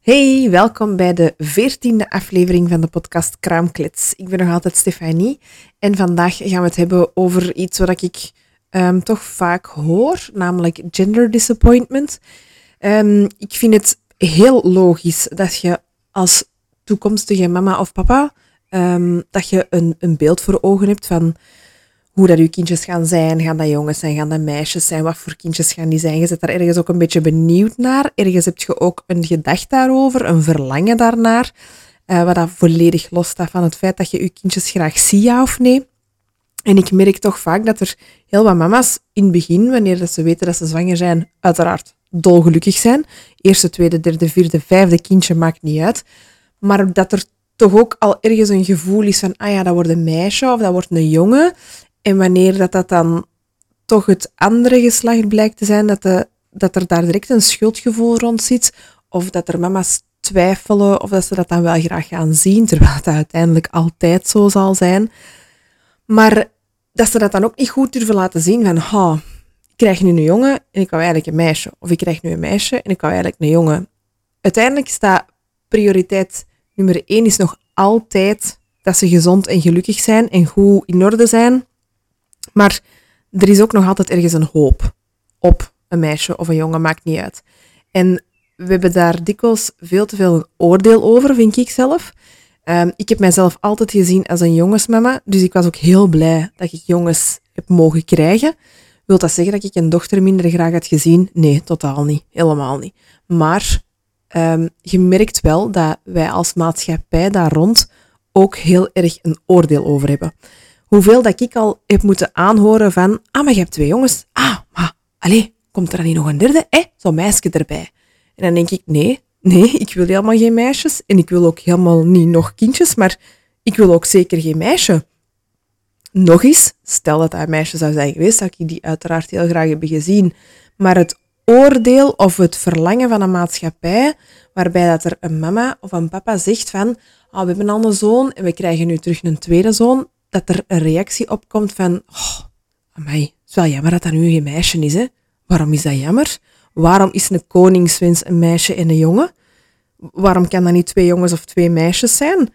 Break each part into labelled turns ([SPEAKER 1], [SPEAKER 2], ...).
[SPEAKER 1] Hey, welkom bij de veertiende aflevering van de podcast Kraamklets. Ik ben nog altijd Stefanie en vandaag gaan we het hebben over iets wat ik ehm, toch vaak hoor, namelijk gender disappointment. Ehm, ik vind het heel logisch dat je als toekomstige mama of papa, ehm, dat je een, een beeld voor ogen hebt van hoe dat uw kindjes gaan zijn. Gaan dat jongens zijn? Gaan dat meisjes zijn? Wat voor kindjes gaan die zijn? Je zit daar ergens ook een beetje benieuwd naar. Ergens heb je ook een gedacht daarover, een verlangen daarnaar. eh, wat dat volledig losstaat van het feit dat je je kindjes graag ziet, ja of nee. En ik merk toch vaak dat er heel wat mama's in het begin, wanneer dat ze weten dat ze zwanger zijn, uiteraard dolgelukkig zijn. Eerste, tweede, derde, vierde, vijfde kindje maakt niet uit. Maar dat er toch ook al ergens een gevoel is van, ah ja, dat wordt een meisje of dat wordt een jongen. En wanneer dat, dat dan toch het andere geslacht blijkt te zijn, dat, de, dat er daar direct een schuldgevoel rond zit. Of dat er mama's twijfelen of dat ze dat dan wel graag gaan zien, terwijl dat uiteindelijk altijd zo zal zijn. Maar dat ze dat dan ook niet goed durven laten zien van, ha, ik krijg nu een jongen en ik wou eigenlijk een meisje. Of ik krijg nu een meisje en ik wou eigenlijk een jongen. Uiteindelijk staat prioriteit nummer één is nog altijd dat ze gezond en gelukkig zijn en goed in orde zijn. Maar er is ook nog altijd ergens een hoop op een meisje of een jongen, maakt niet uit. En we hebben daar dikwijls veel te veel een oordeel over, vind ik zelf. Ehm, ik heb mijzelf altijd gezien als een jongensmama, dus ik was ook heel blij dat ik jongens heb mogen krijgen. Wil dat zeggen dat ik een dochter minder graag had gezien? Nee, totaal niet. Helemaal niet. Maar ehm, je merkt wel dat wij als maatschappij daar rond ook heel erg een oordeel over hebben hoeveel dat ik al heb moeten aanhoren van, ah, maar je hebt twee jongens. Ah, maar, allee, komt er dan niet nog een derde? Eh, zo'n meisje erbij. En dan denk ik, nee, nee, ik wil helemaal geen meisjes. En ik wil ook helemaal niet nog kindjes, maar ik wil ook zeker geen meisje. Nog eens, stel dat dat een meisje zou zijn geweest, zou ik die uiteraard heel graag hebben gezien. Maar het oordeel of het verlangen van een maatschappij, waarbij dat er een mama of een papa zegt van ah we hebben al een zoon en we krijgen nu terug een tweede zoon, dat er een reactie opkomt van oh, amai, het is wel jammer dat dat nu geen meisje is. Hè? Waarom is dat jammer? Waarom is een koningswens een meisje en een jongen? Waarom kan dat niet twee jongens of twee meisjes zijn?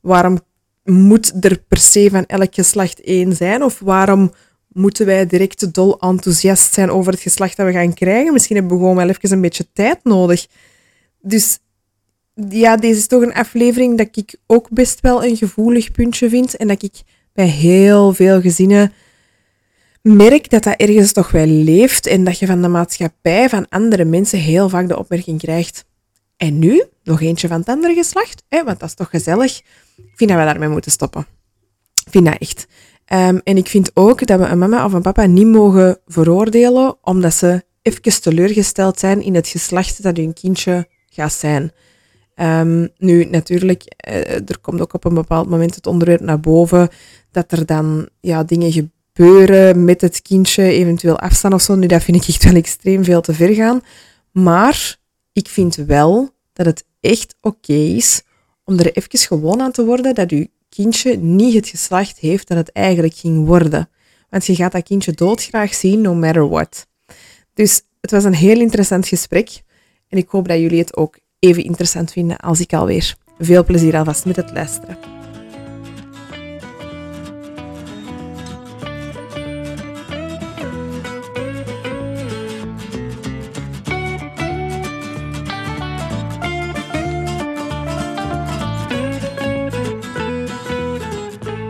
[SPEAKER 1] Waarom moet er per se van elk geslacht één zijn? Of waarom moeten wij direct dol enthousiast zijn over het geslacht dat we gaan krijgen? Misschien hebben we gewoon wel even een beetje tijd nodig. Dus ja, deze is toch een aflevering dat ik ook best wel een gevoelig puntje vind. En dat ik bij heel veel gezinnen merk dat dat ergens toch wel leeft. En dat je van de maatschappij, van andere mensen, heel vaak de opmerking krijgt. En nu nog eentje van het andere geslacht, hè, want dat is toch gezellig. Ik vind dat we daarmee moeten stoppen. Ik vind dat echt. Ehm, en ik vind ook dat we een mama of een papa niet mogen veroordelen omdat ze even teleurgesteld zijn in het geslacht dat hun kindje gaat zijn. Ehm, nu, natuurlijk, eh, er komt ook op een bepaald moment het onderwerp naar boven dat er dan ja, dingen gebeuren met het kindje, eventueel afstaan of zo. Nu, dat vind ik echt wel extreem veel te ver gaan. Maar ik vind wel dat het echt oké is om er even gewoon aan te worden dat uw kindje niet het geslacht heeft dat het eigenlijk ging worden. Want je gaat dat kindje doodgraag zien, no matter what. Dus het was een heel interessant gesprek. En ik hoop dat jullie het ook even interessant vinden als ik alweer. Veel plezier alvast met het luisteren.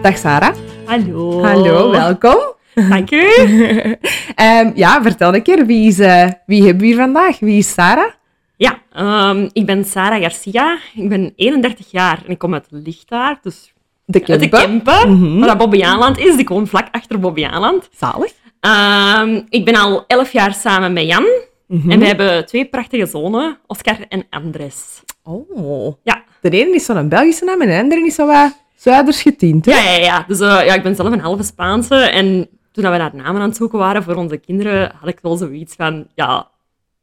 [SPEAKER 1] Dag Sarah.
[SPEAKER 2] Hallo.
[SPEAKER 1] Hallo, welkom.
[SPEAKER 2] Dank u.
[SPEAKER 1] Ehm, ja, vertel een keer, wie, is, eh, wie hebben we hier vandaag? Wie is Sarah?
[SPEAKER 2] Ja, ehm, ik ben Sarah Garcia. Ik ben 31 jaar en ik kom uit Lichtaar, dus
[SPEAKER 1] De
[SPEAKER 2] uit de Kempen,
[SPEAKER 1] Mhm.
[SPEAKER 2] waar dat Bobbejaanland is. Ik woon vlak achter Bobbejaanland.
[SPEAKER 1] Zalig.
[SPEAKER 2] Ehm ik ben al 11 jaar samen met Jan
[SPEAKER 1] Mhm.
[SPEAKER 2] en we hebben twee prachtige zonen, Oscar en Andres.
[SPEAKER 1] Oh.
[SPEAKER 2] Ja,
[SPEAKER 1] De ene is zo'n Belgische naam en de andere is zo wat Zuiders getint. hè?
[SPEAKER 2] ja, ja. ja. Dus eh, ja, ik ben zelf een halve Spaanse en toen dat we naar namen aan het zoeken waren voor onze kinderen, had ik wel zoiets van, ja,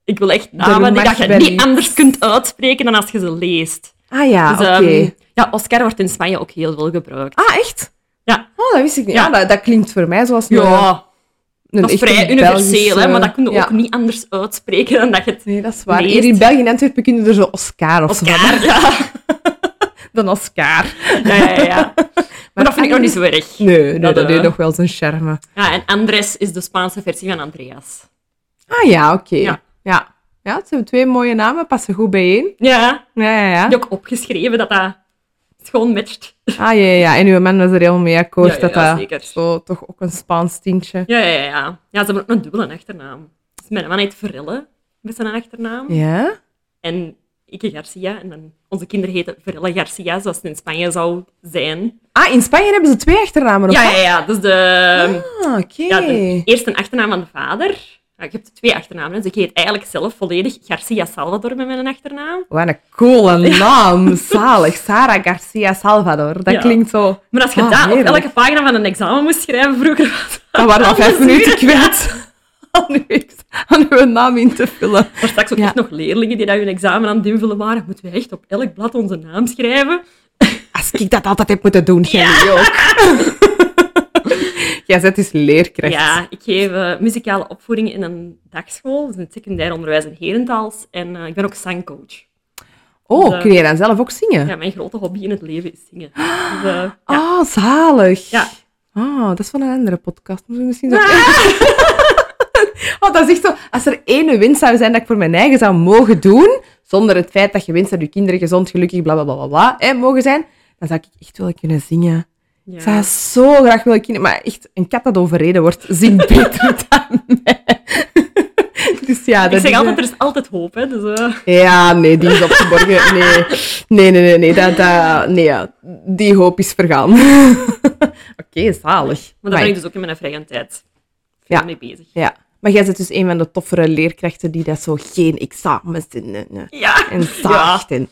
[SPEAKER 2] ik wil echt namen die
[SPEAKER 1] mag
[SPEAKER 2] dat je
[SPEAKER 1] wel
[SPEAKER 2] niet
[SPEAKER 1] iets.
[SPEAKER 2] anders kunt uitspreken dan als je ze leest.
[SPEAKER 1] Ah ja,
[SPEAKER 2] Dus,
[SPEAKER 1] oké.
[SPEAKER 2] ehm, ja, Oscar wordt in Spanje ook heel veel gebruikt.
[SPEAKER 1] Ah, echt?
[SPEAKER 2] Ja.
[SPEAKER 1] Oh, dat wist ik niet.
[SPEAKER 2] Ja.
[SPEAKER 1] Ah, dat, dat klinkt voor mij zoals een,
[SPEAKER 2] Ja,
[SPEAKER 1] een
[SPEAKER 2] Dat is
[SPEAKER 1] echte
[SPEAKER 2] vrij universeel, hè,
[SPEAKER 1] Belgische-
[SPEAKER 2] maar dat kun je
[SPEAKER 1] ja.
[SPEAKER 2] ook niet anders uitspreken dan dat je het
[SPEAKER 1] Nee, dat is waar.
[SPEAKER 2] leest.
[SPEAKER 1] Hier in België en Antwerpen kunnen er zo Oscar of zo van.
[SPEAKER 2] Oscar, ja.
[SPEAKER 1] Dan Oscar.
[SPEAKER 2] Ja, ja, ja. Maar, dat vind ik nog niet zo erg.
[SPEAKER 1] Nee, nee
[SPEAKER 2] Dat,
[SPEAKER 1] dat
[SPEAKER 2] eh,
[SPEAKER 1] deed nog wel zijn charme.
[SPEAKER 2] Ja, en Andres is de Spaanse versie van Andreas.
[SPEAKER 1] Ah ja, oké.
[SPEAKER 2] Ja.
[SPEAKER 1] Ja. Ja. het zijn twee mooie namen, passen goed bijeen.
[SPEAKER 2] Ja,
[SPEAKER 1] Ja, ja, ja.
[SPEAKER 2] heb je ook opgeschreven dat dat schoon matcht.
[SPEAKER 1] Ah ja, ja, ja. En uw man was er helemaal mee akkoord
[SPEAKER 2] Ja, ja, ja,
[SPEAKER 1] dat
[SPEAKER 2] zeker.
[SPEAKER 1] dat zo toch ook een Spaans tintje.
[SPEAKER 2] Ja, ja, ja. Ja, ze hebben ook een dubbele achternaam. Dus mijn man heet Verille, met zijn achternaam.
[SPEAKER 1] Ja?
[SPEAKER 2] En ik Garcia. En dan, onze kinderen heten Verille Garcia, zoals het in Spanje zou zijn.
[SPEAKER 1] Ah, in Spanje hebben ze twee achternamen, of
[SPEAKER 2] Ja,
[SPEAKER 1] wat?
[SPEAKER 2] ja, ja. Dus de,
[SPEAKER 1] Ah, oké.
[SPEAKER 2] ja, dus- de eerste achternaam van de vader. Ja, ik heb twee achternamen, dus ik heet eigenlijk zelf volledig Garcia Salvador met mijn achternaam.
[SPEAKER 1] Wat een coole naam. Zalig. Sara Garcia Salvador. Dat
[SPEAKER 2] Ja.
[SPEAKER 1] klinkt zo...
[SPEAKER 2] Maar als je
[SPEAKER 1] Ah,
[SPEAKER 2] dat op
[SPEAKER 1] heerlijk.
[SPEAKER 2] elke pagina van een examen moest schrijven vroeger, was
[SPEAKER 1] Dat waren al vijf
[SPEAKER 2] Alles
[SPEAKER 1] minuten kwijt aan uw, aan uw naam in te vullen.
[SPEAKER 2] Maar straks ook
[SPEAKER 1] Ja.
[SPEAKER 2] echt nog leerlingen die dat hun examen aan het invullen waren. Moeten wij echt op elk blad onze naam schrijven?
[SPEAKER 1] Als ik dat altijd heb moeten doen, jij nu ook. Jij zet dus leerkracht.
[SPEAKER 2] Ja, ik geef eh, muzikale opvoeding in een dagschool, dus in het secundair onderwijs in Herentals. En eh, ik ben ook zangcoach.
[SPEAKER 1] Oh,
[SPEAKER 2] Dus, eh,
[SPEAKER 1] kun jij dan zelf ook zingen?
[SPEAKER 2] Ja, mijn grote hobby in het leven is zingen. Dus, eh, ja.
[SPEAKER 1] Ah, zalig.
[SPEAKER 2] Ja.
[SPEAKER 1] Ah, dat is van een andere podcast. Moeten we misschien zo...
[SPEAKER 2] Ah.
[SPEAKER 1] oh, dat is echt zo... Als er één winst zou zijn dat ik voor mijn eigen zou mogen doen, zonder het feit dat je winst dat je kinderen gezond, gelukkig, bla, bla, bla, bla, bla, hè, mogen zijn, dan zou ik echt wel kunnen zingen.
[SPEAKER 2] Ja.
[SPEAKER 1] Ik zou zo graag willen kinderen... Maar echt, een kat dat overreden wordt, zingt beter dan mij. Dus ja, dat
[SPEAKER 2] Ik zeg
[SPEAKER 1] is,
[SPEAKER 2] altijd,
[SPEAKER 1] eh,
[SPEAKER 2] er is altijd hoop. Hè, dus, eh,
[SPEAKER 1] Ja, nee, die is opgeborgen. Nee, nee, nee, nee. nee, dat, dat, nee ja. Die hoop is vergaan. Oké, zalig.
[SPEAKER 2] maar daar
[SPEAKER 1] Amai.
[SPEAKER 2] ben ik dus ook in mijn vrije tijd veel
[SPEAKER 1] Ja.
[SPEAKER 2] mee bezig.
[SPEAKER 1] Ja. Maar jij bent dus een van de toffere leerkrachten die dat zo geen examens en, en, eh,
[SPEAKER 2] Ja.
[SPEAKER 1] en zaagt. En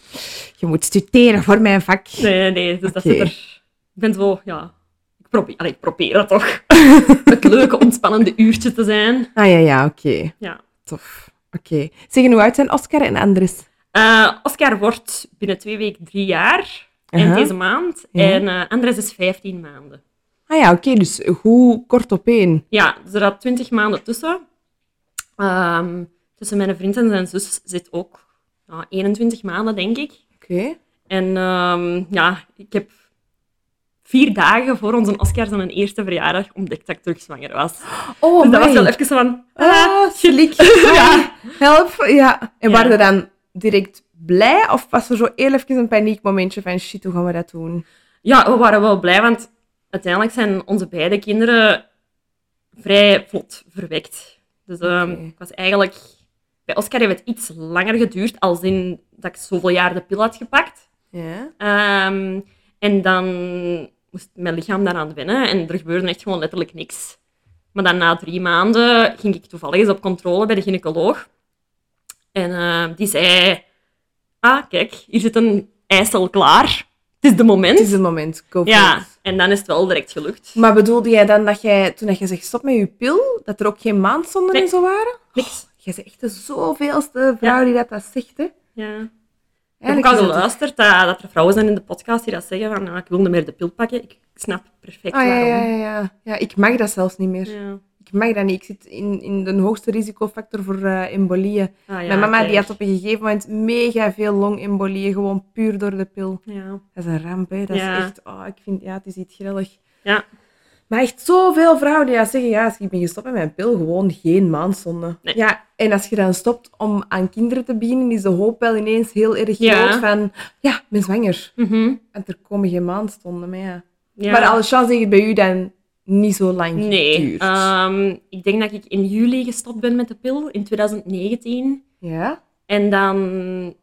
[SPEAKER 1] je moet studeren voor mijn vak.
[SPEAKER 2] Nee, nee, dus dat
[SPEAKER 1] Oké.
[SPEAKER 2] zit er... Ik ben zo, ja... Ik probeer, allee, ik probeer dat toch. het leuke, ontspannende uurtje te zijn.
[SPEAKER 1] Ah ja, ja, oké.
[SPEAKER 2] Ja.
[SPEAKER 1] Tof. Oké. Zeggen hoe oud zijn Oscar en Andres?
[SPEAKER 2] Eh, Oscar wordt binnen twee weken drie jaar.
[SPEAKER 1] Aha. Mhm.
[SPEAKER 2] En deze maand.
[SPEAKER 1] Ja.
[SPEAKER 2] En eh, Andres is 15 maanden.
[SPEAKER 1] Ah ja, oké. dus hoe kort op één.
[SPEAKER 2] Ja, dus er zat 20 maanden tussen. Ehm, tussen mijn vriend en zijn zus zit ook ja, 21 maanden, denk ik.
[SPEAKER 1] Oké.
[SPEAKER 2] En ehm, ja, ik heb vier dagen voor onze Oscar zijn eerste verjaardag ontdekt dat ik terug zwanger was.
[SPEAKER 1] Oh,
[SPEAKER 2] dus dat was
[SPEAKER 1] amai.
[SPEAKER 2] wel even zo van...
[SPEAKER 1] Ah, geliek. Ja. Help. Ja. En
[SPEAKER 2] Ah. Ja.
[SPEAKER 1] waren ze dan direct blij? Of was er zo heel even een paniekmomentje van shit, hoe gaan we dat doen?
[SPEAKER 2] Ja, we waren wel blij, want uiteindelijk zijn onze beide kinderen vrij vlot verwekt. Dus ehm,
[SPEAKER 1] Oké.
[SPEAKER 2] ik was eigenlijk... Bij Oscar heeft het iets langer geduurd, als in dat ik zoveel jaar de pil had gepakt.
[SPEAKER 1] Ja.
[SPEAKER 2] Ehm, en dan moest mijn lichaam daaraan wennen en er gebeurde echt gewoon letterlijk niks. Maar dan na drie maanden ging ik toevallig eens op controle bij de gynaecoloog. En ehm, die zei... Ah, kijk, hier zit een eicel klaar. Het is de moment.
[SPEAKER 1] Het is het moment. Go for
[SPEAKER 2] Ja,
[SPEAKER 1] it.
[SPEAKER 2] en dan is het wel direct gelukt.
[SPEAKER 1] Maar bedoelde jij dan dat jij, toen dat je zegt stop met je pil, dat er ook geen maandzonden
[SPEAKER 2] Nee.
[SPEAKER 1] en zo waren?
[SPEAKER 2] Niks.
[SPEAKER 1] Jij bent echt de zoveelste vrouw die dat, dat zegt, hè?
[SPEAKER 2] Ja. Ik heb ook
[SPEAKER 1] Eigenlijk
[SPEAKER 2] al
[SPEAKER 1] is dat-
[SPEAKER 2] geluisterd dat, dat er vrouwen zijn in de podcast die dat zeggen van ah, ik wil niet meer de pil pakken. Ik, ik snap perfect
[SPEAKER 1] Ah, ja,
[SPEAKER 2] waarom.
[SPEAKER 1] ja, ja, ja. Ja, ik mag dat zelfs niet meer.
[SPEAKER 2] Ja.
[SPEAKER 1] Ik mag dat niet. Ik zit in, in de hoogste risicofactor voor eh embolieën.
[SPEAKER 2] Ah, ja,
[SPEAKER 1] Mijn mama die
[SPEAKER 2] kijk.
[SPEAKER 1] had op een gegeven moment mega veel longembolieën, gewoon puur door de pil.
[SPEAKER 2] Ja.
[SPEAKER 1] Dat is een ramp, hè. Dat
[SPEAKER 2] Ja.
[SPEAKER 1] is echt... Oh, ik vind... Ja, het is iets grillig.
[SPEAKER 2] Ja.
[SPEAKER 1] Maar echt zoveel vrouwen die dat zeggen, ja, als ik ben gestopt met mijn pil, gewoon geen maandzonde.
[SPEAKER 2] Nee.
[SPEAKER 1] Ja, en als je dan stopt om aan kinderen te beginnen, is de hoop wel ineens heel erg
[SPEAKER 2] Ja.
[SPEAKER 1] groot van... Ja, ik ben zwanger.
[SPEAKER 2] Mhm.
[SPEAKER 1] En er komen geen maandstonden mee, ja.
[SPEAKER 2] Ja.
[SPEAKER 1] Maar alle chance dat het bij u dan niet zo lang
[SPEAKER 2] Nee.
[SPEAKER 1] duurt.
[SPEAKER 2] ehm, ik denk dat ik in juli gestopt ben met de pil, in 2019.
[SPEAKER 1] Ja?
[SPEAKER 2] En dan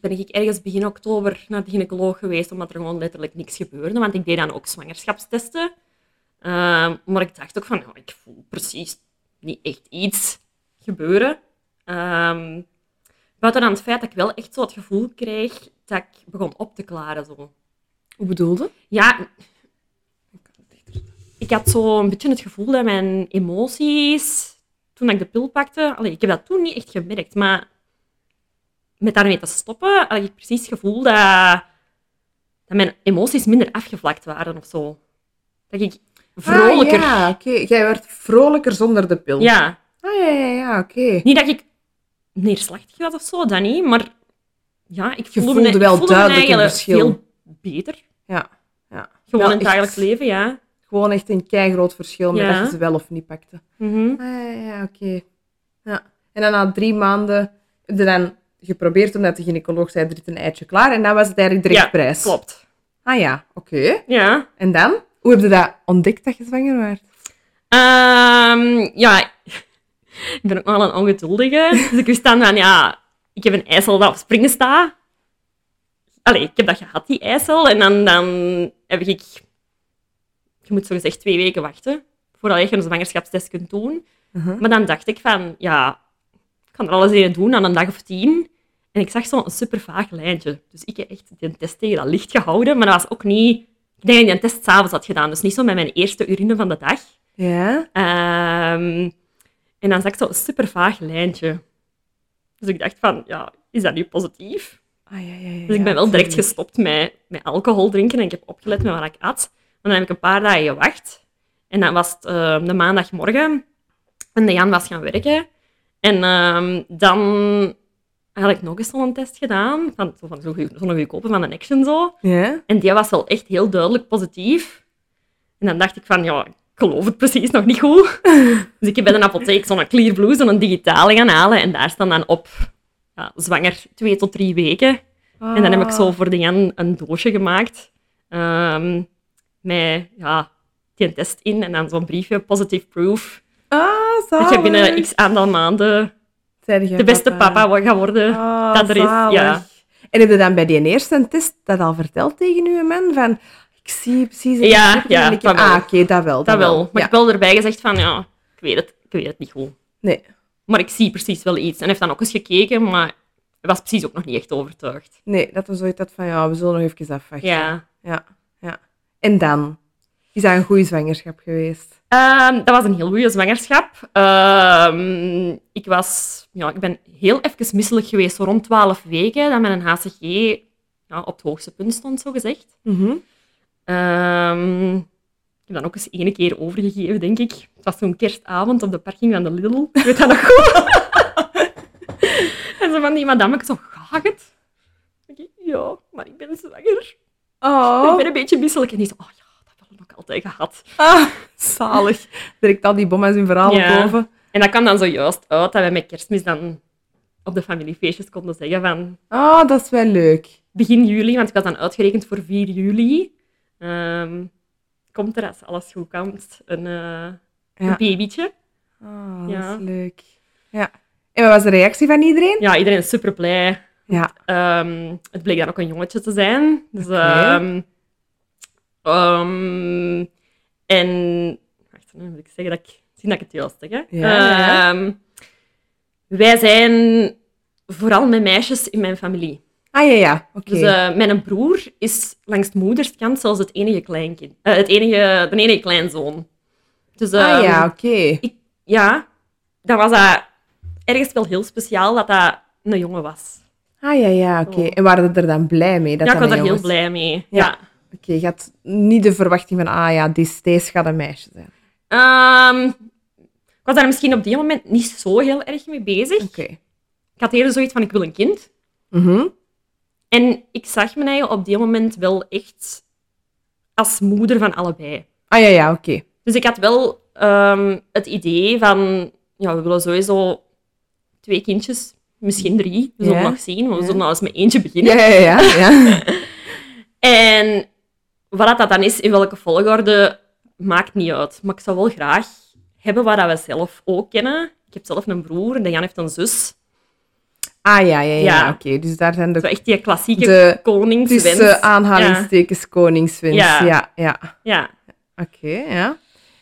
[SPEAKER 2] ben ik ergens begin oktober naar de gynaecoloog geweest, omdat er gewoon letterlijk niks gebeurde. Want ik deed dan ook zwangerschapstesten. Ehm, maar ik dacht ook van, nou, ik voel precies niet echt iets gebeuren. Ehm, buiten dan het feit dat ik wel echt zo het gevoel kreeg dat ik begon op te klaren. Zo.
[SPEAKER 1] Hoe bedoelde?
[SPEAKER 2] Ja, ik had zo een beetje het gevoel dat mijn emoties, toen ik de pil pakte, allee, ik heb dat toen niet echt gemerkt, maar met daarmee te stoppen, had ik precies het gevoel dat, dat mijn emoties minder afgevlakt waren of zo. Dat ik vrolijker.
[SPEAKER 1] Ah, ja, oké. Jij werd vrolijker zonder de pil.
[SPEAKER 2] ja,
[SPEAKER 1] Ah, ja, ja, ja oké.
[SPEAKER 2] Niet dat ik neerslachtig was of zo, dat niet, maar ja, ik voelde,
[SPEAKER 1] voelde
[SPEAKER 2] me,
[SPEAKER 1] wel
[SPEAKER 2] ik voelde me
[SPEAKER 1] duidelijk een
[SPEAKER 2] eigenlijk
[SPEAKER 1] verschil.
[SPEAKER 2] veel beter.
[SPEAKER 1] Ja, ja.
[SPEAKER 2] Gewoon
[SPEAKER 1] Wel
[SPEAKER 2] in het
[SPEAKER 1] echt-
[SPEAKER 2] dagelijks leven, ja.
[SPEAKER 1] Gewoon echt een keigroot verschil met
[SPEAKER 2] Ja.
[SPEAKER 1] dat je ze wel of niet pakte.
[SPEAKER 2] Mhm.
[SPEAKER 1] Ah, ja, ja, oké. Ja. En dan na drie maanden heb je dan geprobeerd, omdat de gynaecoloog zei, er is een eitje klaar. En dan was het eigenlijk direct
[SPEAKER 2] Ja,
[SPEAKER 1] prijs.
[SPEAKER 2] Klopt.
[SPEAKER 1] Ah ja, oké.
[SPEAKER 2] Ja.
[SPEAKER 1] En dan? Hoe heb je dat ontdekt dat je zwanger werd?
[SPEAKER 2] Ehm, ja, ik ben ook wel een ongeduldige. Dus ik wist dan van, ja, ik heb een eicel dat op springen staat. Allee, ik heb dat gehad, die eicel. En dan, dan heb ik... Je moet zogezegd twee weken wachten voordat je een zwangerschapstest kunt doen.
[SPEAKER 1] Mhm.
[SPEAKER 2] Maar dan dacht ik van, ja, ik kan er alles in doen aan een dag of tien. En ik zag zo'n super vaag lijntje. Dus ik heb echt die test tegen dat licht gehouden. Maar dat was ook niet... Ik denk dat ik die test s'avonds had gedaan. Dus niet zo met mijn eerste urine van de dag.
[SPEAKER 1] Ja.
[SPEAKER 2] Ehm, en dan zag ik zo'n super vaag lijntje. Dus ik dacht van, ja, is dat nu positief?
[SPEAKER 1] Ah, ja, ja, ja.
[SPEAKER 2] Dus ik ben wel direct gestopt met, met alcohol drinken en ik heb opgelet met wat ik at. En dan heb ik een paar dagen gewacht. En dan was het ehm, de maandagmorgen. En de Jan was gaan werken. En ehm, dan had ik nog eens zo'n test gedaan. Van, zo van zo'n goeie- zo'n goedkope van een action zo.
[SPEAKER 1] Ja?
[SPEAKER 2] En die was wel echt heel duidelijk positief. En dan dacht ik van, ja, ik geloof het precies nog niet goed. Dus ik heb bij de apotheek zo'n clear blue, zo'n digitale gaan halen. En daar staan dan op, ja, zwanger twee tot drie weken. En dan heb ik zo
[SPEAKER 1] Ah.
[SPEAKER 2] voor de Jan een doosje gemaakt. ehm, met, ja, die test in en dan zo'n briefje, positive proof.
[SPEAKER 1] Ah, zalig.
[SPEAKER 2] Dat je binnen x aantal maanden
[SPEAKER 1] Zeg je
[SPEAKER 2] de beste papa wordt gaan worden.
[SPEAKER 1] Ah,
[SPEAKER 2] dat er is,
[SPEAKER 1] zalig.
[SPEAKER 2] ja.
[SPEAKER 1] En heb je dan bij die eerste test dat al verteld tegen je man? Van, ik zie precies... een
[SPEAKER 2] Ja,
[SPEAKER 1] stipje
[SPEAKER 2] ja,
[SPEAKER 1] en ik heb-
[SPEAKER 2] dat wel.
[SPEAKER 1] Ah, oké, dat wel.
[SPEAKER 2] Dat wel. Maar ik
[SPEAKER 1] Ja.
[SPEAKER 2] heb wel erbij gezegd van, ja, ik weet het, ik weet het niet goed.
[SPEAKER 1] Nee.
[SPEAKER 2] Maar ik zie precies wel iets. En hij heeft dan ook eens gekeken, maar hij was precies ook nog niet echt overtuigd.
[SPEAKER 1] Nee, dat was zoiets dat van, ja, we zullen nog even afwachten.
[SPEAKER 2] Ja.
[SPEAKER 1] Ja, ja. En dan? Is dat een goede zwangerschap geweest?
[SPEAKER 2] Ehm, dat was een heel goede zwangerschap. Ehm, ik, was, ja, ik ben heel even misselijk geweest, zo rond 12 weken, dat mijn HCG ja, op het hoogste punt stond, zo gezegd. Ehm, ik heb dan ook eens één keer overgegeven, denk ik. Het was zo'n kerstavond op de parking van de Lidl. Ik weet dat nog goed. en zo van die madame, ik zo, ga het? Ik denk, ja, maar ik ben zwanger. Ik
[SPEAKER 1] Oh,
[SPEAKER 2] ben een beetje misselijk. En die zo, oh ja, dat hebben we ook altijd gehad.
[SPEAKER 1] ah, zalig. Direct al die bom aan zijn verhaal
[SPEAKER 2] Ja.
[SPEAKER 1] boven.
[SPEAKER 2] En dat kwam dan zojuist uit dat we met kerstmis dan op de familiefeestjes konden zeggen van
[SPEAKER 1] Oh, dat is wel leuk.
[SPEAKER 2] begin juli, want ik had dan uitgerekend voor 4 juli. ehm, komt er, als alles goed komt, een, eh,
[SPEAKER 1] Ja.
[SPEAKER 2] een babytje.
[SPEAKER 1] Oh, dat
[SPEAKER 2] Ja.
[SPEAKER 1] is leuk. Ja. En wat was de reactie van iedereen?
[SPEAKER 2] Ja, iedereen is super blij.
[SPEAKER 1] Ja.
[SPEAKER 2] Ehm, het bleek dan ook een jongetje te zijn. Dus,
[SPEAKER 1] Oké.
[SPEAKER 2] ehm, ehm, en... Wacht, nu moet ik zeggen dat ik... Zie dat ik het juist zeg, hè?
[SPEAKER 1] Ja, ja.
[SPEAKER 2] Ehm, wij zijn vooral met meisjes in mijn familie.
[SPEAKER 1] Ah, ja, ja. Oké.
[SPEAKER 2] Dus eh, mijn broer is langs de moederskant zelfs het enige kleinkind. eh, het enige, de enige kleinzoon. Dus,
[SPEAKER 1] ah,
[SPEAKER 2] ehm,
[SPEAKER 1] ja, oké.
[SPEAKER 2] ja, dat was dat ergens wel heel speciaal dat dat een jongen was.
[SPEAKER 1] Ah, ja, ja, oké.
[SPEAKER 2] Zo.
[SPEAKER 1] En waren ze er dan blij mee? Dat
[SPEAKER 2] ja, ik
[SPEAKER 1] dat
[SPEAKER 2] was daar
[SPEAKER 1] een
[SPEAKER 2] heel
[SPEAKER 1] jongens-
[SPEAKER 2] blij mee.
[SPEAKER 1] Ja.
[SPEAKER 2] Ja.
[SPEAKER 1] Oké, je had niet de verwachting van, ah ja, deze, deze gaat een meisje zijn.
[SPEAKER 2] Ehm, ik was daar misschien op die moment niet zo heel erg mee bezig.
[SPEAKER 1] Oké.
[SPEAKER 2] Ik had eerder zoiets van, ik wil een kind.
[SPEAKER 1] Mhm.
[SPEAKER 2] En ik zag me eigenlijk op die moment wel echt als moeder van allebei.
[SPEAKER 1] Ah, ja, ja, oké.
[SPEAKER 2] Dus ik had wel ehm, het idee van, ja, we willen sowieso twee kindjes, misschien drie. We zullen
[SPEAKER 1] Ja.
[SPEAKER 2] nog zien, maar we
[SPEAKER 1] Ja.
[SPEAKER 2] zullen nou eens met eentje beginnen.
[SPEAKER 1] Ja, ja, ja. ja.
[SPEAKER 2] En wat dat dan is, in welke volgorde, maakt niet uit. Maar ik zou wel graag hebben wat dat we zelf ook kennen. Ik heb zelf een broer en de Jan heeft een zus.
[SPEAKER 1] Ah, ja, ja, ja.
[SPEAKER 2] Ja.
[SPEAKER 1] Oké, dus daar zijn de
[SPEAKER 2] Zo echt die klassieke
[SPEAKER 1] De-
[SPEAKER 2] koningswens.
[SPEAKER 1] Tussen aanhalingstekens koningswens. Ja,
[SPEAKER 2] Ja.
[SPEAKER 1] ja.
[SPEAKER 2] Ja,
[SPEAKER 1] Oké, ja.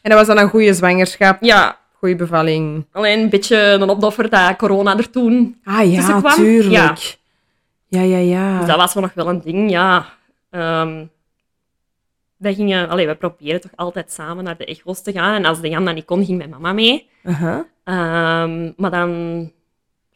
[SPEAKER 1] En dat was dan een goede zwangerschap,
[SPEAKER 2] ja,
[SPEAKER 1] goede bevalling.
[SPEAKER 2] alleen een beetje een opdoffer dat corona er toen...
[SPEAKER 1] Ah
[SPEAKER 2] Tussen Dus kwam?
[SPEAKER 1] tuurlijk. Ja, ja, ja.
[SPEAKER 2] Dus dat was wel nog wel een ding, ja. Ehm wij gingen... Allee, we proberen toch altijd samen naar de echo's te gaan. En als de Jan dat niet kon, ging mijn mama mee.
[SPEAKER 1] Aha.
[SPEAKER 2] Ehm, maar dan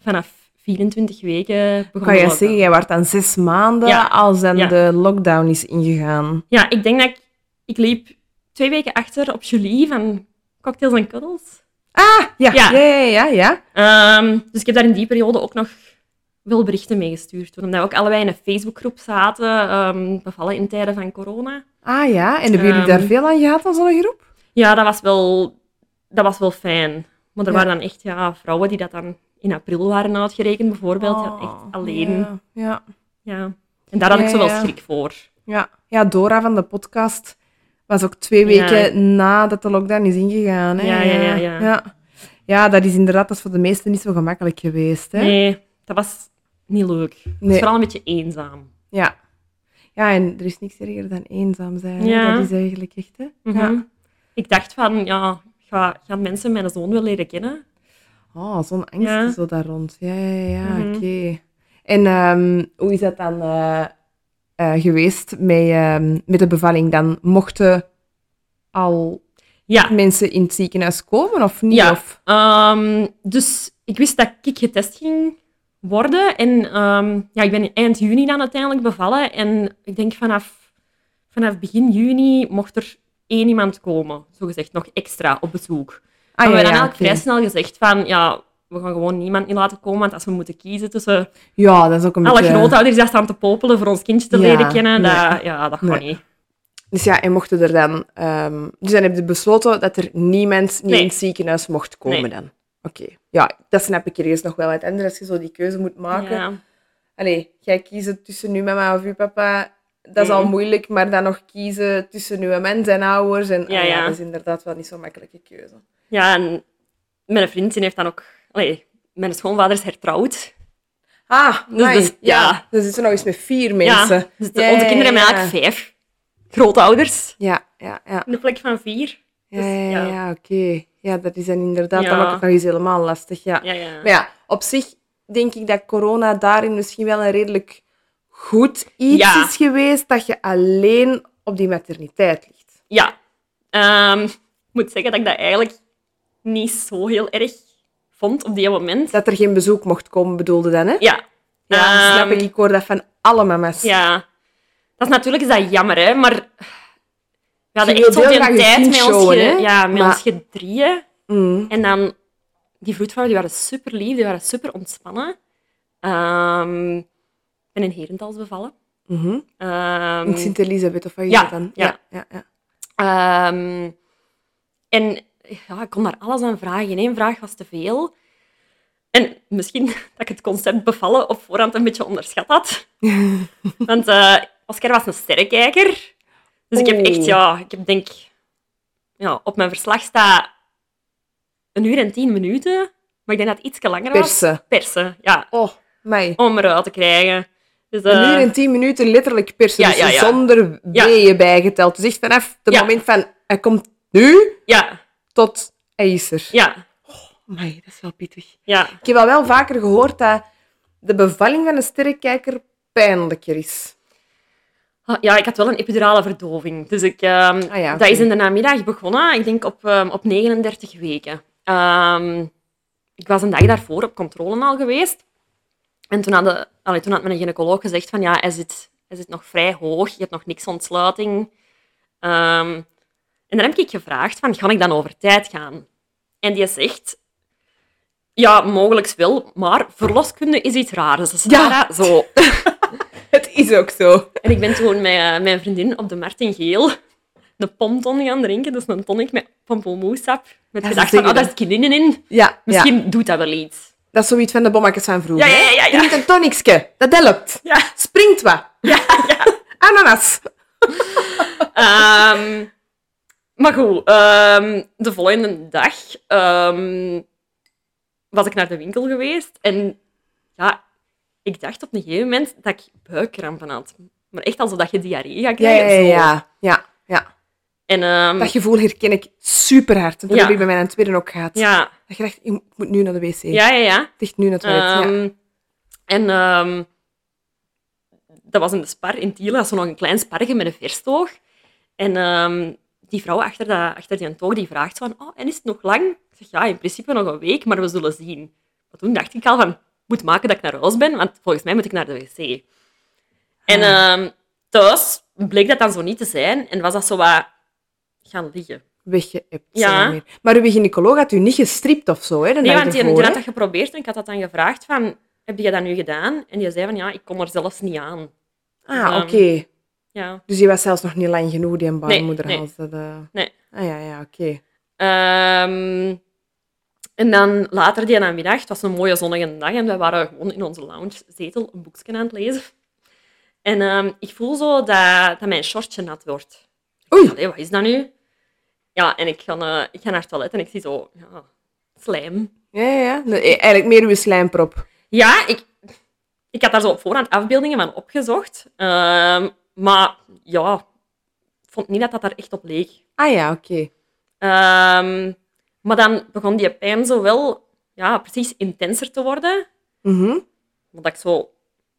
[SPEAKER 2] vanaf 24 weken begon
[SPEAKER 1] Kan
[SPEAKER 2] de
[SPEAKER 1] je
[SPEAKER 2] lockdown.
[SPEAKER 1] zeggen, jij was dan zes maanden
[SPEAKER 2] Ja,
[SPEAKER 1] als dan
[SPEAKER 2] ja.
[SPEAKER 1] de lockdown is ingegaan.
[SPEAKER 2] Ja, ik denk dat ik, ik liep twee weken achter op Julie van Cocktails en Cuddles.
[SPEAKER 1] Ah, ja. Ja,
[SPEAKER 2] Ja.
[SPEAKER 1] ja, ja, ja. ja.
[SPEAKER 2] Ehm, dus ik heb daar in die periode ook nog wel berichten mee gestuurd. Omdat we ook allebei in een Facebookgroep zaten, ehm, bevallen in tijden van corona.
[SPEAKER 1] Ah ja, en hebben jullie
[SPEAKER 2] Ehm.
[SPEAKER 1] daar veel aan gehad aan zo'n groep?
[SPEAKER 2] Ja, dat was wel, dat was wel fijn. Maar er
[SPEAKER 1] Ja.
[SPEAKER 2] waren dan echt ja, vrouwen die dat dan in april waren uitgerekend, bijvoorbeeld. Ja,
[SPEAKER 1] Oh,
[SPEAKER 2] echt alleen. Ja.
[SPEAKER 1] Ja, ja,
[SPEAKER 2] En daar had ik
[SPEAKER 1] Ja,
[SPEAKER 2] zo wel
[SPEAKER 1] ja.
[SPEAKER 2] schrik voor.
[SPEAKER 1] ja. Ja, Dora van de podcast was ook twee
[SPEAKER 2] Ja.
[SPEAKER 1] weken nadat de lockdown is ingegaan. Hè?
[SPEAKER 2] Ja, ja, ja, ja.
[SPEAKER 1] ja. Ja, dat is inderdaad dat is voor de meesten niet zo gemakkelijk geweest. Hè?
[SPEAKER 2] Nee, dat was niet leuk. Het was
[SPEAKER 1] Nee.
[SPEAKER 2] vooral een beetje eenzaam.
[SPEAKER 1] Ja. Ja, en er is niks erger dan eenzaam zijn. hè.
[SPEAKER 2] Ja.
[SPEAKER 1] Dat is eigenlijk echt, hè?
[SPEAKER 2] Mhm.
[SPEAKER 1] Ja.
[SPEAKER 2] Ik dacht van, ja, ga, gaan mensen mijn zoon wel leren kennen?
[SPEAKER 1] Oh, zo'n angst
[SPEAKER 2] Ja.
[SPEAKER 1] zo daar rond. Ja, ja, ja,
[SPEAKER 2] Mhm.
[SPEAKER 1] oké. En ehm, hoe is dat dan eh, eh, geweest met, ehm, met de bevalling? Dan mochten al
[SPEAKER 2] Ja,
[SPEAKER 1] mensen in het ziekenhuis komen of niet?
[SPEAKER 2] Ja.
[SPEAKER 1] Of...
[SPEAKER 2] Ehm, dus ik wist dat ik getest ging worden. En ehm, ja, ik ben eind juni dan uiteindelijk bevallen. En ik denk vanaf, vanaf begin juni mocht er één iemand komen, zogezegd, nog extra op bezoek.
[SPEAKER 1] Ah,
[SPEAKER 2] maar we
[SPEAKER 1] ja,
[SPEAKER 2] hebben
[SPEAKER 1] ja,
[SPEAKER 2] dan eigenlijk
[SPEAKER 1] oké.
[SPEAKER 2] vrij snel gezegd van, ja, we gaan gewoon niemand niet laten komen, want als we moeten kiezen tussen
[SPEAKER 1] ja, dat is ook een
[SPEAKER 2] alle
[SPEAKER 1] beetje...
[SPEAKER 2] grootouders die staan te popelen voor ons kindje te
[SPEAKER 1] Ja,
[SPEAKER 2] leren kennen,
[SPEAKER 1] nee.
[SPEAKER 2] dat, ja, dat gaat
[SPEAKER 1] Nee.
[SPEAKER 2] niet.
[SPEAKER 1] Dus ja, en mochten er dan... ehm, dus dan heb je besloten dat er niemand niet
[SPEAKER 2] Nee.
[SPEAKER 1] in het ziekenhuis mocht komen
[SPEAKER 2] Nee.
[SPEAKER 1] dan? Oké. Ja, dat snap ik ergens nog wel. Uiteindelijk, als je zo die keuze moet maken...
[SPEAKER 2] Ja.
[SPEAKER 1] Allee, jij kiezen tussen uw mama of uw papa, dat is al
[SPEAKER 2] Mm.
[SPEAKER 1] moeilijk, maar dan nog kiezen tussen uw mens en ouders. En,
[SPEAKER 2] Ja,
[SPEAKER 1] ah
[SPEAKER 2] ja.
[SPEAKER 1] dat is inderdaad wel niet zo'n makkelijke keuze.
[SPEAKER 2] ja, en mijn vriendin heeft dan ook... Allee, mijn schoonvader is hertrouwd.
[SPEAKER 1] Ah,
[SPEAKER 2] Dus-
[SPEAKER 1] amai,
[SPEAKER 2] dus- ja.
[SPEAKER 1] Dan zitten we nog eens met vier mensen.
[SPEAKER 2] Ja, dus de-
[SPEAKER 1] Ja,
[SPEAKER 2] onze
[SPEAKER 1] ja,
[SPEAKER 2] kinderen hebben
[SPEAKER 1] ja.
[SPEAKER 2] eigenlijk vijf grootouders.
[SPEAKER 1] Ja, ja, ja.
[SPEAKER 2] In de plek van vier.
[SPEAKER 1] Ja,
[SPEAKER 2] Dus,
[SPEAKER 1] ja,
[SPEAKER 2] ja.
[SPEAKER 1] ja, oké. Ja, dat is dan inderdaad, dan
[SPEAKER 2] Ja.
[SPEAKER 1] maakt het nog eens helemaal lastig, ja.
[SPEAKER 2] Ja, ja.
[SPEAKER 1] Maar ja, op zich denk ik dat corona daarin misschien wel een redelijk goed iets
[SPEAKER 2] Ja.
[SPEAKER 1] is geweest, dat je alleen op die materniteit ligt.
[SPEAKER 2] ja. Ehm, ik moet zeggen dat ik dat eigenlijk niet zo heel erg vond op die moment.
[SPEAKER 1] Dat er geen bezoek mocht komen, bedoelde dan, hè?
[SPEAKER 2] Ja.
[SPEAKER 1] Ja,
[SPEAKER 2] Ehm,
[SPEAKER 1] snap ik. Ik hoor dat van alle mama's.
[SPEAKER 2] Ja. Dat is natuurlijk is dat jammer, hè. Maar we hadden
[SPEAKER 1] Je
[SPEAKER 2] echt
[SPEAKER 1] wilt
[SPEAKER 2] zo'n
[SPEAKER 1] heel graag je
[SPEAKER 2] tijd
[SPEAKER 1] kind
[SPEAKER 2] met ons,
[SPEAKER 1] showen,
[SPEAKER 2] ge-
[SPEAKER 1] hè?
[SPEAKER 2] ja, met
[SPEAKER 1] Maar-
[SPEAKER 2] ons gedrieën.
[SPEAKER 1] Mm.
[SPEAKER 2] En dan, die vroedvrouwen die waren super lief, die waren super ontspannen. Ehm, ik ben in Herentals bevallen.
[SPEAKER 1] Mhm.
[SPEAKER 2] Ehm,
[SPEAKER 1] In Sint-Elisabeth, of wat is
[SPEAKER 2] ja,
[SPEAKER 1] dat dan?
[SPEAKER 2] ja.
[SPEAKER 1] ja, ja.
[SPEAKER 2] Ehm, en ja, ik kon daar alles aan vragen. Geen één vraag was te veel. En misschien dat ik het concept bevallen op voorhand een beetje onderschat had. Want eh, Oscar was een sterrenkijker. Dus ik heb echt,
[SPEAKER 1] Oeh.
[SPEAKER 2] ja, ik heb denk... Ja, op mijn verslag staat een uur en tien minuten. Maar ik denk dat het iets langer was.
[SPEAKER 1] Persen.
[SPEAKER 2] Persen, ja.
[SPEAKER 1] Oh, mij.
[SPEAKER 2] Om eruit te krijgen. Dus, eh,
[SPEAKER 1] Een uur en tien minuten letterlijk persen.
[SPEAKER 2] Ja,
[SPEAKER 1] dus
[SPEAKER 2] ja, ja.
[SPEAKER 1] zonder
[SPEAKER 2] Ja.
[SPEAKER 1] weeën bijgeteld. Dus echt vanaf het
[SPEAKER 2] Ja.
[SPEAKER 1] moment van hij komt nu
[SPEAKER 2] Ja,
[SPEAKER 1] tot hij is er.
[SPEAKER 2] ja,
[SPEAKER 1] Amai, dat is wel pittig.
[SPEAKER 2] ja.
[SPEAKER 1] Ik heb al wel vaker gehoord dat de bevalling van een sterrenkijker pijnlijker is.
[SPEAKER 2] Ah, Ja, ik had wel een epidurale verdoving. Dus ik, ehm,
[SPEAKER 1] Ah ja,
[SPEAKER 2] dat is
[SPEAKER 1] oké.
[SPEAKER 2] in de namiddag begonnen, ik denk op, ehm, op 39 weken. Ehm, ik was een dag daarvoor op controle al geweest. En toen, hadden, allee, toen had mijn gynaecoloog gezegd van ja, hij zit, hij zit nog vrij hoog, je hebt nog niks ontsluiting. Ehm, en dan heb ik gevraagd van, ga ik dan over tijd gaan? En die zegt, ja, mogelijk wel, maar verloskunde is iets raars. Dus
[SPEAKER 1] Ja.
[SPEAKER 2] Sarah, zo,
[SPEAKER 1] Het is ook zo.
[SPEAKER 2] en ik ben toen met eh, mijn vriendin op de Martin Geel een pomton gaan drinken. Dat is een tonic met pampelmoesap. Met
[SPEAKER 1] Ja, ze
[SPEAKER 2] gedacht van,
[SPEAKER 1] zeggen
[SPEAKER 2] oh, daar zit kininen in.
[SPEAKER 1] Ja, ja.
[SPEAKER 2] Misschien doet dat wel iets.
[SPEAKER 1] dat is zoiets van de bommakjes van
[SPEAKER 2] Ja,
[SPEAKER 1] vroeger.
[SPEAKER 2] ja,
[SPEAKER 1] hè?
[SPEAKER 2] ja, ja.
[SPEAKER 1] Drink een tonicske, dat helpt.
[SPEAKER 2] ja.
[SPEAKER 1] Springt wat. Ananas.
[SPEAKER 2] Ehm, maar goed, ehm, de volgende dag ehm, was ik naar de winkel geweest. En ja, ik dacht op een gegeven moment dat ik buikkrampen had. Maar echt alsof dat je diarree gaat
[SPEAKER 1] Ja,
[SPEAKER 2] krijgen.
[SPEAKER 1] ja,
[SPEAKER 2] zo.
[SPEAKER 1] ja. ja, ja.
[SPEAKER 2] En, ehm,
[SPEAKER 1] Dat gevoel herken ik super hard. Dat
[SPEAKER 2] Ja.
[SPEAKER 1] heb ik bij mijn tweede ook gehad.
[SPEAKER 2] ja,
[SPEAKER 1] Dat je dacht, ik moet nu naar de wc.
[SPEAKER 2] ja, ja, ja.
[SPEAKER 1] Dicht nu naar het toilet. ja.
[SPEAKER 2] Ehm, En ehm, dat was in de spar in Tiel, dat is zo nog een klein sparje met een verstoog. En ehm, die vrouw achter, dat, achter die toog die vraagt zo van, oh, en is het nog lang? Ik zeg, ja, in principe nog een week, maar we zullen zien. Maar toen dacht ik al van, moet maken dat ik naar huis ben, want volgens mij moet ik naar de wc. En ehm, thuis bleek dat dan zo niet te zijn en was dat zo wat gaan liggen.
[SPEAKER 1] weggeëpt
[SPEAKER 2] Ja.
[SPEAKER 1] zijn weer. Maar uw gynaecoloog had u niet gestript of zo, hè? De
[SPEAKER 2] Nee,
[SPEAKER 1] dag
[SPEAKER 2] want die,
[SPEAKER 1] ervoor,
[SPEAKER 2] die
[SPEAKER 1] hè?
[SPEAKER 2] had dat geprobeerd en ik had dat dan gevraagd van, heb je dat nu gedaan? En die zei van, ja, ik kom er zelfs niet aan.
[SPEAKER 1] Ah,
[SPEAKER 2] Ehm,
[SPEAKER 1] oké.
[SPEAKER 2] Ja.
[SPEAKER 1] Dus die was zelfs nog niet lang genoeg, die baarmoederhals. Nee,
[SPEAKER 2] nee.
[SPEAKER 1] Ah ja, ja, oké.
[SPEAKER 2] Ehm, en dan later die namiddag, het was een mooie zonnige dag en wij waren gewoon in onze loungezetel een boekje aan het lezen. En ehm, ik voel zo dat, dat mijn shortje nat wordt. Ik
[SPEAKER 1] Oei.
[SPEAKER 2] dacht, Allee, wat is dat nu? Ja, en ik ga, eh, ik ga naar het toilet en ik zie zo, ja, slijm.
[SPEAKER 1] Ja, ja, ja. Nee, e- eigenlijk meer uw slijmprop.
[SPEAKER 2] Ja, ik, ik had daar zo op voorhand afbeeldingen van opgezocht. Ehm, maar ja, ik vond niet dat dat daar echt op leek.
[SPEAKER 1] Ah ja, oké.
[SPEAKER 2] Ehm, maar dan begon die pijn zo wel ja, precies intenser te worden.
[SPEAKER 1] Mhm.
[SPEAKER 2] Omdat ik zo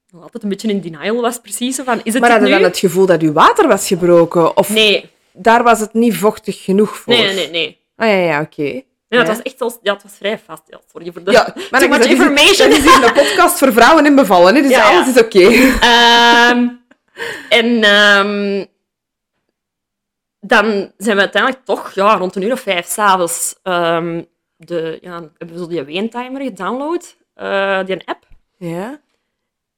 [SPEAKER 2] nog altijd een beetje in denial was, precies. zo Van, is het
[SPEAKER 1] Maar
[SPEAKER 2] dit
[SPEAKER 1] hadden
[SPEAKER 2] nu?
[SPEAKER 1] dan het gevoel dat uw water was gebroken? Of
[SPEAKER 2] Nee,
[SPEAKER 1] daar was het niet vochtig genoeg voor?
[SPEAKER 2] nee, nee, nee. nee.
[SPEAKER 1] Ah ja, ja, oké.
[SPEAKER 2] Nee, dat
[SPEAKER 1] Ja.
[SPEAKER 2] was echt zo, ja, het was vrij vast. Ja, sorry voor de
[SPEAKER 1] Ja, maar dat
[SPEAKER 2] too much
[SPEAKER 1] is, dat is,
[SPEAKER 2] information.
[SPEAKER 1] dat is hier een podcast voor vrouwen en bevallen, hè? dus
[SPEAKER 2] Ja, ja.
[SPEAKER 1] alles is oké.
[SPEAKER 2] Ehm, en ehm, dan zijn we uiteindelijk toch ja, rond een uur of vijf s'avonds ehm de, ja, hebben we zo die weentimer gedownload, eh, die app.
[SPEAKER 1] Ja?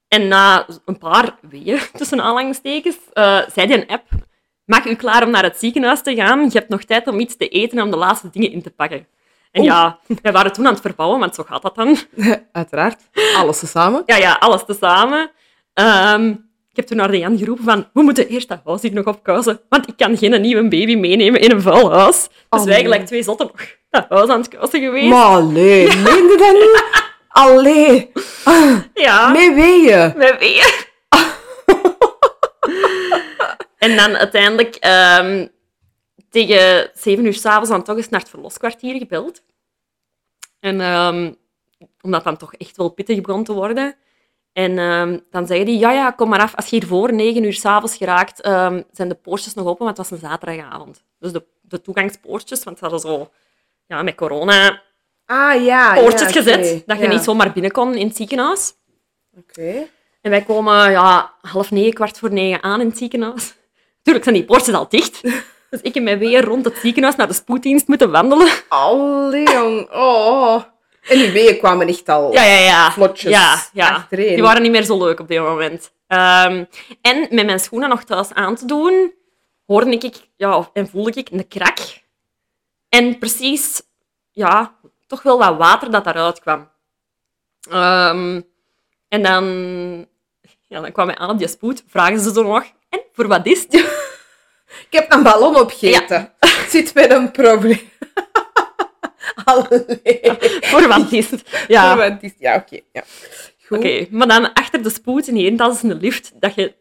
[SPEAKER 2] En na een paar weeën, tussen aanhalingstekens, eh, zei die app, maak u klaar om naar het ziekenhuis te gaan. Je hebt nog tijd om iets te eten en om de laatste dingen in te pakken. En
[SPEAKER 1] Oeh.
[SPEAKER 2] ja, wij waren toen aan het verbouwen, want zo gaat dat dan.
[SPEAKER 1] Uiteraard. Alles tezamen.
[SPEAKER 2] Ja, ja, alles tezamen. Ehm ik heb toen naar de Jan geroepen van, we moeten eerst dat huis hier nog opkuisen, want ik kan geen nieuwe baby meenemen in een vuil huis. Dus wij
[SPEAKER 1] Oh, nee.
[SPEAKER 2] eigenlijk twee zotten nog dat huis aan het kuisen geweest.
[SPEAKER 1] Maar allee, meende dat nu? Allee,
[SPEAKER 2] ja,
[SPEAKER 1] mee weeën.
[SPEAKER 2] met weer. en dan uiteindelijk ehm, tegen zeven uur s'avonds dan toch eens naar het verloskwartier gebeld. En ehm, omdat dan toch echt wel pittig begon te worden. En ehm, dan zei hij, ja, ja, kom maar af. Als je hier voor negen uur s'avonds geraakt, ehm, zijn de poortjes nog open, want het was een zaterdagavond. Dus de, de toegangspoortjes, want ze hadden zo... Ja, met corona
[SPEAKER 1] Ah ja.
[SPEAKER 2] poortjes
[SPEAKER 1] ja, oké.
[SPEAKER 2] gezet, dat je
[SPEAKER 1] Ja.
[SPEAKER 2] niet zomaar binnen kon in het ziekenhuis.
[SPEAKER 1] Oké.
[SPEAKER 2] En wij komen ja, half negen, kwart voor negen aan in het ziekenhuis. Tuurlijk zijn die poortjes al dicht. Dus ik en mijn weer rond het ziekenhuis naar de spoeddienst moeten wandelen.
[SPEAKER 1] Allee, jong. Oh. En die weeën kwamen echt al.
[SPEAKER 2] Ja, ja, ja.
[SPEAKER 1] Vlotjes.
[SPEAKER 2] Ja, ja.
[SPEAKER 1] Achtereen.
[SPEAKER 2] Die waren niet meer zo leuk op dit moment. Ehm, en met mijn schoenen nog thuis aan te doen, hoorde ik, ja, of- en voelde ik een krak. En precies, ja, toch wel wat water dat daaruit kwam. Ehm, en dan, ja, dan kwam ik aan op die spoed, vragen ze zo nog, en voor wat is het?
[SPEAKER 1] Ik heb een ballon opgegeten. Zit met een probleem. Allee.
[SPEAKER 2] Voor wat is het? Ja. Oké,
[SPEAKER 1] Maar het is- ja oké. Ja. Goed.
[SPEAKER 2] maar dan achter de spoed in één dat is een lift dat je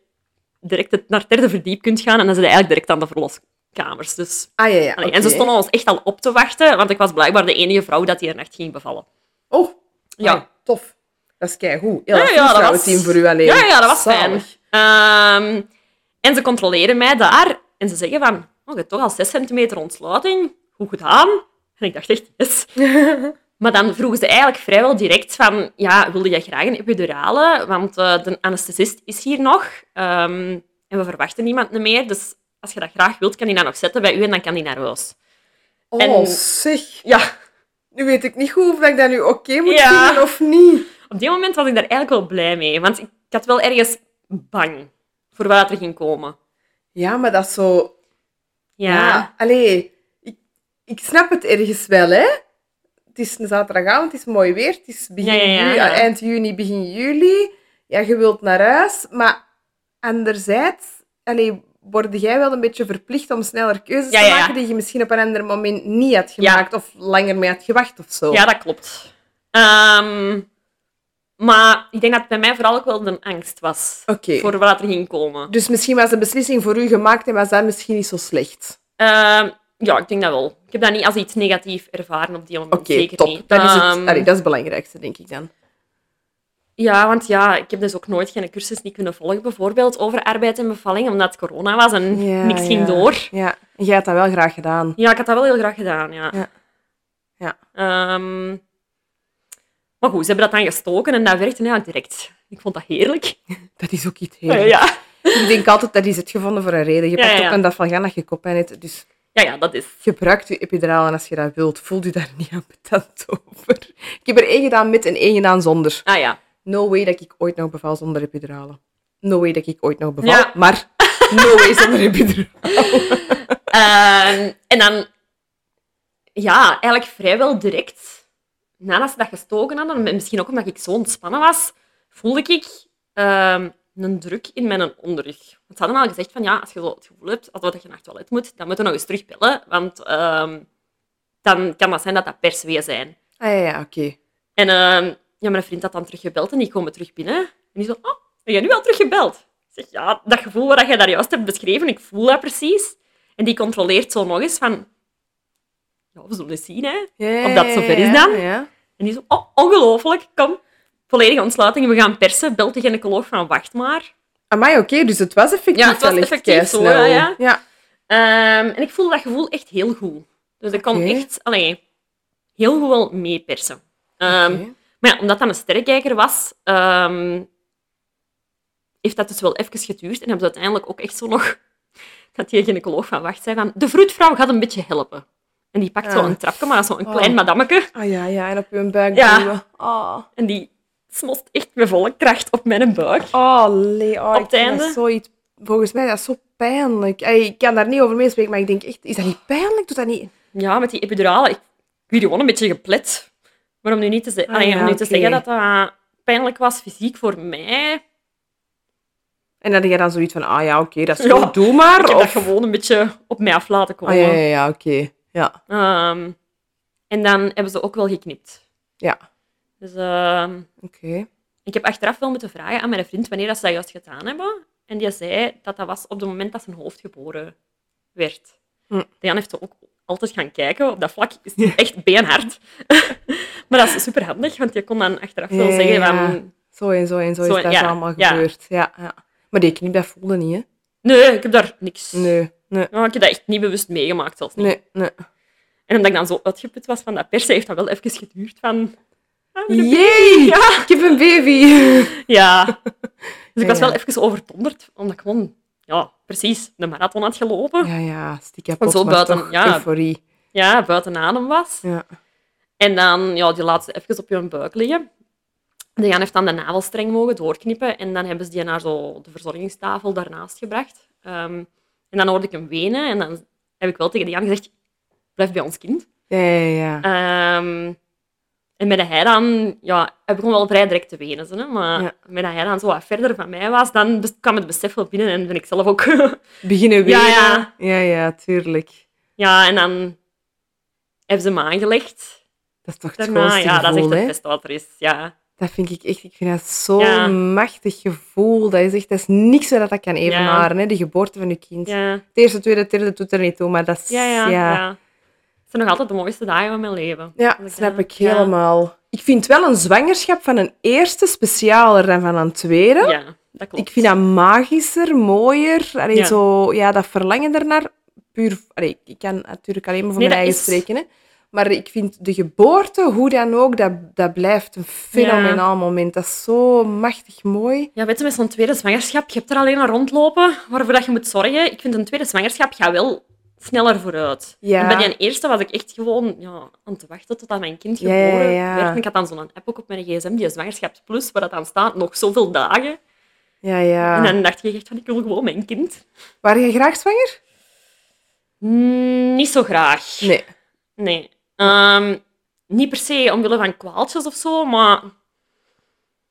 [SPEAKER 2] direct het- naar het derde verdiep kunt gaan en dan zijn we eigenlijk direct aan de verloskamers. Dus,
[SPEAKER 1] Ah ja, ja.
[SPEAKER 2] allee,
[SPEAKER 1] oké.
[SPEAKER 2] En ze stonden ons echt al op te wachten, want ik was blijkbaar de enige vrouw dat die er echt ging bevallen.
[SPEAKER 1] Oh.
[SPEAKER 2] Ja.
[SPEAKER 1] Ah, tof. Dat is keigoed.
[SPEAKER 2] Ja,
[SPEAKER 1] Heel
[SPEAKER 2] Ah, ja,
[SPEAKER 1] ja, dat was... team voor u alleen.
[SPEAKER 2] Ja, ja, dat was fijn.
[SPEAKER 1] Zalig.
[SPEAKER 2] Ehm, en ze controleren mij daar en ze zeggen van, oh, je hebt toch al 6 centimeter ontsluiting, goed gedaan. En ik dacht echt, yes. maar dan vroegen ze eigenlijk vrijwel direct van, ja, wilde jij graag een epidurale? Want eh, de anesthesist is hier nog ehm, en we verwachten niemand meer. Dus als je dat graag wilt, kan die dat nog zetten bij u en dan kan die naar huis.
[SPEAKER 1] Oh,
[SPEAKER 2] En-
[SPEAKER 1] zeg.
[SPEAKER 2] Ja,
[SPEAKER 1] Nu weet ik niet goed of ik dat nu oké moet
[SPEAKER 2] Ja.
[SPEAKER 1] vinden of niet.
[SPEAKER 2] op dit moment was ik daar eigenlijk wel blij mee, want ik had wel ergens bang voor wat er ging komen.
[SPEAKER 1] Ja, maar dat is zo...
[SPEAKER 2] ja.
[SPEAKER 1] Ja, Ah, allee, ik, ik snap het ergens wel, hè. Het is een zaterdagavond, het is mooi weer, het is begin
[SPEAKER 2] Ja, ja, ja,
[SPEAKER 1] juli-
[SPEAKER 2] ja.
[SPEAKER 1] eh, eind juni, begin juli. Ja, je wilt naar huis, maar anderzijds allee, word jij wel een beetje verplicht om sneller keuzes
[SPEAKER 2] Ja,
[SPEAKER 1] te
[SPEAKER 2] ja, ja.
[SPEAKER 1] maken die je misschien op een ander moment niet had
[SPEAKER 2] Ja.
[SPEAKER 1] gemaakt of langer mee had gewacht of zo.
[SPEAKER 2] Ja, dat klopt. Ehm, maar ik denk dat het bij mij vooral ook wel de angst was
[SPEAKER 1] Oké.
[SPEAKER 2] voor wat er ging komen.
[SPEAKER 1] Dus misschien was de beslissing voor u gemaakt en was dat misschien niet zo slecht.
[SPEAKER 2] Ehm, ja, ik denk dat wel. Ik heb dat niet als iets negatiefs ervaren op die moment.
[SPEAKER 1] Oké,
[SPEAKER 2] zeker
[SPEAKER 1] top.
[SPEAKER 2] niet.
[SPEAKER 1] Dat is, het,
[SPEAKER 2] Ehm,
[SPEAKER 1] allee, dat is het belangrijkste, denk ik dan.
[SPEAKER 2] Ja, want ja, ik heb dus ook nooit geen cursus niet kunnen volgen, bijvoorbeeld over arbeid en bevalling, omdat het corona was en
[SPEAKER 1] Ja,
[SPEAKER 2] niks ging
[SPEAKER 1] ja.
[SPEAKER 2] door.
[SPEAKER 1] Ja, en jij had dat wel graag gedaan.
[SPEAKER 2] Ja, ik had dat wel heel graag gedaan, ja.
[SPEAKER 1] Ja. Ja.
[SPEAKER 2] Ehm, maar goed, ze hebben dat dan gestoken en dat werkte eigenlijk direct. Ik vond dat heerlijk.
[SPEAKER 1] Dat is ook iets heel
[SPEAKER 2] Ja.
[SPEAKER 1] Ik denk altijd, dat is het gevonden voor een reden. Je
[SPEAKER 2] Ja,
[SPEAKER 1] pakt
[SPEAKER 2] ja, ja.
[SPEAKER 1] op een dag van gaan dat je koppijn hebt. Dus
[SPEAKER 2] Ja, ja, dat is.
[SPEAKER 1] Gebruikt uw epidraal en als je dat wilt, voelt u daar niet aan betant over. Ik heb er één gedaan met en één gedaan zonder.
[SPEAKER 2] Ah ja.
[SPEAKER 1] No way dat ik ooit nog beval zonder epiduralen. No way dat ik ooit nog beval,
[SPEAKER 2] Ja.
[SPEAKER 1] maar no way zonder epiduraal.
[SPEAKER 2] Ehm, en dan, ja, eigenlijk vrijwel direct nadat ze dat gestoken hadden, en misschien ook omdat ik zo ontspannen was, voelde ik ehm, een druk in mijn onderrug. Want ze hadden al gezegd van ja, als je zo het gevoel hebt alsof dat je naar het toilet moet, dan moet je nog eens terugbellen, want ehm, dan kan dat zijn dat dat persweeën zijn.
[SPEAKER 1] Ah ja, ja, oké.
[SPEAKER 2] En ehm, ja, mijn vriend had dan teruggebeld en die komen terug binnen. En die zo, oh, heb jij nu al teruggebeld? Ik zeg, ja, dat gevoel wat jij daar juist hebt beschreven, ik voel dat precies. En die controleert zo nog eens van, ja, we zullen het zien, hè.
[SPEAKER 1] Ja, ja,
[SPEAKER 2] Of dat zover is
[SPEAKER 1] ja,
[SPEAKER 2] dan?
[SPEAKER 1] Ja.
[SPEAKER 2] En die zo, oh, ongelooflijk, kom. Volledige ontsluiting, we gaan persen. Belt de gynaecoloog van, wacht maar.
[SPEAKER 1] Amai, oké, dus het was effectief
[SPEAKER 2] Ja, het was
[SPEAKER 1] wellicht
[SPEAKER 2] effectief zo,
[SPEAKER 1] keisnel.
[SPEAKER 2] ja, ja.
[SPEAKER 1] ja.
[SPEAKER 2] Ehm, en ik voelde dat gevoel echt heel goed. Dus ik kon
[SPEAKER 1] Oké.
[SPEAKER 2] echt, allee, heel goed wel meepersen. Ehm,
[SPEAKER 1] Oké.
[SPEAKER 2] Maar ja, omdat dat een sterrenkijker was, ehm, heeft dat dus wel even geduurd. En hebben ze uiteindelijk ook echt zo nog... Dat die gynaecoloog van wacht zei van... De vroedvrouw gaat een beetje helpen. En die pakt
[SPEAKER 1] Ja.
[SPEAKER 2] zo een trapje, maar dat is zo'n
[SPEAKER 1] Oh.
[SPEAKER 2] klein madammeke.
[SPEAKER 1] Ah ja, ja, en op uw buik
[SPEAKER 2] Ja.
[SPEAKER 1] duwen. Oh,
[SPEAKER 2] En die smost echt met volle kracht op mijn buik.
[SPEAKER 1] oh, lee, oh
[SPEAKER 2] Op
[SPEAKER 1] ik
[SPEAKER 2] het
[SPEAKER 1] vind
[SPEAKER 2] einde?
[SPEAKER 1] Dat zoiets, volgens mij is dat zo pijnlijk. Ey, ik kan daar niet over meespreken, maar ik denk echt, is dat niet pijnlijk? Doet dat niet?
[SPEAKER 2] Ja, met die epidurale. Ik ik werd gewoon een beetje geplet. Maar om nu niet te, ze-
[SPEAKER 1] Ah,
[SPEAKER 2] Allee, om
[SPEAKER 1] ja,
[SPEAKER 2] nu te
[SPEAKER 1] oké.
[SPEAKER 2] zeggen dat dat pijnlijk was, fysiek voor mij...
[SPEAKER 1] En dat je dan zoiets van, ah ja, oké, dat is
[SPEAKER 2] Ja,
[SPEAKER 1] goed, doe maar.
[SPEAKER 2] Ik heb dat
[SPEAKER 1] of...
[SPEAKER 2] gewoon een beetje op mij af laten
[SPEAKER 1] Ah
[SPEAKER 2] komen.
[SPEAKER 1] ja, ja, ja, oké. Ja,
[SPEAKER 2] Ehm, en dan hebben ze ook wel geknipt.
[SPEAKER 1] ja,
[SPEAKER 2] Dus ehm,
[SPEAKER 1] oké.
[SPEAKER 2] ik heb achteraf wel moeten vragen aan mijn vriend wanneer dat ze dat juist gedaan hebben. En die zei dat dat was op het moment dat zijn hoofd geboren werd.
[SPEAKER 1] Hm.
[SPEAKER 2] Jan heeft er ook altijd gaan kijken. Op dat vlak is hij echt beenhard. maar dat is superhandig, want je kon dan achteraf wel
[SPEAKER 1] Ja, ja,
[SPEAKER 2] zeggen
[SPEAKER 1] ja.
[SPEAKER 2] van...
[SPEAKER 1] Zo en zo en zo,
[SPEAKER 2] Zo
[SPEAKER 1] is
[SPEAKER 2] en-
[SPEAKER 1] dat
[SPEAKER 2] ja,
[SPEAKER 1] allemaal
[SPEAKER 2] ja.
[SPEAKER 1] gebeurd. Ja, ja. Maar die knip, dat voelde niet, hè?
[SPEAKER 2] Nee, ik heb daar niks.
[SPEAKER 1] Nee, nee,
[SPEAKER 2] Ja, ik heb dat echt niet bewust meegemaakt, zelfs niet.
[SPEAKER 1] nee, nee.
[SPEAKER 2] En omdat ik dan zo uitgeput was van dat persen, heeft dat wel even geduurd van... ah, mijn
[SPEAKER 1] Jee!
[SPEAKER 2] Ja.
[SPEAKER 1] Ik heb een baby!
[SPEAKER 2] Ja. Dus ik was
[SPEAKER 1] Ja, ja.
[SPEAKER 2] wel even overdonderd, omdat ik gewoon, ja, precies, de marathon had gelopen. Ja,
[SPEAKER 1] Ja, ja, stik
[SPEAKER 2] Van
[SPEAKER 1] kapot,
[SPEAKER 2] zo
[SPEAKER 1] maar
[SPEAKER 2] buiten,
[SPEAKER 1] toch
[SPEAKER 2] ja.
[SPEAKER 1] euforie.
[SPEAKER 2] buiten adem was.
[SPEAKER 1] Ja.
[SPEAKER 2] En dan, ja, die laat ze even op je buik liggen. De Jan heeft dan de navelstreng mogen doorknippen en dan hebben ze die naar zo de verzorgingstafel daarnaast gebracht. Ehm, en dan hoorde ik hem wenen en dan heb ik wel tegen de Jan gezegd, blijf bij ons kind.
[SPEAKER 1] Ja, ja, ja.
[SPEAKER 2] Ehm, en met dat hij dan, ja, hij begon wel vrij direct te wenen, zo, hè, maar
[SPEAKER 1] Ja.
[SPEAKER 2] met dat hij dan zo wat verder van mij was, dan bes- kwam het besef wel binnen en ben ik zelf ook.
[SPEAKER 1] Beginnen
[SPEAKER 2] Ja,
[SPEAKER 1] wenen.
[SPEAKER 2] ja.
[SPEAKER 1] ja, ja, tuurlijk.
[SPEAKER 2] ja, en dan hebben ze hem aangelegd.
[SPEAKER 1] Dat is toch het
[SPEAKER 2] Daarna,
[SPEAKER 1] grootste
[SPEAKER 2] ja, dat is echt
[SPEAKER 1] gevoel,
[SPEAKER 2] het
[SPEAKER 1] hè?
[SPEAKER 2] beste wat er is. Ja,
[SPEAKER 1] Dat vind ik echt, ik vind dat zo'n
[SPEAKER 2] Ja.
[SPEAKER 1] machtig gevoel. Dat is echt, dat is niks waar dat dat kan evenaren, hè? De geboorte van je kind.
[SPEAKER 2] ja,
[SPEAKER 1] Het eerste, tweede, derde doet er niet toe, maar dat is...
[SPEAKER 2] ja, ja. ja. Het zijn nog altijd de mooiste dagen van mijn leven.
[SPEAKER 1] Ja,
[SPEAKER 2] Dus,
[SPEAKER 1] snap
[SPEAKER 2] ja,
[SPEAKER 1] ik
[SPEAKER 2] ja.
[SPEAKER 1] helemaal. Ik vind wel een zwangerschap van een eerste specialer dan van een tweede.
[SPEAKER 2] Ja, dat klopt.
[SPEAKER 1] Ik vind dat magischer, mooier. Allee,
[SPEAKER 2] Ja.
[SPEAKER 1] Zo, ja, dat verlangen daarnaar. Puur, allee, ik kan natuurlijk alleen maar voor
[SPEAKER 2] Nee,
[SPEAKER 1] mijn
[SPEAKER 2] dat
[SPEAKER 1] eigen
[SPEAKER 2] is-
[SPEAKER 1] spreken. Hè. Maar ik vind de geboorte, hoe dan ook, dat, dat blijft een fenomenaal moment. Dat is zo machtig mooi.
[SPEAKER 2] Ja, weet je, met zo'n tweede zwangerschap, je hebt er alleen aan rondlopen waarvoor dat je moet zorgen. Ik vind een tweede zwangerschap gaat wel sneller vooruit.
[SPEAKER 1] Ja.
[SPEAKER 2] En bij die eerste was ik echt gewoon ja, aan te wachten totdat mijn kind
[SPEAKER 1] Ja,
[SPEAKER 2] geboren
[SPEAKER 1] ja, ja.
[SPEAKER 2] werd. En ik had dan zo'n app ook op mijn gsm, die zwangerschapsplus, waar dat dan staat, nog zoveel dagen.
[SPEAKER 1] Ja, ja.
[SPEAKER 2] En dan dacht je echt van, ik wil gewoon mijn kind.
[SPEAKER 1] Waren jij graag zwanger?
[SPEAKER 2] Mm, niet zo graag.
[SPEAKER 1] Nee.
[SPEAKER 2] Nee. Ehm, niet per se omwille van kwaaltjes of zo, maar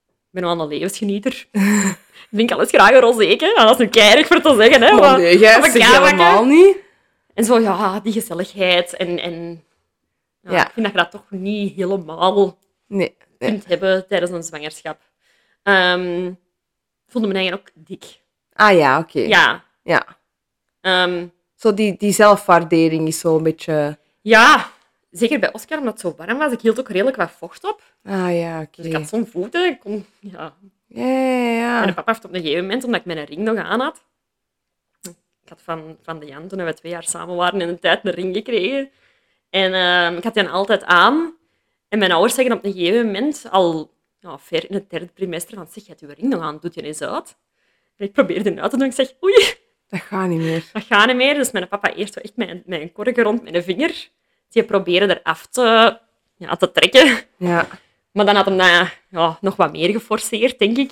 [SPEAKER 2] ik ben wel een levensgenieter. ik drink alles graag een rozeetje. Dat is nu keihard voor te zeggen. Hè,
[SPEAKER 1] Maar
[SPEAKER 2] maar-
[SPEAKER 1] Oh, nee, jij
[SPEAKER 2] of een
[SPEAKER 1] zegt
[SPEAKER 2] kamerke.
[SPEAKER 1] helemaal niet.
[SPEAKER 2] En zo, ja, die gezelligheid. En, en ja,
[SPEAKER 1] Ja.
[SPEAKER 2] ik vind dat je dat toch niet helemaal
[SPEAKER 1] Nee. nee.
[SPEAKER 2] kunt hebben tijdens een zwangerschap. Ehm, ik voelde me eigenlijk ook dik.
[SPEAKER 1] Ah ja, oké. Ja.
[SPEAKER 2] Ja. Ehm,
[SPEAKER 1] Zo die, die zelfwaardering is zo een beetje...
[SPEAKER 2] ja, zeker bij Oscar, omdat het zo warm was. Ik hield ook redelijk wat vocht op.
[SPEAKER 1] Ah ja, oké.
[SPEAKER 2] Dus ik had zo'n voeten. Ik kon, ja.
[SPEAKER 1] Ja, ja, ja.
[SPEAKER 2] Mijn papa heeft op een gegeven moment, omdat ik mijn ring nog aan had... Ik had van, van de Jan, toen we twee jaar samen waren, in een tijd een ring gekregen. En ehm, ik had die altijd aan. En mijn ouders zeggen op een gegeven moment, al ja, ver in het derde trimester, van zeg, je hebt je ring nog aan, doet je eens uit. En ik probeerde hem uit te doen. Ik zeg, oei,
[SPEAKER 1] Dat gaat niet meer.
[SPEAKER 2] Dat gaat niet meer. Dus mijn papa eerst zo echt mijn, mijn korken rond mijn vinger. Die proberen eraf te, ja, te trekken.
[SPEAKER 1] Ja.
[SPEAKER 2] Maar dan had hem dat ja, nog wat meer geforceerd, denk ik.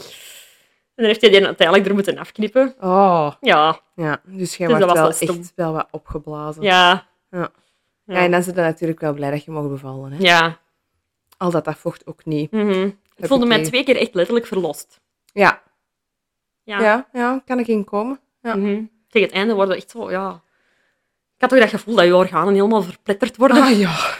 [SPEAKER 2] En dan heeft hij die uiteindelijk er moeten afknippen.
[SPEAKER 1] Oh.
[SPEAKER 2] Ja,
[SPEAKER 1] Ja, dus jij
[SPEAKER 2] Dus
[SPEAKER 1] wordt
[SPEAKER 2] dat was
[SPEAKER 1] wel
[SPEAKER 2] wel stom.
[SPEAKER 1] echt wel wat opgeblazen.
[SPEAKER 2] ja,
[SPEAKER 1] Ja, en dan zijn ze natuurlijk wel blij dat je mocht bevallen. Hè?
[SPEAKER 2] ja.
[SPEAKER 1] Al dat dat vocht ook niet.
[SPEAKER 2] Mhm. Ik
[SPEAKER 1] Heb
[SPEAKER 2] voelde
[SPEAKER 1] ik
[SPEAKER 2] mij
[SPEAKER 1] niet.
[SPEAKER 2] twee keer echt letterlijk verlost.
[SPEAKER 1] Ja,
[SPEAKER 2] Ja.
[SPEAKER 1] ja. ja, kan ik inkomen. Ja.
[SPEAKER 2] Mhm. Tegen het einde worden echt zo, ja... Ik had toch dat gevoel dat je organen helemaal verpletterd worden.
[SPEAKER 1] Ah ja.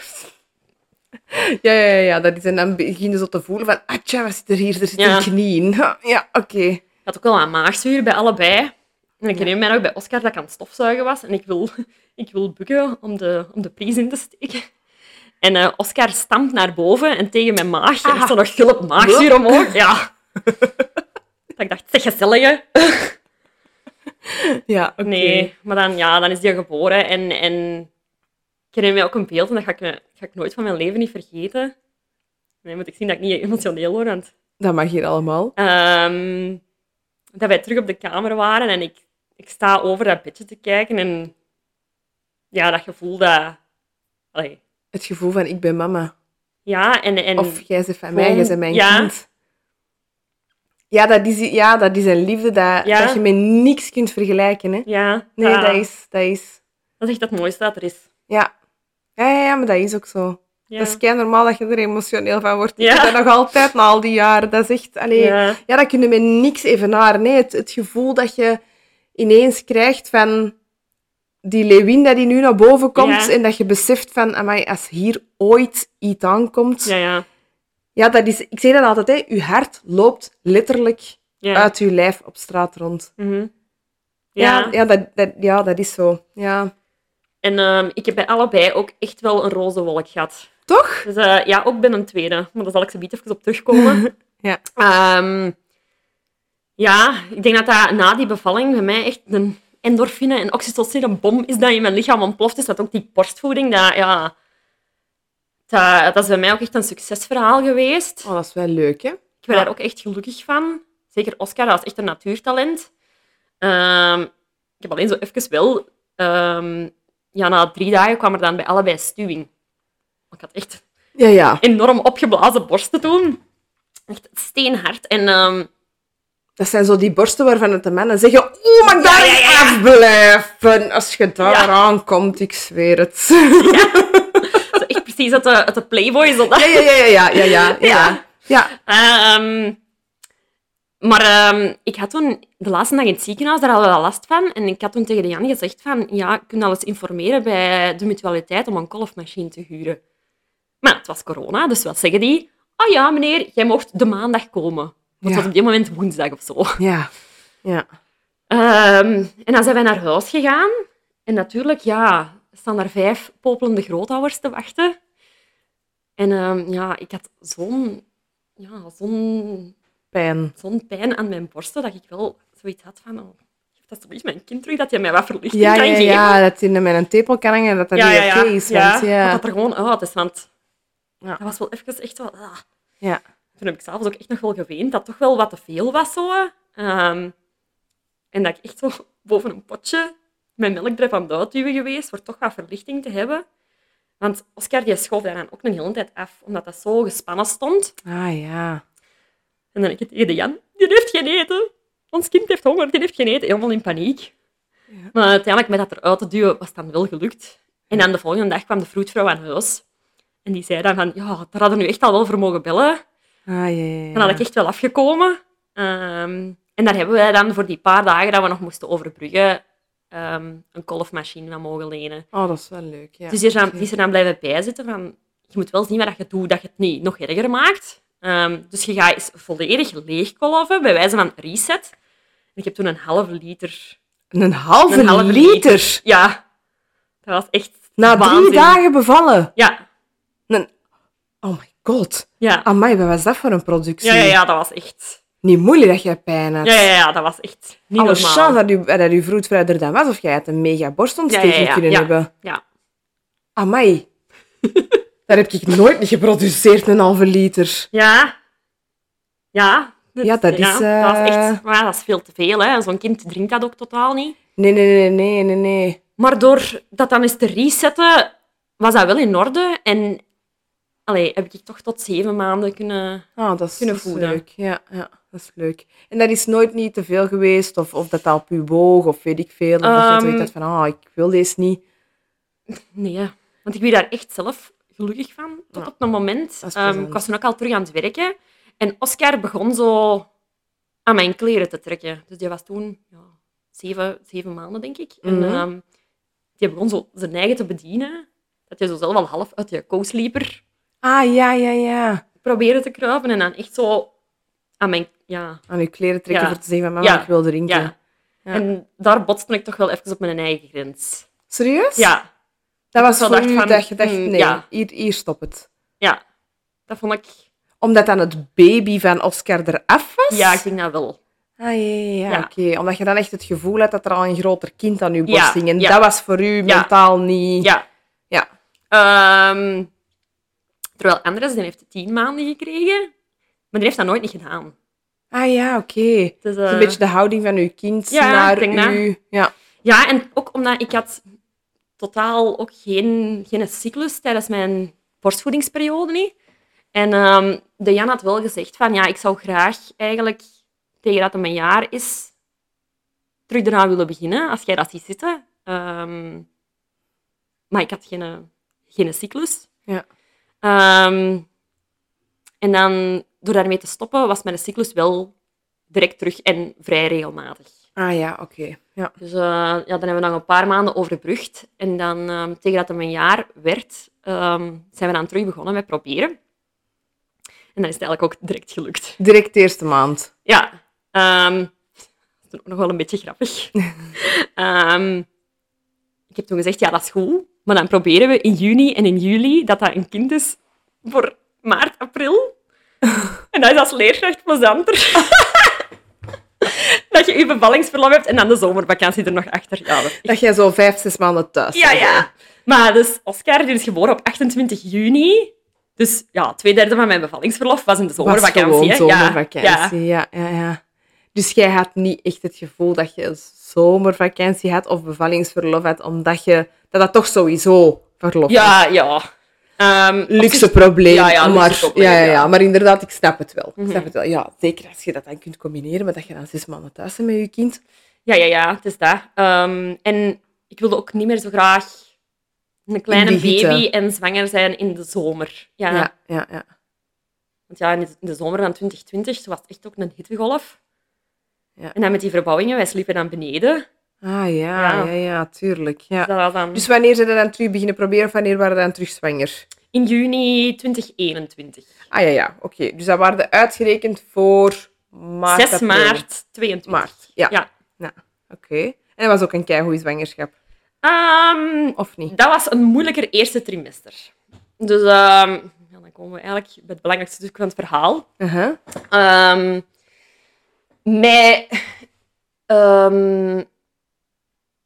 [SPEAKER 1] Ja, ja, ja, ja, dat is. En dan begin je zo te voelen van, atja, wat zit er hier? Er zit
[SPEAKER 2] Ja.
[SPEAKER 1] een knie in. Ha, Ja, oké.
[SPEAKER 2] Ik had ook wel aan maagzuur bij allebei. En ik herinner mij nog bij Oscar dat ik aan het stofzuigen was. En ik wil, ik wil bukken om de, om de pries in te steken. En eh, Oscar stampt naar boven en tegen mijn maag. En er stond nog gulp maagzuur omhoog. Ja. dat ik dacht, zeg gezellige.
[SPEAKER 1] Ja, oké.
[SPEAKER 2] Nee, maar dan, ja, dan is die geboren. En, en ik herinner mij ook een beeld en dat ga ik, me- ga ik nooit van mijn leven niet vergeten. Nee, moet ik zien dat ik niet emotioneel word, want
[SPEAKER 1] Dat mag hier allemaal.
[SPEAKER 2] Ehm, dat wij terug op de kamer waren en ik, ik sta over dat bedje te kijken en ja, dat gevoel dat... Allee,
[SPEAKER 1] Het gevoel van, ik ben mama.
[SPEAKER 2] ja, en... en
[SPEAKER 1] Of jij bent van mij,
[SPEAKER 2] Gewoon,
[SPEAKER 1] jij bent mijn
[SPEAKER 2] ja.
[SPEAKER 1] kind. Ja dat, is, ja, dat is een liefde dat,
[SPEAKER 2] Ja.
[SPEAKER 1] dat je met niks kunt vergelijken. Hè.
[SPEAKER 2] ja,
[SPEAKER 1] Nee, dat, is, dat is...
[SPEAKER 2] dat is echt het mooiste dat er is.
[SPEAKER 1] Ja. Ja, ja, ja, maar dat is ook zo.
[SPEAKER 2] Ja.
[SPEAKER 1] Dat is kei normaal dat je er emotioneel van wordt. Ik
[SPEAKER 2] Ja.
[SPEAKER 1] heb dat nog altijd na al die jaren. Dat is echt... Allee, ja.
[SPEAKER 2] ja.
[SPEAKER 1] dat kun je met niks evenaren. Nee, het, het gevoel dat je ineens krijgt van die Lewin dat die nu naar boven komt
[SPEAKER 2] Ja.
[SPEAKER 1] en dat je beseft van, amai, als hier ooit iets aankomt...
[SPEAKER 2] Ja,
[SPEAKER 1] Ja,
[SPEAKER 2] ja.
[SPEAKER 1] dat is... Ik zeg dat altijd, hè. Je hart loopt letterlijk
[SPEAKER 2] Ja.
[SPEAKER 1] uit je lijf op straat rond.
[SPEAKER 2] Mhm.
[SPEAKER 1] Ja,
[SPEAKER 2] ja.
[SPEAKER 1] ja. dat, dat, ja dat is zo. Ja.
[SPEAKER 2] En ehm, ik heb bij allebei ook echt wel een roze wolk gehad.
[SPEAKER 1] Toch?
[SPEAKER 2] Dus eh, ja, ook bij een tweede. Maar daar zal ik zo even op terugkomen.
[SPEAKER 1] Ja.
[SPEAKER 2] Ehm, ja, ik denk dat dat na die bevalling bij mij echt een endorfine en oxytocine bom is dat in mijn lichaam ontploft is. Dat ook die borstvoeding, dat, ja, dat, dat is bij mij ook echt een succesverhaal geweest.
[SPEAKER 1] Oh, dat is wel leuk, hè?
[SPEAKER 2] Ik ben
[SPEAKER 1] Ja.
[SPEAKER 2] daar ook echt gelukkig van. Zeker Oscar, dat is echt een natuurtalent. Ehm, ik heb alleen zo even wel... ehm, ja, na drie dagen kwam er dan bij allebei stuwing. Ik had echt
[SPEAKER 1] Ja, ja.
[SPEAKER 2] enorm opgeblazen borsten toen. Echt steenhard. En ehm,
[SPEAKER 1] Dat zijn zo die borsten waarvan het de mannen zeggen: Oeh, maar daar
[SPEAKER 2] Ja, ja, ja.
[SPEAKER 1] afblijven. Als je daar
[SPEAKER 2] Ja.
[SPEAKER 1] aankomt, ik zweer het.
[SPEAKER 2] zo echt precies uit de, uit de Playboy. Zo dat.
[SPEAKER 1] Ja, ja, ja, ja, ja, ja, ja.
[SPEAKER 2] Ja.
[SPEAKER 1] ja. ja.
[SPEAKER 2] Ehm, maar ehm, ik had toen de laatste dag in het ziekenhuis, daar hadden we wel last van. En ik had toen tegen de Jan gezegd van, ja, je kunt al eens informeren bij de mutualiteit om een kolfmachine te huren. Maar het was corona, dus wat zeggen die? Ah ja, meneer, jij mocht de maandag komen. Want het
[SPEAKER 1] Ja.
[SPEAKER 2] was op dit moment woensdag of zo.
[SPEAKER 1] ja. ja.
[SPEAKER 2] Ehm, en dan zijn wij naar huis gegaan. En natuurlijk, ja, staan daar vijf popelende grootouders te wachten. En ehm, ja, ik had zo'n ja, zo'n
[SPEAKER 1] Pijn.
[SPEAKER 2] zo'n pijn aan mijn borsten dat ik wel zoiets had van... Oh, geef alsjeblieft mijn kind terug, dat je mij wat verlichting
[SPEAKER 1] Ja,
[SPEAKER 2] kan
[SPEAKER 1] ja,
[SPEAKER 2] geven.
[SPEAKER 1] ja, dat in met een tepel kan hangen en dat dat niet oké is. Want,
[SPEAKER 2] Dat
[SPEAKER 1] ja.
[SPEAKER 2] dat er gewoon uit is, want...
[SPEAKER 1] Ja.
[SPEAKER 2] Dat was wel even echt wel... ah.
[SPEAKER 1] Ja.
[SPEAKER 2] Toen heb ik s'avonds ook echt nog wel geweend, dat toch wel wat te veel was zo. Ehm, en dat ik echt zo boven een potje mijn melk ervan aan het uitduwen geweest, voor toch wat verlichting te hebben. Want Oscar die schoof daar dan ook een hele tijd af, omdat dat zo gespannen stond.
[SPEAKER 1] Ah ja.
[SPEAKER 2] En dan heb ik het tegen de Jan, die heeft geen eten. Ons kind heeft honger, die heeft geen eten. Helemaal in paniek. Maar uiteindelijk, met dat eruit te duwen, was het dan wel gelukt. En dan de volgende dag kwam de vroedvrouw aan huis. En die zei dan van, ja, daar hadden we nu echt al wel voor mogen bellen.
[SPEAKER 1] Ah ja, ja.
[SPEAKER 2] Dan had ik echt wel afgekomen. Ehm, en daar hebben wij dan voor die paar dagen dat we nog moesten overbruggen, ehm, een kolfmachine van mogen lenen.
[SPEAKER 1] Oh, dat is wel leuk. Ja.
[SPEAKER 2] dus die is, dan,
[SPEAKER 1] Oké.
[SPEAKER 2] die is er dan blijven bijzitten van, je moet wel zien wat je doet, dat je het niet nog erger maakt. Ehm, dus je gaat eens volledig leegkolven, bij wijze van reset. En ik heb toen een halve liter...
[SPEAKER 1] Een halve,
[SPEAKER 2] Een halve
[SPEAKER 1] liter.
[SPEAKER 2] Ja, dat was echt
[SPEAKER 1] Na drie
[SPEAKER 2] waanzin.
[SPEAKER 1] dagen bevallen.
[SPEAKER 2] Ja,
[SPEAKER 1] Een... Oh my god.
[SPEAKER 2] ja.
[SPEAKER 1] Amai, wat was dat voor een productie?
[SPEAKER 2] Ja, ja, ja, dat was echt...
[SPEAKER 1] Niet moeilijk dat jij pijn had.
[SPEAKER 2] Ja, ja, ja, dat was echt niet
[SPEAKER 1] Alle
[SPEAKER 2] normaal.
[SPEAKER 1] chance dat u, dat u vroedvrouw er dan was, of jij had een mega borstontsteking
[SPEAKER 2] Ja, ja, ja,
[SPEAKER 1] kunnen
[SPEAKER 2] ja.
[SPEAKER 1] hebben.
[SPEAKER 2] Ja.
[SPEAKER 1] Amai. Daar heb ik nooit geproduceerd, een halve liter.
[SPEAKER 2] Ja. Ja.
[SPEAKER 1] Ja, dat is,
[SPEAKER 2] Dat eh, was
[SPEAKER 1] eh,
[SPEAKER 2] echt... Maar dat is veel te veel, hè. Zo'n kind drinkt dat ook totaal niet.
[SPEAKER 1] Nee, nee, nee, nee, nee, nee.
[SPEAKER 2] Maar door dat dan eens te resetten, was dat wel in orde. En allee, heb ik toch tot zeven maanden kunnen...
[SPEAKER 1] Ah, dat is,
[SPEAKER 2] Kunnen
[SPEAKER 1] dat is
[SPEAKER 2] voeden.
[SPEAKER 1] leuk. Ja, ja, dat is leuk. En dat is nooit niet te veel geweest, of, of dat dat op u boog, of weet ik veel. Of dat je
[SPEAKER 2] Ehm.
[SPEAKER 1] zoiets had van, ah, ik wil deze niet.
[SPEAKER 2] Nee, hè. want ik werd daar echt zelf gelukkig van. Tot
[SPEAKER 1] Ja.
[SPEAKER 2] op een moment.
[SPEAKER 1] Dat is
[SPEAKER 2] Ehm,
[SPEAKER 1] plezant.
[SPEAKER 2] ik was toen ook al terug aan het werken. En Oscar begon zo aan mijn kleren te trekken. Dus die was toen ja, zeven, zeven maanden, denk ik.
[SPEAKER 1] Mhm.
[SPEAKER 2] En ehm, die begon zo zijn eigen te bedienen. Dat je zo zelf al half uit je co-sleeper
[SPEAKER 1] Ah, ja, ja, ja.
[SPEAKER 2] probeerde te kruipen. En dan echt zo aan mijn... Ja,
[SPEAKER 1] Aan uw kleren trekken
[SPEAKER 2] Ja.
[SPEAKER 1] voor te zeggen van, mama,
[SPEAKER 2] Ja.
[SPEAKER 1] ik wil drinken.
[SPEAKER 2] ja.
[SPEAKER 1] Ja.
[SPEAKER 2] En daar botste ik toch wel even op mijn eigen grens.
[SPEAKER 1] Serieus?
[SPEAKER 2] Ja.
[SPEAKER 1] Dat was
[SPEAKER 2] wel
[SPEAKER 1] voor
[SPEAKER 2] dacht
[SPEAKER 1] u
[SPEAKER 2] van,
[SPEAKER 1] dat je dacht,
[SPEAKER 2] hmm,
[SPEAKER 1] nee,
[SPEAKER 2] ja.
[SPEAKER 1] hier, hier stop het.
[SPEAKER 2] Ja, dat vond ik.
[SPEAKER 1] Omdat dan het baby van Oscar eraf was?
[SPEAKER 2] Ja, ik denk dat wel.
[SPEAKER 1] Ah, ja, ja, ja,
[SPEAKER 2] Ja.
[SPEAKER 1] oké. Omdat je dan echt het gevoel had dat er al een groter kind aan uw borst
[SPEAKER 2] Ja,
[SPEAKER 1] hing. En
[SPEAKER 2] ja.
[SPEAKER 1] dat was voor u
[SPEAKER 2] Ja.
[SPEAKER 1] mentaal niet...
[SPEAKER 2] Ja.
[SPEAKER 1] Ja.
[SPEAKER 2] Ehm, terwijl Andres, die heeft tien maanden gekregen, maar die heeft dat nooit niet gedaan.
[SPEAKER 1] Ah ja, oké.
[SPEAKER 2] Het
[SPEAKER 1] Het is
[SPEAKER 2] is, eh,
[SPEAKER 1] een beetje de houding van uw kind
[SPEAKER 2] Ja,
[SPEAKER 1] naar
[SPEAKER 2] ik denk dat.
[SPEAKER 1] u. Ja.
[SPEAKER 2] Ja, en ook omdat ik had totaal ook geen, geen cyclus tijdens mijn borstvoedingsperiode niet. En ehm, de Jan had wel gezegd van, ja, ik zou graag eigenlijk tegen dat het mijn jaar is, terug eraan willen beginnen, als jij dat ziet zitten. Ehm, maar ik had geen, geen cyclus.
[SPEAKER 1] Ja.
[SPEAKER 2] Ehm, en dan, door daarmee te stoppen, was mijn cyclus wel direct terug en vrij regelmatig.
[SPEAKER 1] Ah ja, oké. Ja.
[SPEAKER 2] Dus eh, ja, dan hebben we nog een paar maanden overbrugd. En dan, ehm, tegen dat het een jaar werd, ehm, zijn we dan terug begonnen met proberen. En dan is het eigenlijk ook direct gelukt.
[SPEAKER 1] Direct de eerste maand.
[SPEAKER 2] Ja, ehm, dat is toen ook nog wel een beetje grappig. Ehm, ik heb toen gezegd, ja, dat is goed. Maar dan proberen we in juni en in juli dat dat een kind is voor maart, april. En dat is als leerkracht plezanter. dat je je bevallingsverlof hebt en dan de zomervakantie er nog achter. Ja, dat is
[SPEAKER 1] Dat jij zo vijf, zes maanden thuis
[SPEAKER 2] ja,
[SPEAKER 1] bent.
[SPEAKER 2] ja. Maar dus Oscar die is geboren op 28 juni. Dus ja, twee derde van mijn bevallingsverlof was in de
[SPEAKER 1] Was
[SPEAKER 2] zomervakantie.
[SPEAKER 1] gewoon
[SPEAKER 2] hè.
[SPEAKER 1] zomervakantie. Ja. Ja, ja, Dus jij had niet echt het gevoel dat je een zomervakantie had of bevallingsverlof had, omdat je... Dat dat toch sowieso verlof was.
[SPEAKER 2] Ja, ja. ja. Ehm, op
[SPEAKER 1] Luxe
[SPEAKER 2] zich-
[SPEAKER 1] probleem,
[SPEAKER 2] Ja, ja, luxe
[SPEAKER 1] maar,
[SPEAKER 2] probleem,
[SPEAKER 1] ja, ja,
[SPEAKER 2] ja.
[SPEAKER 1] ja, maar inderdaad, ik snap het wel. Ik
[SPEAKER 2] Mhm.
[SPEAKER 1] snap het wel. Ja, zeker als je dat dan kunt combineren met dat je dan zes maanden thuis bent met je kind.
[SPEAKER 2] Ja, ja, ja, het is dat. Ehm, en ik wilde ook niet meer zo graag een
[SPEAKER 1] In
[SPEAKER 2] kleine
[SPEAKER 1] de hitte.
[SPEAKER 2] baby en zwanger zijn in de zomer. Ja.
[SPEAKER 1] ja, ja. ja.
[SPEAKER 2] Want ja, in de- in de zomer van 2020 zo was het echt ook een hittegolf.
[SPEAKER 1] Ja.
[SPEAKER 2] En dan met die verbouwingen, wij sliepen dan beneden.
[SPEAKER 1] Ah ja, ja,
[SPEAKER 2] Ja.
[SPEAKER 1] ja, tuurlijk. Ja.
[SPEAKER 2] Dat was dan
[SPEAKER 1] Dus wanneer ze dat dan terug beginnen proberen of wanneer waren ze dan terug zwanger?
[SPEAKER 2] in juni 2021.
[SPEAKER 1] Ah ja, ja, oké. Dus dat waren de uitgerekend voor maart.
[SPEAKER 2] 6
[SPEAKER 1] april.
[SPEAKER 2] maart 22.
[SPEAKER 1] Maart, ja. Nou,
[SPEAKER 2] ja.
[SPEAKER 1] Oké. En dat was ook een keigoede zwangerschap,
[SPEAKER 2] Ehm,
[SPEAKER 1] of niet?
[SPEAKER 2] dat was een moeilijker eerste trimester. Dus ehm, ja, dan komen we eigenlijk bij het belangrijkste stuk van het verhaal.
[SPEAKER 1] Uh-huh.
[SPEAKER 2] Ehm, mij, ehm,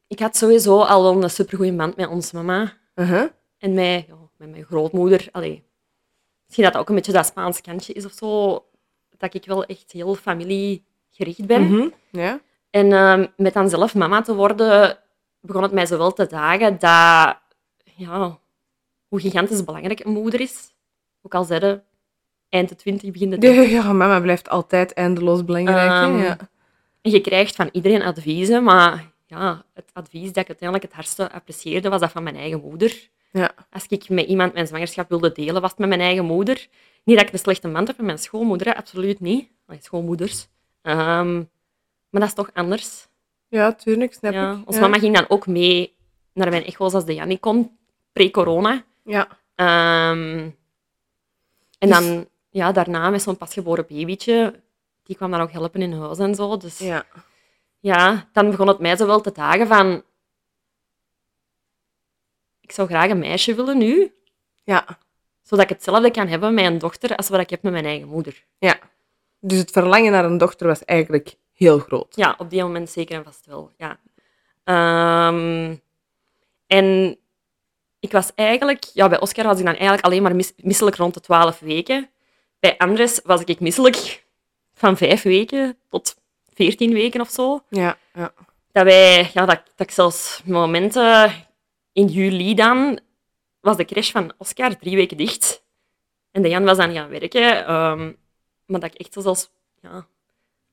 [SPEAKER 2] ik had sowieso al wel een supergoeie band met onze mama
[SPEAKER 1] Uh-huh.
[SPEAKER 2] en mij, ja, met mijn grootmoeder. Allee, misschien dat dat ook een beetje dat Spaans kantje is of zo. Dat ik wel echt heel familiegericht ben.
[SPEAKER 1] Mhm. Ja.
[SPEAKER 2] En ehm, met dan zelf mama te worden, begon het mij zowel te dagen dat, ja, hoe gigantisch belangrijk een moeder is. Ook al zeiden, eind de twintig, begin de
[SPEAKER 1] De,
[SPEAKER 2] dertig.
[SPEAKER 1] ja, mama blijft altijd eindeloos belangrijk. hè,
[SPEAKER 2] Ehm,
[SPEAKER 1] ja.
[SPEAKER 2] En je krijgt van iedereen adviezen, maar ja, het advies dat ik uiteindelijk het hardste apprecieerde, was dat van mijn eigen moeder.
[SPEAKER 1] Ja.
[SPEAKER 2] Als ik met iemand mijn zwangerschap wilde delen, was het met mijn eigen moeder. Niet dat ik een slechte man heb met mijn schoonmoeder, hè, absoluut niet. Allee, schoonmoeders. Ehm, maar dat is toch anders.
[SPEAKER 1] ja, tuurlijk, snap
[SPEAKER 2] Ja,
[SPEAKER 1] ik.
[SPEAKER 2] Onze
[SPEAKER 1] ja.
[SPEAKER 2] mama ging dan ook mee naar mijn echo's als de Jannie kon, pre-corona.
[SPEAKER 1] Ja.
[SPEAKER 2] Ehm, en
[SPEAKER 1] Dus-
[SPEAKER 2] dan ja, daarna met zo'n pasgeboren babytje, die kwam dan ook helpen in huis en zo. Dus ja,
[SPEAKER 1] ja.
[SPEAKER 2] dan begon het mij zo wel te dagen van... Ik zou graag een meisje willen nu,
[SPEAKER 1] Ja.
[SPEAKER 2] zodat ik hetzelfde kan hebben met een dochter als wat ik heb met mijn eigen moeder.
[SPEAKER 1] Dus het verlangen naar een dochter was eigenlijk heel groot.
[SPEAKER 2] Ja, op die moment zeker en vast wel, ja. Ehm, en ik was eigenlijk... Ja, bij Oscar was ik dan eigenlijk alleen maar mis- misselijk rond de twaalf weken. Bij Andres was ik misselijk van vijf weken tot veertien weken of zo.
[SPEAKER 1] Ja. ja.
[SPEAKER 2] dat, wij, ja, dat, dat ik zelfs momenten in juli dan was de crash van Oscar drie weken dicht. En de Jan was aan gaan werken. ehm, maar dat ik echt zo zelfs ja,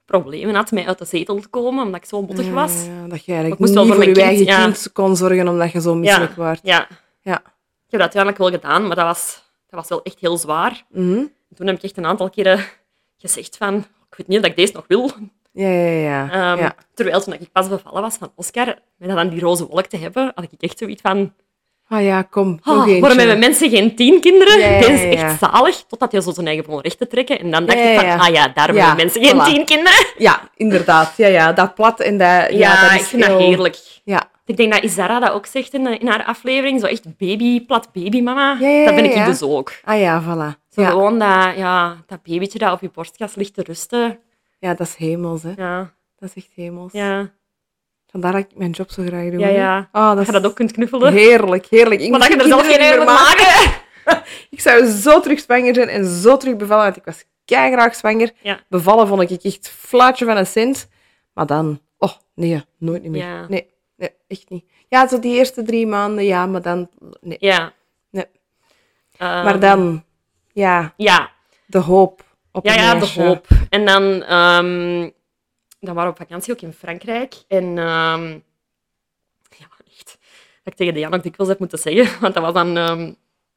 [SPEAKER 2] problemen had mij uit de zetel te komen, omdat ik zo bottig was.
[SPEAKER 1] Ja, dat je
[SPEAKER 2] Ik
[SPEAKER 1] eigenlijk niet
[SPEAKER 2] moest wel
[SPEAKER 1] voor,
[SPEAKER 2] voor
[SPEAKER 1] je
[SPEAKER 2] mijn kind,
[SPEAKER 1] eigen
[SPEAKER 2] ja.
[SPEAKER 1] kind kon zorgen omdat je zo misselijk werd.
[SPEAKER 2] Ja.
[SPEAKER 1] Ja.
[SPEAKER 2] Ik heb dat uiteindelijk wel gedaan, maar dat was, dat was wel echt heel zwaar.
[SPEAKER 1] Mhm.
[SPEAKER 2] En toen heb ik echt een aantal keren gezegd van, ik weet niet of ik deze nog wil.
[SPEAKER 1] ja, ja, ja. ja.
[SPEAKER 2] Ehm,
[SPEAKER 1] ja.
[SPEAKER 2] Terwijl toen ik pas bevallen was van Oscar, met dat aan die roze wolk te hebben, had ik echt zoiets van,
[SPEAKER 1] Ah ja, kom.
[SPEAKER 2] Oh,
[SPEAKER 1] nog eentje.
[SPEAKER 2] worden met mijn mensen geen tien kinderen?
[SPEAKER 1] Ja, ja,
[SPEAKER 2] Dit is
[SPEAKER 1] ja, ja.
[SPEAKER 2] echt zalig. Totdat je zo zijn eigen bon recht te trekken. En dan dacht
[SPEAKER 1] Ja, ja,
[SPEAKER 2] ik van,
[SPEAKER 1] ja.
[SPEAKER 2] ah ja, daar
[SPEAKER 1] Ja,
[SPEAKER 2] hebben mensen geen
[SPEAKER 1] voilà.
[SPEAKER 2] tien kinderen.
[SPEAKER 1] Ja, inderdaad. Ja, ja, dat plat en dat... Ja,
[SPEAKER 2] Ja,
[SPEAKER 1] dat is
[SPEAKER 2] ik vind dat
[SPEAKER 1] heel-
[SPEAKER 2] heerlijk.
[SPEAKER 1] Ja.
[SPEAKER 2] Ik denk dat Isara dat ook zegt in, in haar aflevering. Zo echt baby, plat babymama.
[SPEAKER 1] Ja, ja,
[SPEAKER 2] dat ben ik
[SPEAKER 1] ja, ja.
[SPEAKER 2] dus ook.
[SPEAKER 1] Ah ja, voilà.
[SPEAKER 2] Zo
[SPEAKER 1] Ja,
[SPEAKER 2] Gewoon dat, ja, dat babytje dat op je borstkas ligt te rusten.
[SPEAKER 1] ja dat is hemels, hè.
[SPEAKER 2] Ja,
[SPEAKER 1] Dat is echt hemels.
[SPEAKER 2] ja.
[SPEAKER 1] Vandaar dat ik mijn job zo graag doe.
[SPEAKER 2] Ja,
[SPEAKER 1] hè.
[SPEAKER 2] ja.
[SPEAKER 1] Ah, dat
[SPEAKER 2] Dat
[SPEAKER 1] is
[SPEAKER 2] je dat ook kunt knuffelen.
[SPEAKER 1] heerlijk, heerlijk. Ik
[SPEAKER 2] maar dat je
[SPEAKER 1] moet
[SPEAKER 2] er zelf geen
[SPEAKER 1] kinderen
[SPEAKER 2] uit
[SPEAKER 1] niet
[SPEAKER 2] moet
[SPEAKER 1] meer maken.
[SPEAKER 2] maken.
[SPEAKER 1] Ik zou zo terug zwanger zijn en zo terug bevallen, want ik was graag zwanger.
[SPEAKER 2] Ja.
[SPEAKER 1] Bevallen vond ik echt flaatje van een cent. Maar dan, oh nee, nooit niet meer.
[SPEAKER 2] Ja.
[SPEAKER 1] Nee, nee, echt niet. Ja, zo die eerste drie maanden, ja, maar dan, nee.
[SPEAKER 2] Ja.
[SPEAKER 1] Nee.
[SPEAKER 2] Ehm,
[SPEAKER 1] Maar dan, ja,
[SPEAKER 2] Ja,
[SPEAKER 1] de hoop op
[SPEAKER 2] Ja,
[SPEAKER 1] een
[SPEAKER 2] ja, de
[SPEAKER 1] meisje.
[SPEAKER 2] hoop. En dan, ehm, dan waren we op vakantie ook in Frankrijk. En ehm, ja, echt. Dat ik tegen de Jan ook dikwijls heb moeten zeggen. Want dat was dan ehm,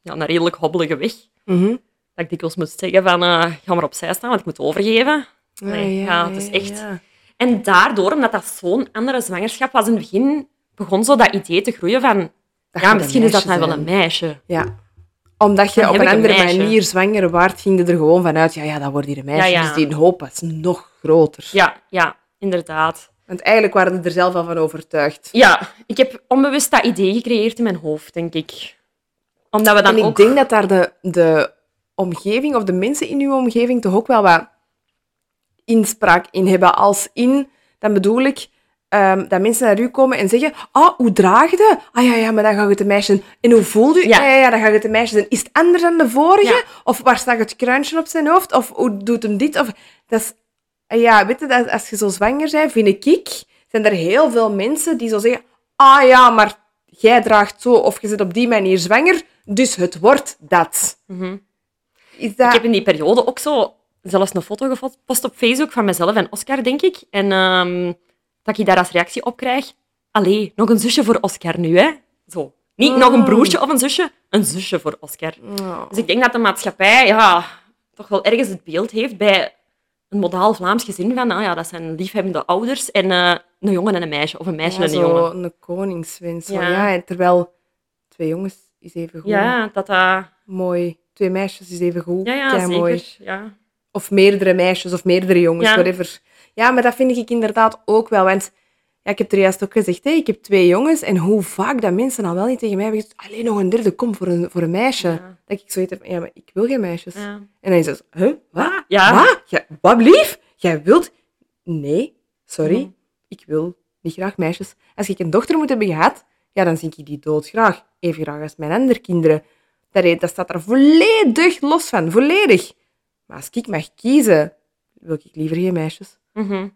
[SPEAKER 2] ja, een redelijk hobbelige weg.
[SPEAKER 1] Mhm.
[SPEAKER 2] Dat ik dikwijls moest zeggen van, eh ga maar opzij staan, want ik moet overgeven. Nee,
[SPEAKER 1] Ah,
[SPEAKER 2] ja, het is echt-
[SPEAKER 1] ja.
[SPEAKER 2] En daardoor, omdat dat zo'n andere zwangerschap was in het begin, begon zo dat idee te groeien van,
[SPEAKER 1] Dat gaat
[SPEAKER 2] ja,
[SPEAKER 1] een
[SPEAKER 2] misschien is dat
[SPEAKER 1] meisje
[SPEAKER 2] nou wel
[SPEAKER 1] zijn.
[SPEAKER 2] een meisje.
[SPEAKER 1] Ja. Omdat je
[SPEAKER 2] Dan
[SPEAKER 1] op
[SPEAKER 2] heb
[SPEAKER 1] een
[SPEAKER 2] ik een
[SPEAKER 1] andere
[SPEAKER 2] meisje.
[SPEAKER 1] manier zwanger waard, ging je er gewoon vanuit, ja, ja, dat wordt hier een meisje.
[SPEAKER 2] Ja, ja.
[SPEAKER 1] Dus die hoop was nog groter.
[SPEAKER 2] Ja, ja, inderdaad.
[SPEAKER 1] Want eigenlijk waren we er zelf al van overtuigd.
[SPEAKER 2] Ja, ik heb onbewust dat idee gecreëerd in mijn hoofd, denk ik. Omdat we dan
[SPEAKER 1] en ik
[SPEAKER 2] ook...
[SPEAKER 1] denk dat daar de, de omgeving of de mensen in uw omgeving toch ook wel wat inspraak in hebben. Als in, dan bedoel ik ehm, dat mensen naar u komen en zeggen: Ah, hoe draag je dat? Ah ja, ja, maar dan ga je het een meisje. En hoe voelt u? "Ah,
[SPEAKER 2] Ja.
[SPEAKER 1] Ja, ja, ja dan ga je het een meisje. zijn. Is het anders dan de vorige?
[SPEAKER 2] Ja.
[SPEAKER 1] Of waar staat het kruintje op zijn hoofd? Of hoe doet hem dit? Of, dat is, ah ja, weet je, dat, als je zo zwanger bent, vind ik, ik, zijn er heel veel mensen die zo zeggen: Ah ja, maar jij draagt zo of je zit op die manier zwanger, dus het wordt dat.
[SPEAKER 2] Mhm.
[SPEAKER 1] Is dat...
[SPEAKER 2] Ik heb in die periode ook zo zelfs een foto gepost op Facebook van mezelf en Oscar, denk ik. En ehm, dat ik daar als reactie op krijg. Allee, nog een zusje voor Oscar nu, hè? Zo. Niet nog
[SPEAKER 1] Mm.
[SPEAKER 2] een broertje of een zusje, een zusje voor Oscar.
[SPEAKER 1] Oh.
[SPEAKER 2] Dus ik denk dat de maatschappij ja, toch wel ergens het beeld heeft bij een modaal Vlaams gezin van, nou ja, dat zijn liefhebbende ouders en eh, een jongen en een meisje, of een meisje
[SPEAKER 1] Ja,
[SPEAKER 2] en een
[SPEAKER 1] zo
[SPEAKER 2] jongen.
[SPEAKER 1] een koningswens. zo, Ja.
[SPEAKER 2] Ja.
[SPEAKER 1] en terwijl twee jongens is even goed.
[SPEAKER 2] Ja, dat dat...
[SPEAKER 1] Mooi. Twee meisjes is even goed.
[SPEAKER 2] Ja, ja, zeker.
[SPEAKER 1] mooi.
[SPEAKER 2] Ja.
[SPEAKER 1] Of meerdere meisjes of meerdere jongens,
[SPEAKER 2] Ja.
[SPEAKER 1] whatever. Ja, maar dat vind ik inderdaad ook wel. Want ja, ik heb er juist ook gezegd, hè, ik heb twee jongens. En hoe vaak dat mensen al wel niet tegen mij hebben gezegd, alleen nog een derde, kom voor een, voor een meisje.
[SPEAKER 2] Ja.
[SPEAKER 1] Dat ik zoiets heb, ja, maar ik wil geen meisjes.
[SPEAKER 2] Ja.
[SPEAKER 1] En dan is het, huh, wat?
[SPEAKER 2] Ja.
[SPEAKER 1] Wat? Ja, wat lief? Jij wilt... Nee, sorry.
[SPEAKER 2] Mhm.
[SPEAKER 1] Ik wil niet graag meisjes. Als ik een dochter moet hebben gehad, ja, dan zie ik die doodgraag. Even graag als mijn andere kinderen. Dat, dat staat er volledig los van. Volledig. Maar als ik mag kiezen, wil ik liever geen meisjes.
[SPEAKER 2] Mhm.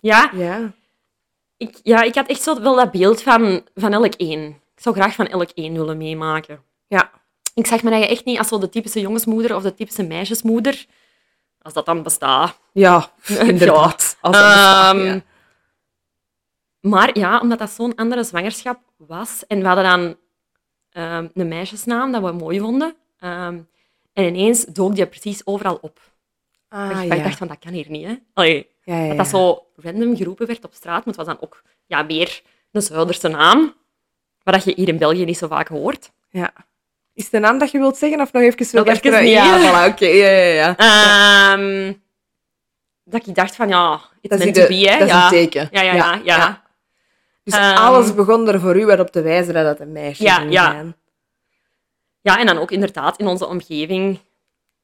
[SPEAKER 2] ja,
[SPEAKER 1] Ja.
[SPEAKER 2] Ik, ja, ik had echt zo wel dat beeld van, van elk één. Ik zou graag van elk één willen meemaken.
[SPEAKER 1] Ja.
[SPEAKER 2] Ik zag me eigenlijk echt niet als zo de typische jongensmoeder of de typische meisjesmoeder. Als dat dan bestaat.
[SPEAKER 1] Ja, inderdaad. Als dat bestaat,
[SPEAKER 2] Ehm,
[SPEAKER 1] ja.
[SPEAKER 2] Maar ja, omdat dat zo'n andere zwangerschap was. En we hadden dan ehm, een meisjesnaam dat we mooi vonden. Ehm, en ineens dook je precies overal op.
[SPEAKER 1] Ah,
[SPEAKER 2] Dat
[SPEAKER 1] ja.
[SPEAKER 2] ik dacht van, dat kan hier niet, hè. Allee,
[SPEAKER 1] ja, ja,
[SPEAKER 2] dat dat
[SPEAKER 1] ja.
[SPEAKER 2] zo random geroepen werd op straat, maar het was dan ook ja, meer een Zuiderse naam, maar dat je hier in België niet zo vaak hoort.
[SPEAKER 1] Ja. Is de naam dat je wilt zeggen of nog even wilt
[SPEAKER 2] Nog even
[SPEAKER 1] achter-
[SPEAKER 2] niet,
[SPEAKER 1] Ja,
[SPEAKER 2] hè?
[SPEAKER 1] voilà, oké. ja, ja, ja.
[SPEAKER 2] Ehm, dat ik dacht van, ja, it's
[SPEAKER 1] Dat is,
[SPEAKER 2] meant
[SPEAKER 1] de-
[SPEAKER 2] to be, hè.
[SPEAKER 1] dat is
[SPEAKER 2] ja.
[SPEAKER 1] een teken.
[SPEAKER 2] Ja, ja, ja. ja.
[SPEAKER 1] Dus
[SPEAKER 2] Ehm.
[SPEAKER 1] alles begon er voor u wat op te wijzen dat het een meisje
[SPEAKER 2] Ja,
[SPEAKER 1] ging
[SPEAKER 2] ja.
[SPEAKER 1] zijn.
[SPEAKER 2] Ja, en dan ook inderdaad in onze omgeving,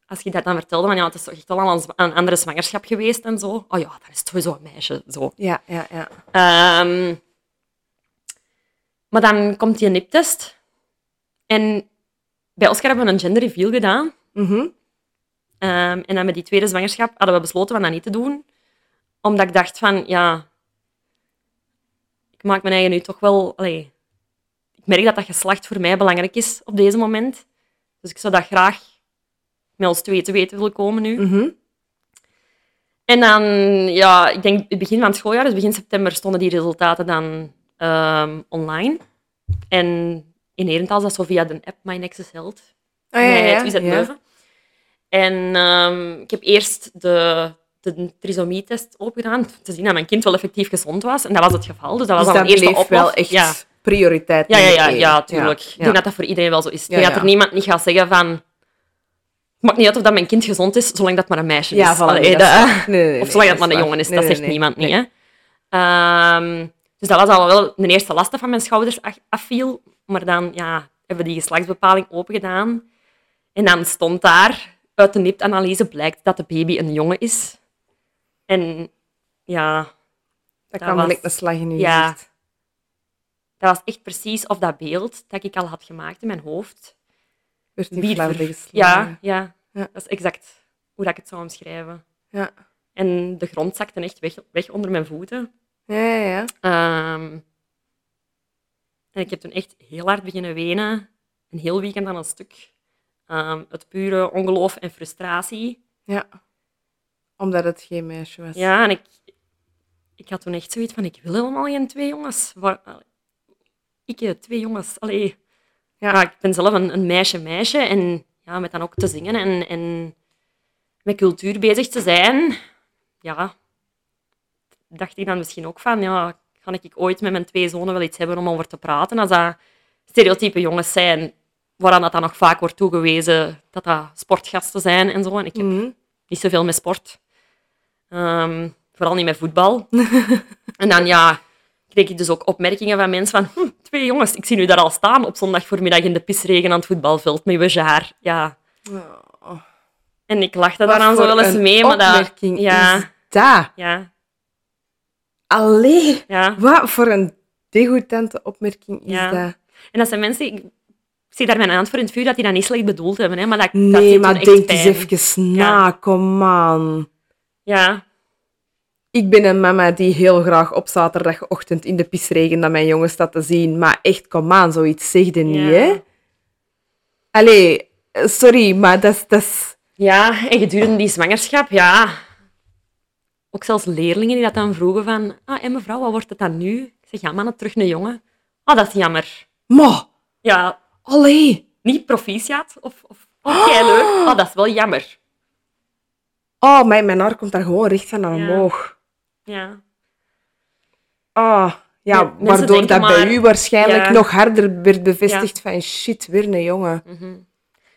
[SPEAKER 2] als je dat dan vertelde, van ja, het is toch echt al een, een andere zwangerschap geweest en zo. Oh ja, dan is het sowieso een meisje, zo.
[SPEAKER 1] Ja, ja, ja.
[SPEAKER 2] Ehm, maar dan komt die niptest. En bij Oscar hebben we een gender reveal gedaan.
[SPEAKER 1] Mhm.
[SPEAKER 2] Ehm, en dan met die tweede zwangerschap hadden we besloten om dat niet te doen. Omdat ik dacht van, ja... ik maak mijn eigen nu toch wel... Allee, ik merk dat dat geslacht voor mij belangrijk is op deze moment. Dus ik zou dat graag met ons twee te weten willen komen nu.
[SPEAKER 1] Mhm.
[SPEAKER 2] En dan, ja, ik denk het begin van het schooljaar, dus begin september, stonden die resultaten dan ehm, online. En in Herentals, dat is zo via de app My Nexus Health.
[SPEAKER 1] Ah, ja, ja,
[SPEAKER 2] het is uit
[SPEAKER 1] ja.
[SPEAKER 2] Leuven. En ehm, ik heb eerst de, de trisomie-test opgedaan, om te zien dat mijn kind wel effectief gezond was. En dat was het geval, dus dat was
[SPEAKER 1] Dus dat
[SPEAKER 2] al een eerste
[SPEAKER 1] bleef wel
[SPEAKER 2] oplof.
[SPEAKER 1] echt
[SPEAKER 2] Ja.
[SPEAKER 1] prioriteit
[SPEAKER 2] Ja, ja,
[SPEAKER 1] nummer
[SPEAKER 2] ja,
[SPEAKER 1] één.
[SPEAKER 2] ja, tuurlijk. Ik
[SPEAKER 1] Ja.
[SPEAKER 2] denk dat dat voor iedereen wel zo is. Ik denk
[SPEAKER 1] Ja,
[SPEAKER 2] dat er
[SPEAKER 1] ja.
[SPEAKER 2] niemand niet gaat zeggen van... Het maakt niet uit of dat mijn kind gezond is, zolang dat maar een meisje
[SPEAKER 1] Ja,
[SPEAKER 2] is.
[SPEAKER 1] voilà,
[SPEAKER 2] Allee,
[SPEAKER 1] nee, dat
[SPEAKER 2] dat-
[SPEAKER 1] is waar. Nee, nee, nee,
[SPEAKER 2] of zolang dat
[SPEAKER 1] dat
[SPEAKER 2] maar
[SPEAKER 1] is waar.
[SPEAKER 2] een jongen is,
[SPEAKER 1] Nee,
[SPEAKER 2] dat
[SPEAKER 1] nee,
[SPEAKER 2] zegt
[SPEAKER 1] nee.
[SPEAKER 2] niemand niet. Hè? Ehm, dus dat was al wel de eerste last die van mijn schouders af- afviel. Maar dan ja, hebben we die geslachtsbepaling opengedaan. En dan stond daar, uit de niptanalyse blijkt dat de baby een jongen is. En ja,
[SPEAKER 1] Dat
[SPEAKER 2] was-
[SPEAKER 1] kwam direct een slag in je
[SPEAKER 2] Ja.
[SPEAKER 1] gezicht.
[SPEAKER 2] dat was echt precies of dat beeld dat ik al had gemaakt in mijn hoofd.
[SPEAKER 1] Werd in
[SPEAKER 2] Wie-
[SPEAKER 1] Vlaanderen geslagen.
[SPEAKER 2] Ja, ja,
[SPEAKER 1] Ja.
[SPEAKER 2] dat is exact hoe dat ik het zou omschrijven.
[SPEAKER 1] Ja.
[SPEAKER 2] En de grond zakte echt weg, weg onder mijn voeten.
[SPEAKER 1] Ja, ja, ja.
[SPEAKER 2] Ehm, en ik heb toen echt heel hard beginnen wenen. Een heel weekend aan een stuk. Ehm, het pure ongeloof en frustratie.
[SPEAKER 1] Ja. Omdat het geen meisje was.
[SPEAKER 2] Ja, en ik, ik had toen echt zoiets van, ik wil helemaal geen twee jongens. Waar, allee, ik, eh, twee jongens, allee.
[SPEAKER 1] Ja.
[SPEAKER 2] Ja. ik ben zelf een, een meisje, meisje. En ja, met dan ook te zingen en, en met cultuur bezig te zijn. Ja, dacht ik dan misschien ook van, ja, kan ik ooit met mijn twee zonen wel iets hebben om over te praten? Als dat stereotype jongens zijn, waaraan dat dan nog vaak wordt toegewezen, dat dat sportgasten zijn en zo. En ik heb
[SPEAKER 1] Mhm.
[SPEAKER 2] niet zoveel met sport. Ehm, vooral niet met voetbal. en dan ja, kreeg ik dus ook opmerkingen van mensen van hm, twee jongens, ik zie nu daar al staan op zondag voormiddag in de pisregen aan het voetbalveld met je haar. Ja.
[SPEAKER 1] Oh,
[SPEAKER 2] En ik lachte
[SPEAKER 1] wat
[SPEAKER 2] daaraan zo
[SPEAKER 1] voor
[SPEAKER 2] wel eens
[SPEAKER 1] een
[SPEAKER 2] mee, maar dat...
[SPEAKER 1] opmerking is
[SPEAKER 2] Ja,
[SPEAKER 1] dat?
[SPEAKER 2] ja,
[SPEAKER 1] Allee,
[SPEAKER 2] ja.
[SPEAKER 1] wat voor een degoutante opmerking is
[SPEAKER 2] Ja.
[SPEAKER 1] dat?
[SPEAKER 2] En dat zijn mensen... Ik, ik zie daar mijn hand voor in het vuur dat die dat niet slecht bedoeld hebben, hè, maar dat, dat deed
[SPEAKER 1] Nee,
[SPEAKER 2] toen
[SPEAKER 1] maar
[SPEAKER 2] echt
[SPEAKER 1] denk
[SPEAKER 2] pijn.
[SPEAKER 1] eens even na,
[SPEAKER 2] Ja.
[SPEAKER 1] kom aan.
[SPEAKER 2] Ja,
[SPEAKER 1] Ik ben een mama die heel graag op zaterdagochtend in de pisregen naar mijn jongen staat te zien. Maar echt, kom aan, zoiets zeg je niet,
[SPEAKER 2] Ja.
[SPEAKER 1] hè? Allee, eh, sorry, maar dat is- dat is...
[SPEAKER 2] Ja, en gedurende die zwangerschap, ja. Ook zelfs leerlingen die dat dan vroegen van... Ah, en mevrouw, wat wordt het dan nu? Ik zeg, ja, mannen, terug een jongen. Ah, dat is jammer.
[SPEAKER 1] Maar,
[SPEAKER 2] Ja,
[SPEAKER 1] allee.
[SPEAKER 2] niet proficiat of... of oh, leuk. Ah, dat is wel jammer.
[SPEAKER 1] Oh, mijn, mijn haar komt daar gewoon recht van omhoog.
[SPEAKER 2] Ja.
[SPEAKER 1] Ah, ja,
[SPEAKER 2] Ja, mensen
[SPEAKER 1] waardoor
[SPEAKER 2] denken
[SPEAKER 1] dat bij
[SPEAKER 2] maar-
[SPEAKER 1] u waarschijnlijk
[SPEAKER 2] Ja.
[SPEAKER 1] nog harder werd bevestigd van shit, weer een jongen.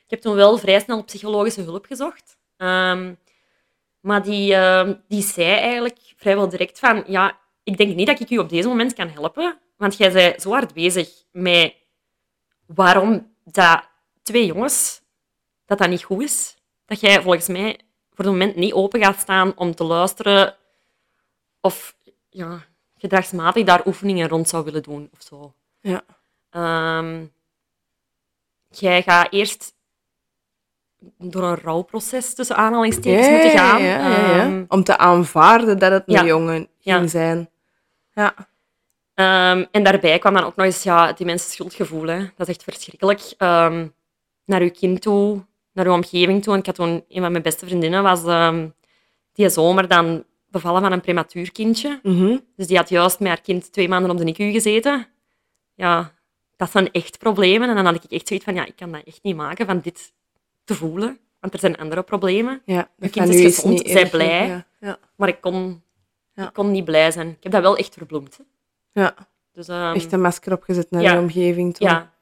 [SPEAKER 2] Ik heb toen wel vrij snel psychologische hulp gezocht. Ehm, maar die, ehm, die zei eigenlijk vrijwel direct van... Ja, ik denk niet dat ik u op deze moment kan helpen. Want jij bent zo hard bezig met waarom dat twee jongens... Dat dat niet goed is. Dat jij volgens mij voor het moment niet open gaat staan om te luisteren. Of ja, gedragsmatig daar oefeningen rond zou willen doen of zo.
[SPEAKER 1] Ja.
[SPEAKER 2] Ehm, jij gaat eerst door een rouwproces tussen aanhalingstekens moeten gaan.
[SPEAKER 1] ja, ja, ja.
[SPEAKER 2] Ehm,
[SPEAKER 1] Om te aanvaarden dat het een
[SPEAKER 2] ja.
[SPEAKER 1] jongen
[SPEAKER 2] Ja.
[SPEAKER 1] ging zijn. Ja.
[SPEAKER 2] Ehm, en daarbij kwam dan ook nog eens ja, het immense schuldgevoel. Hè. Dat is echt verschrikkelijk. Ehm, naar uw kind toe, naar uw omgeving toe. En ik had toen een van mijn beste vriendinnen was ehm, die zomer dan bevallen van een prematuur kindje.
[SPEAKER 1] Mhm.
[SPEAKER 2] Dus die had juist met haar kind twee maanden op de NICU gezeten. Ja, dat zijn echt problemen. En dan had ik echt zoiets van, ja, ik kan dat echt niet maken van dit te voelen. Want er zijn andere problemen.
[SPEAKER 1] ja.
[SPEAKER 2] Je
[SPEAKER 1] dat
[SPEAKER 2] kind
[SPEAKER 1] van
[SPEAKER 2] is
[SPEAKER 1] u
[SPEAKER 2] gezond,
[SPEAKER 1] niet
[SPEAKER 2] zij
[SPEAKER 1] erg,
[SPEAKER 2] blij.
[SPEAKER 1] Ja. Ja.
[SPEAKER 2] Maar ik kon,
[SPEAKER 1] Ja.
[SPEAKER 2] ik kon niet blij zijn. Ik heb dat wel echt verbloemd. hè.
[SPEAKER 1] ja.
[SPEAKER 2] Dus, ehm,
[SPEAKER 1] Echt een masker opgezet naar
[SPEAKER 2] ja.
[SPEAKER 1] je omgeving toe.
[SPEAKER 2] ja,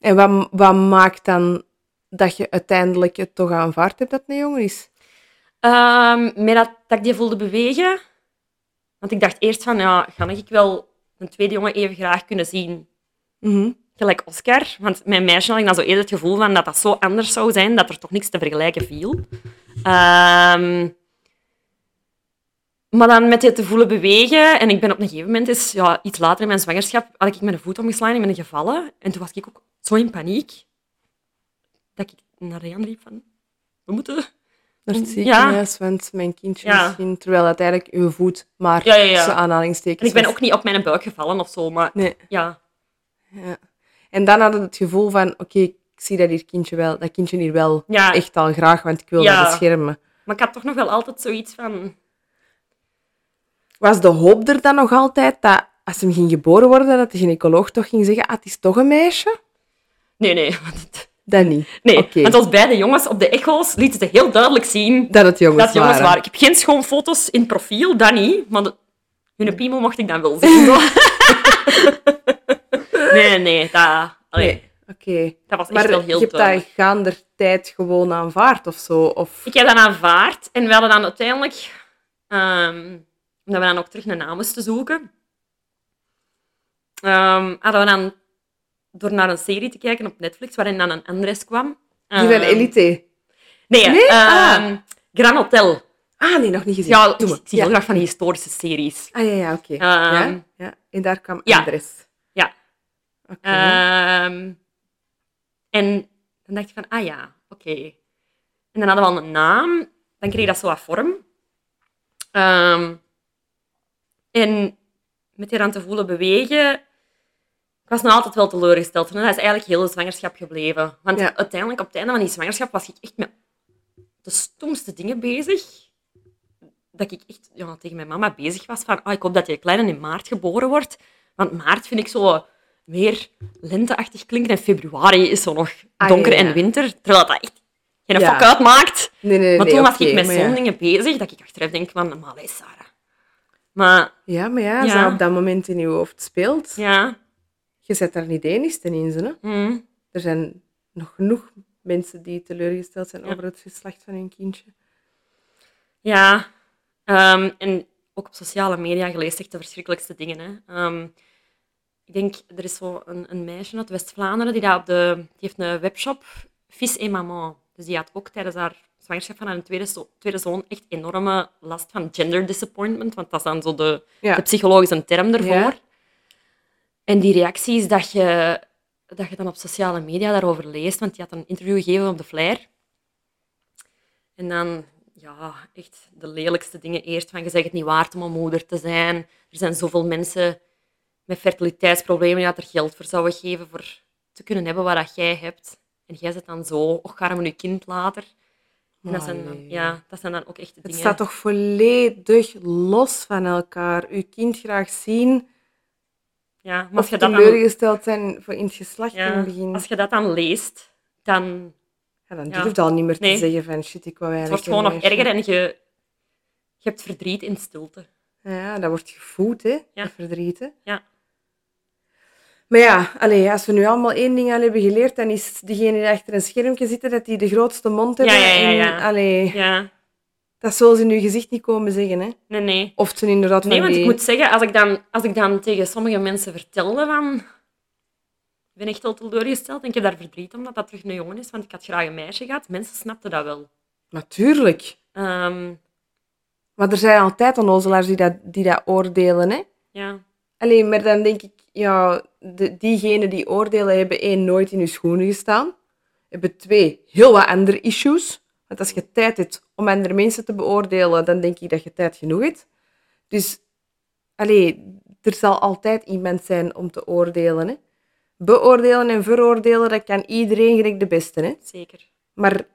[SPEAKER 1] En wat, wat maakt dan dat je uiteindelijk het toch aanvaard hebt dat het een jongen is?
[SPEAKER 2] Ehm, met dat, dat ik die voelde bewegen. Want ik dacht eerst van, ja, ga ik wel een tweede jongen even graag kunnen zien?
[SPEAKER 1] Mhm.
[SPEAKER 2] Gelijk Oscar. Want mijn meisje had ik dan zo eerder het gevoel van dat dat zo anders zou zijn, dat er toch niks te vergelijken viel. Ehm, maar dan met dit te voelen bewegen, en ik ben op een gegeven moment, is, ja, iets later in mijn zwangerschap, had ik mijn voet omgeslagen en ben ik gevallen. En toen was ik ook zo in paniek, dat ik naar Rian riep van, we moeten
[SPEAKER 1] naar het
[SPEAKER 2] Ja.
[SPEAKER 1] ziekenhuis, want mijn kindje
[SPEAKER 2] Ja.
[SPEAKER 1] misschien, terwijl uiteindelijk uw voet maar
[SPEAKER 2] Ja, ja, ja.
[SPEAKER 1] tussen aanhalingstekens
[SPEAKER 2] En ik ben
[SPEAKER 1] was.
[SPEAKER 2] ook niet op mijn buik gevallen of zo, maar
[SPEAKER 1] Nee.
[SPEAKER 2] ja.
[SPEAKER 1] Ja. En dan hadden we het gevoel van, oké, ik zie dat, hier kindje wel, dat kindje hier wel
[SPEAKER 2] ja.
[SPEAKER 1] echt al graag, want ik wil
[SPEAKER 2] Ja.
[SPEAKER 1] dat beschermen.
[SPEAKER 2] Maar ik had toch nog wel altijd zoiets van...
[SPEAKER 1] Was de hoop er dan nog altijd dat als hem ging geboren worden, dat de gynaecoloog toch ging zeggen, ah, het is toch een meisje?
[SPEAKER 2] Nee, nee. want het-
[SPEAKER 1] Dat niet.
[SPEAKER 2] Nee,
[SPEAKER 1] Oké.
[SPEAKER 2] want als beide jongens op de echo's lieten ze heel duidelijk zien
[SPEAKER 1] Dat het jongens,
[SPEAKER 2] dat jongens waren.
[SPEAKER 1] waren.
[SPEAKER 2] Ik heb geen schoonfoto's in profiel, dat niet. Maar de- hun piemel mocht ik dan wel zien. zo. nee, nee. Dat, allee,
[SPEAKER 1] Nee. Oké.
[SPEAKER 2] dat was echt
[SPEAKER 1] Maar
[SPEAKER 2] wel heel
[SPEAKER 1] je hebt
[SPEAKER 2] duidelijk.
[SPEAKER 1] dat gaander tijd gewoon aanvaard of zo? Of...
[SPEAKER 2] Ik heb dat aanvaard en we hadden dan uiteindelijk, ehm, omdat we dan ook terug naar naam moesten zoeken, ehm, hadden we dan door naar een serie te kijken op Netflix waarin dan een Andres kwam.
[SPEAKER 1] Die van
[SPEAKER 2] Ehm,
[SPEAKER 1] Elite.
[SPEAKER 2] Nee,
[SPEAKER 1] Nee?
[SPEAKER 2] ehm, Gran Hotel.
[SPEAKER 1] Ah, nee, nog niet gezien.
[SPEAKER 2] Ja,
[SPEAKER 1] Doe
[SPEAKER 2] ik
[SPEAKER 1] maar.
[SPEAKER 2] zie heel graag van die historische series.
[SPEAKER 1] Ah, ja, ja, oké.
[SPEAKER 2] Ehm.
[SPEAKER 1] ja? ja. En daar kwam
[SPEAKER 2] Ja.
[SPEAKER 1] Andres.
[SPEAKER 2] Ja.
[SPEAKER 1] Oké.
[SPEAKER 2] Ehm, en dan dacht ik van, ah ja, oké. En dan hadden we al een naam. Dan kreeg dat zo wat vorm. Ehm, en met die aan te voelen bewegen... Ik was nog altijd wel teleurgesteld. En dat is eigenlijk heel de zwangerschap gebleven. Want
[SPEAKER 1] Ja.
[SPEAKER 2] uiteindelijk, op het einde van die zwangerschap, was ik echt met de stomste dingen bezig. Dat ik echt ja, tegen mijn mama bezig was van, ah, ik hoop dat je kleine in maart geboren wordt. Want maart vind ik zo meer lenteachtig klinken en februari is zo nog
[SPEAKER 1] Ah,
[SPEAKER 2] donker
[SPEAKER 1] ja, ja.
[SPEAKER 2] en winter. Terwijl dat echt geen
[SPEAKER 1] Ja.
[SPEAKER 2] fok uitmaakt.
[SPEAKER 1] Nee, nee, nee.
[SPEAKER 2] Ehm, maar toen was
[SPEAKER 1] oké,
[SPEAKER 2] ik met
[SPEAKER 1] maar
[SPEAKER 2] zo'n
[SPEAKER 1] ja.
[SPEAKER 2] dingen bezig dat ik achteraf denk van, maar allee, Sarah. Maar
[SPEAKER 1] Ja, maar ja,
[SPEAKER 2] Ja.
[SPEAKER 1] als dat op dat moment in je hoofd speelt,
[SPEAKER 2] ja,
[SPEAKER 1] je zet daar niet de enigste in. Hè?
[SPEAKER 2] hm,
[SPEAKER 1] Er zijn nog genoeg mensen die teleurgesteld zijn
[SPEAKER 2] Ja.
[SPEAKER 1] over het geslacht van hun kindje.
[SPEAKER 2] ja. Ehm, en ook op sociale media gelezen echt de verschrikkelijkste dingen. Hè. Ehm, ik denk, er is zo een, een meisje uit West-Vlaanderen die, daar op de, die heeft een webshop, Fis et Maman. Dus die had ook tijdens haar zwangerschap van haar tweede, zo- tweede zoon echt enorme last van gender disappointment. Want dat is dan zo de,
[SPEAKER 1] Ja.
[SPEAKER 2] de psychologische term ervoor.
[SPEAKER 1] Ja.
[SPEAKER 2] En die reacties dat je, dat je dan op sociale media daarover leest, want die had een interview gegeven op de Flair. En dan, ja, echt de lelijkste dingen eerst. Van, je zegt het niet waard om een moeder te zijn. Er zijn zoveel mensen met fertiliteitsproblemen die dat er geld voor zouden geven voor te kunnen hebben wat dat jij hebt. En jij zit dan zo, och, ga maar je kind later. En dat, zijn dan,
[SPEAKER 1] Allee.
[SPEAKER 2] ja, dat zijn dan ook echt de
[SPEAKER 1] Het
[SPEAKER 2] dingen.
[SPEAKER 1] staat toch volledig los van elkaar. Uw kind graag zien
[SPEAKER 2] ja, maar als
[SPEAKER 1] of
[SPEAKER 2] je dat dan
[SPEAKER 1] teleurgesteld zijn voor in het geslacht
[SPEAKER 2] Ja,
[SPEAKER 1] in het begin.
[SPEAKER 2] Als je dat dan leest, dan
[SPEAKER 1] Ja, dan
[SPEAKER 2] Ja.
[SPEAKER 1] durf je al niet meer te
[SPEAKER 2] Nee.
[SPEAKER 1] zeggen van shit, ik wou
[SPEAKER 2] het
[SPEAKER 1] eigenlijk
[SPEAKER 2] wordt gewoon
[SPEAKER 1] een
[SPEAKER 2] nog
[SPEAKER 1] meisje.
[SPEAKER 2] erger en je, je hebt verdriet in stilte.
[SPEAKER 1] Ja, dat wordt gevoed, hè?
[SPEAKER 2] Ja.
[SPEAKER 1] Dat verdriet, hè?
[SPEAKER 2] Ja.
[SPEAKER 1] Maar ja, allee, als we nu allemaal één ding al hebben geleerd, dan is degene die achter een schermpje zitten, dat die de grootste mond
[SPEAKER 2] Ja,
[SPEAKER 1] hebben.
[SPEAKER 2] ja, ja, ja.
[SPEAKER 1] En, allee,
[SPEAKER 2] Ja,
[SPEAKER 1] dat zullen ze in je gezicht niet komen zeggen, hè?
[SPEAKER 2] nee, nee.
[SPEAKER 1] Of ze inderdaad
[SPEAKER 2] Nee,
[SPEAKER 1] van
[SPEAKER 2] want ik
[SPEAKER 1] die-
[SPEAKER 2] moet zeggen, als ik dan, als ik dan tegen sommige mensen vertelde van... Ik ben echt al teleurgesteld en ik heb daar verdriet om dat dat terug een jongen is, want ik had graag een meisje gehad. Mensen snapten dat wel.
[SPEAKER 1] Natuurlijk.
[SPEAKER 2] Ehm,
[SPEAKER 1] Maar er zijn altijd onnozelaars die dat, die dat oordelen, hè?
[SPEAKER 2] ja.
[SPEAKER 1] Alleen, maar dan denk ik, ja, de, diegenen die oordelen hebben één, nooit in je schoenen gestaan. Hebben twee, heel wat andere issues. Want als je tijd hebt om andere mensen te beoordelen, dan denk ik dat je tijd genoeg hebt. Dus, allee, er zal altijd iemand zijn om te oordelen. Hè? Beoordelen en veroordelen, dat kan iedereen gelijk de beste. Hè?
[SPEAKER 2] Zeker.
[SPEAKER 1] Maar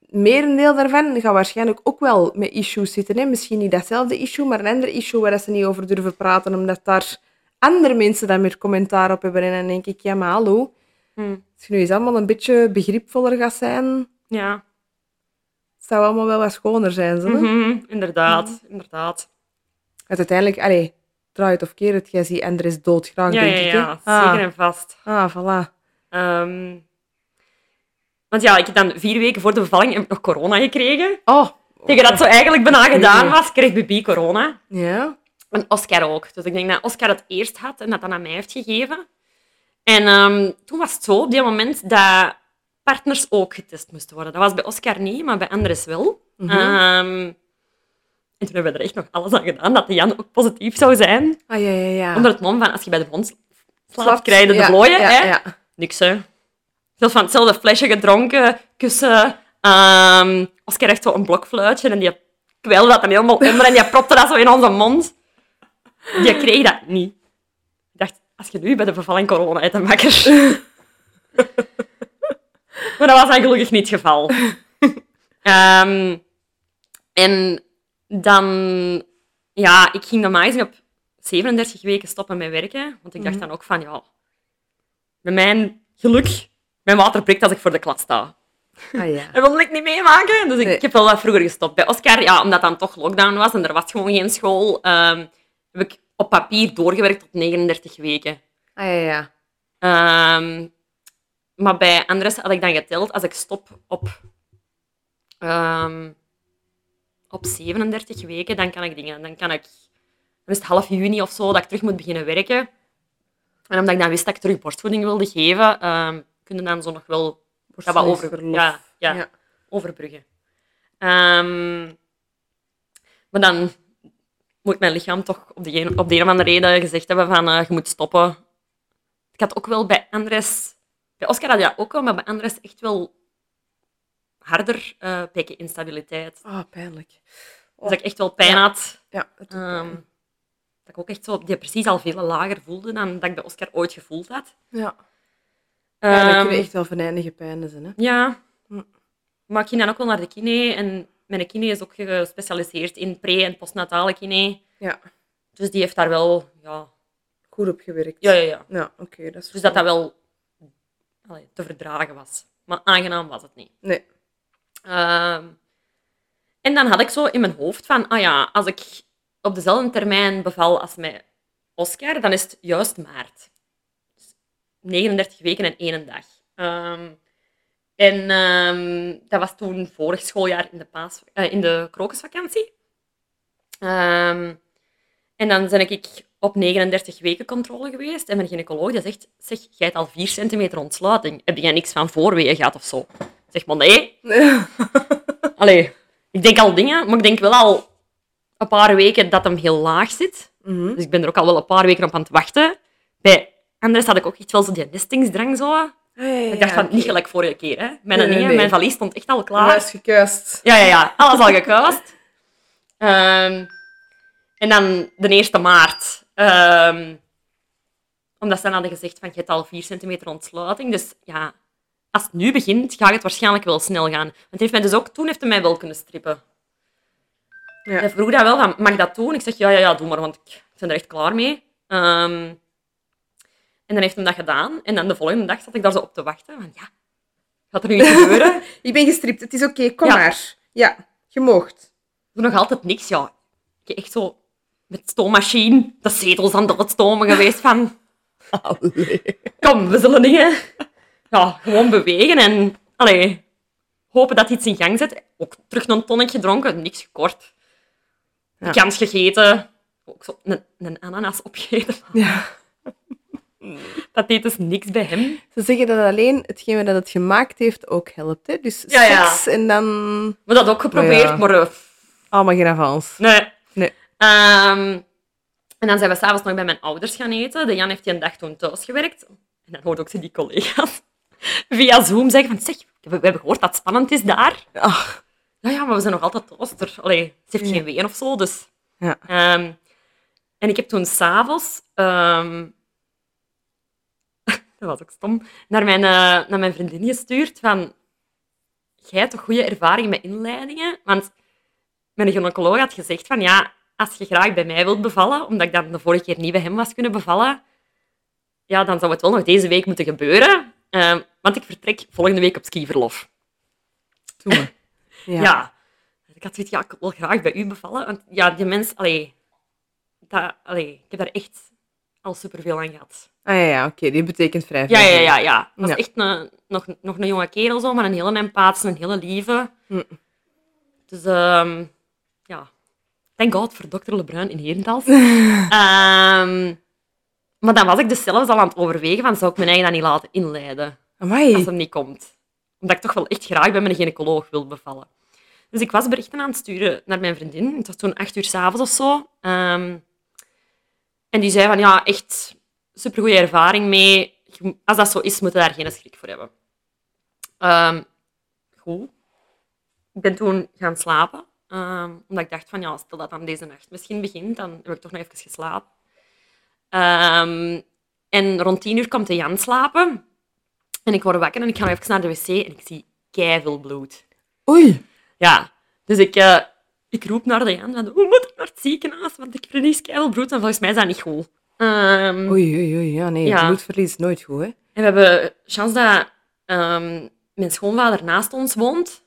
[SPEAKER 1] merendeel daarvan gaat waarschijnlijk ook wel met issues zitten. Hè? Misschien niet datzelfde issue, maar een ander issue waar dat ze niet over durven praten, omdat daar andere mensen dan meer commentaar op hebben. En dan denk ik, ja, maar hallo,
[SPEAKER 2] Hm,
[SPEAKER 1] als je nu eens allemaal een beetje begripvoller gaat zijn,
[SPEAKER 2] Ja,
[SPEAKER 1] het zou allemaal wel wat schoner zijn. Zo, hè?
[SPEAKER 2] Mhm, inderdaad. Inderdaad.
[SPEAKER 1] Want uiteindelijk, allee, draai het of keer het, jij ziet Andres doodgraag,
[SPEAKER 2] Ja,
[SPEAKER 1] denk
[SPEAKER 2] ja,
[SPEAKER 1] ik. Hè?
[SPEAKER 2] ja.
[SPEAKER 1] Ah,
[SPEAKER 2] Zeker en vast.
[SPEAKER 1] ah, voilà.
[SPEAKER 2] Ehm, want ja, ik heb dan vier weken voor de bevalling heb ik nog corona gekregen.
[SPEAKER 1] Oh,
[SPEAKER 2] Tegen dat zo eigenlijk bijna gedaan was, kreeg Bibi corona.
[SPEAKER 1] ja.
[SPEAKER 2] En Oscar ook. Dus ik denk dat Oscar het eerst had en dat dat aan mij heeft gegeven. En ehm, toen was het zo op dat moment dat partners ook getest moesten worden. Dat was bij Oscar niet, maar bij Andres wel.
[SPEAKER 1] Mhm.
[SPEAKER 2] Ehm, en toen hebben we er echt nog alles aan gedaan dat de Jan ook positief zou zijn.
[SPEAKER 1] Ah, ja, ja, ja.
[SPEAKER 2] Onder het mom van als je bij de hond slaapt,
[SPEAKER 1] Slaap-
[SPEAKER 2] krijg je de
[SPEAKER 1] ja,
[SPEAKER 2] vlooien.
[SPEAKER 1] ja,
[SPEAKER 2] hè?
[SPEAKER 1] ja.
[SPEAKER 2] Niks, hè. Zelfs van hetzelfde flesje gedronken, kussen, Ehm als ik echt zo een blokfluitje en die kwijlde dat dan helemaal onder en die propte dat zo in onze mond. Die kreeg dat niet. Ik dacht, als je nu bij de vervalling corona uit de makker. maar dat was dan gelukkig niet het geval. Ehm, en dan... Ja, ik ging normaal gezien op 37 weken stoppen met werken. Want ik dacht dan ook van, ja... Bij mijn geluk, mijn water prikt als ik voor de klas sta.
[SPEAKER 3] Ah, ja.
[SPEAKER 2] Dat wilde ik niet meemaken. Dus ik,
[SPEAKER 3] Nee.
[SPEAKER 2] ik heb wel wat vroeger gestopt bij Oscar. Ja, omdat dan toch lockdown was en er was gewoon geen school. ehm, heb ik op papier doorgewerkt tot 39 weken.
[SPEAKER 3] Ah, ja, ja.
[SPEAKER 2] Ehm, maar bij Andres had ik dan geteld als ik stop op, ehm, op 37 weken, dan kan ik dingen. Dan kan ik. Dan is het half juni of zo dat ik terug moet beginnen werken. En omdat ik dan wist dat ik terug borstvoeding wilde geven, ehm kunnen dan zo nog wel dat wat over,
[SPEAKER 1] Borstvoedingsverlof.
[SPEAKER 2] ja, ja,
[SPEAKER 3] Ja.
[SPEAKER 2] overbruggen. Ehm, maar dan moet mijn lichaam toch op de een, op de een of andere reden gezegd hebben van eh, je moet stoppen. Ik had ook wel bij Andres... Bij Oscar had je dat ook wel, maar bij Andres echt wel harder eh pikken instabiliteit.
[SPEAKER 3] Ah, pijnlijk.
[SPEAKER 2] Dus dat ik echt wel pijn had.
[SPEAKER 3] Ja, dat doet
[SPEAKER 2] Ehm,
[SPEAKER 3] pijn.
[SPEAKER 2] dat ik ook echt zo die precies al veel lager voelde dan dat ik bij Oscar ooit gevoeld had.
[SPEAKER 1] Ja.
[SPEAKER 2] Ehm,
[SPEAKER 1] dat kunnen echt wel venijnige pijnen zijn. dus, Hè?
[SPEAKER 2] Ja.
[SPEAKER 1] Hm.
[SPEAKER 2] Maar ik ging dan ook wel naar de kine. En mijn kine is ook gespecialiseerd in pre- en postnatale kine.
[SPEAKER 1] Ja.
[SPEAKER 2] Dus die heeft daar wel... Ja,
[SPEAKER 1] Goed opgewerkt.
[SPEAKER 2] ja, ja. ja.
[SPEAKER 1] Ja, oké, dat is
[SPEAKER 2] Dus dat
[SPEAKER 1] goed.
[SPEAKER 2] dat wel allee, te verdragen was. Maar aangenaam was het niet.
[SPEAKER 1] Nee.
[SPEAKER 2] Ehm, en dan had ik zo in mijn hoofd van... Ah ja, als ik op dezelfde termijn beval als met Oscar, dan is het juist maart. Dus 39 weken en één dag. Ehm, en ehm, dat was toen vorig schooljaar in de, paas, eh, in de krokusvakantie. Ehm, en dan ben ik op 39 weken controle geweest. En mijn gynaecoloog die zegt, zeg, jij hebt al 4 centimeter ontsluiting. Heb jij niks van voorweeën gehad of zo? Ik Zeg maar nee. Allee, ik denk al dingen, maar ik denk wel al een paar weken dat hem heel laag zit.
[SPEAKER 1] Mhm.
[SPEAKER 2] Dus ik ben er ook al wel een paar weken op aan het wachten. Bij Anders had ik ook echt wel zo die nestingsdrang zo.
[SPEAKER 1] Ah, ja, ja,
[SPEAKER 2] Ik dacht
[SPEAKER 1] ja,
[SPEAKER 2] van,
[SPEAKER 1] oké.
[SPEAKER 2] niet gelijk vorige keer. Hè. Mijn,
[SPEAKER 1] Nee, nee,
[SPEAKER 2] dingen,
[SPEAKER 1] nee.
[SPEAKER 2] mijn valies stond echt al klaar.
[SPEAKER 1] Maar is gekuist.
[SPEAKER 2] Ja, ja, ja. Alles al gekuist. Ehm, en dan de 1e maart. Ehm, omdat ze dan hadden gezegd van, je hebt al 4 centimeter ontsluiting. Dus ja, als het nu begint, gaat het waarschijnlijk wel snel gaan. Want het heeft mij dus ook, toen heeft hij mij wel kunnen strippen.
[SPEAKER 1] Ja.
[SPEAKER 2] Hij vroeg dat wel, van, mag ik dat doen? Ik zeg, ja, ja, ja, doe maar, want ik ben er echt klaar mee. Ehm, en dan heeft hij dat gedaan. En dan de volgende dag zat ik daar zo op te wachten. Van, ja, gaat er nu iets gebeuren?
[SPEAKER 1] Ik ben gestript, het is oké, kom
[SPEAKER 2] Ja.
[SPEAKER 1] maar. Ja, je moogt.
[SPEAKER 2] doe nog altijd niks, ja. Ik heb echt zo met stoommachine de zetels aan het stomen geweest van... Kom, we zullen dingen... Ja, gewoon bewegen en... Allee, hopen dat iets in gang zet. Ook terug een tonnetje gedronken, niks gekort. De
[SPEAKER 1] Ja.
[SPEAKER 2] kans gegeten. Ook zo een, een ananas opgegeten.
[SPEAKER 1] Ja.
[SPEAKER 2] Dat deed dus niks bij hem.
[SPEAKER 1] Ze zeggen dat alleen hetgeen dat het gemaakt heeft ook helpt. Hè? Dus
[SPEAKER 2] Ja, ja.
[SPEAKER 1] seks en dan...
[SPEAKER 2] We dat ook geprobeerd,
[SPEAKER 1] Ja.
[SPEAKER 2] maar... eh,
[SPEAKER 1] Allemaal geen avans.
[SPEAKER 2] Nee.
[SPEAKER 1] Nee.
[SPEAKER 2] Ehm, en dan zijn we s'avonds nog bij mijn ouders gaan eten. De Jan heeft die een dag toen thuis gewerkt. En dan hoorde ook ze die collega's via Zoom zeggen van... Zeg, we, we hebben gehoord dat het spannend is daar.
[SPEAKER 1] Ach,
[SPEAKER 2] Ja, ja, maar we zijn nog altijd thuis. Er- Allee, ze heeft geen ween of zo, dus...
[SPEAKER 1] Ja.
[SPEAKER 2] Ehm, en ik heb toen s'avonds... ehm dat was ook stom. Naar mijn, eh, naar mijn vriendin gestuurd van... Jij hebt toch goede ervaring met inleidingen? Want mijn gynaecoloog had gezegd van... Ja, als je graag bij mij wilt bevallen, omdat ik dan de vorige keer niet bij hem was kunnen bevallen... Ja, dan zou het wel nog deze week moeten gebeuren. Ehm, want ik vertrek volgende week op skiverlof.
[SPEAKER 3] Doe maar.
[SPEAKER 1] Ja.
[SPEAKER 2] Ja. Ik had zoiets, ja, ik wil graag bij u bevallen. Want ja, die mens, allee, dat, allee, ik heb daar echt al superveel aan gehad.
[SPEAKER 1] Ah ja, ja oké, die betekent vrij veel.
[SPEAKER 2] Ja, ja, ja. ja. Dat was
[SPEAKER 1] Ja.
[SPEAKER 2] echt een, nog, nog een jonge kerel, zo, maar een hele empathie, een hele lieve.
[SPEAKER 1] Mm.
[SPEAKER 2] Dus, ehm, ja. Thank god voor dokter Lebruin in Herentals. Ehm, maar dan was ik dus zelfs al aan het overwegen van, zou ik mijn eigen dan niet laten inleiden? als
[SPEAKER 1] Amai.
[SPEAKER 2] hem niet komt. Omdat ik toch wel echt graag bij mijn gynaecoloog wil bevallen. Dus ik was berichten aan het sturen naar mijn vriendin. Het was toen acht uur s'avonds of zo. Ehm, en die zei van, ja, echt supergoeie ervaring mee. Je moet- Als dat zo is, moet je daar geen schrik voor hebben. Ehm, goed. ik ben toen gaan slapen. ehm, omdat ik dacht van, ja, stel dat dan deze nacht misschien begint, dan heb ik toch nog even geslapen. Ehm, en rond tien uur komt de Jan slapen. En ik word wakker en ik ga nog even naar de wc en ik zie keiveel bloed.
[SPEAKER 1] Oei.
[SPEAKER 2] Ja, dus ik, eh, ik roep naar de Jan, van, hoe moet ik naar het ziekenhuis? Want ik verlies keiveel bloed en volgens mij is dat niet goed. Ehm,
[SPEAKER 1] Oei, oei, oei. Ja, nee,
[SPEAKER 2] Ja.
[SPEAKER 1] bloedverlies is nooit goed, hè.
[SPEAKER 2] en we hebben chance dat ehm, mijn schoonvader naast ons woont.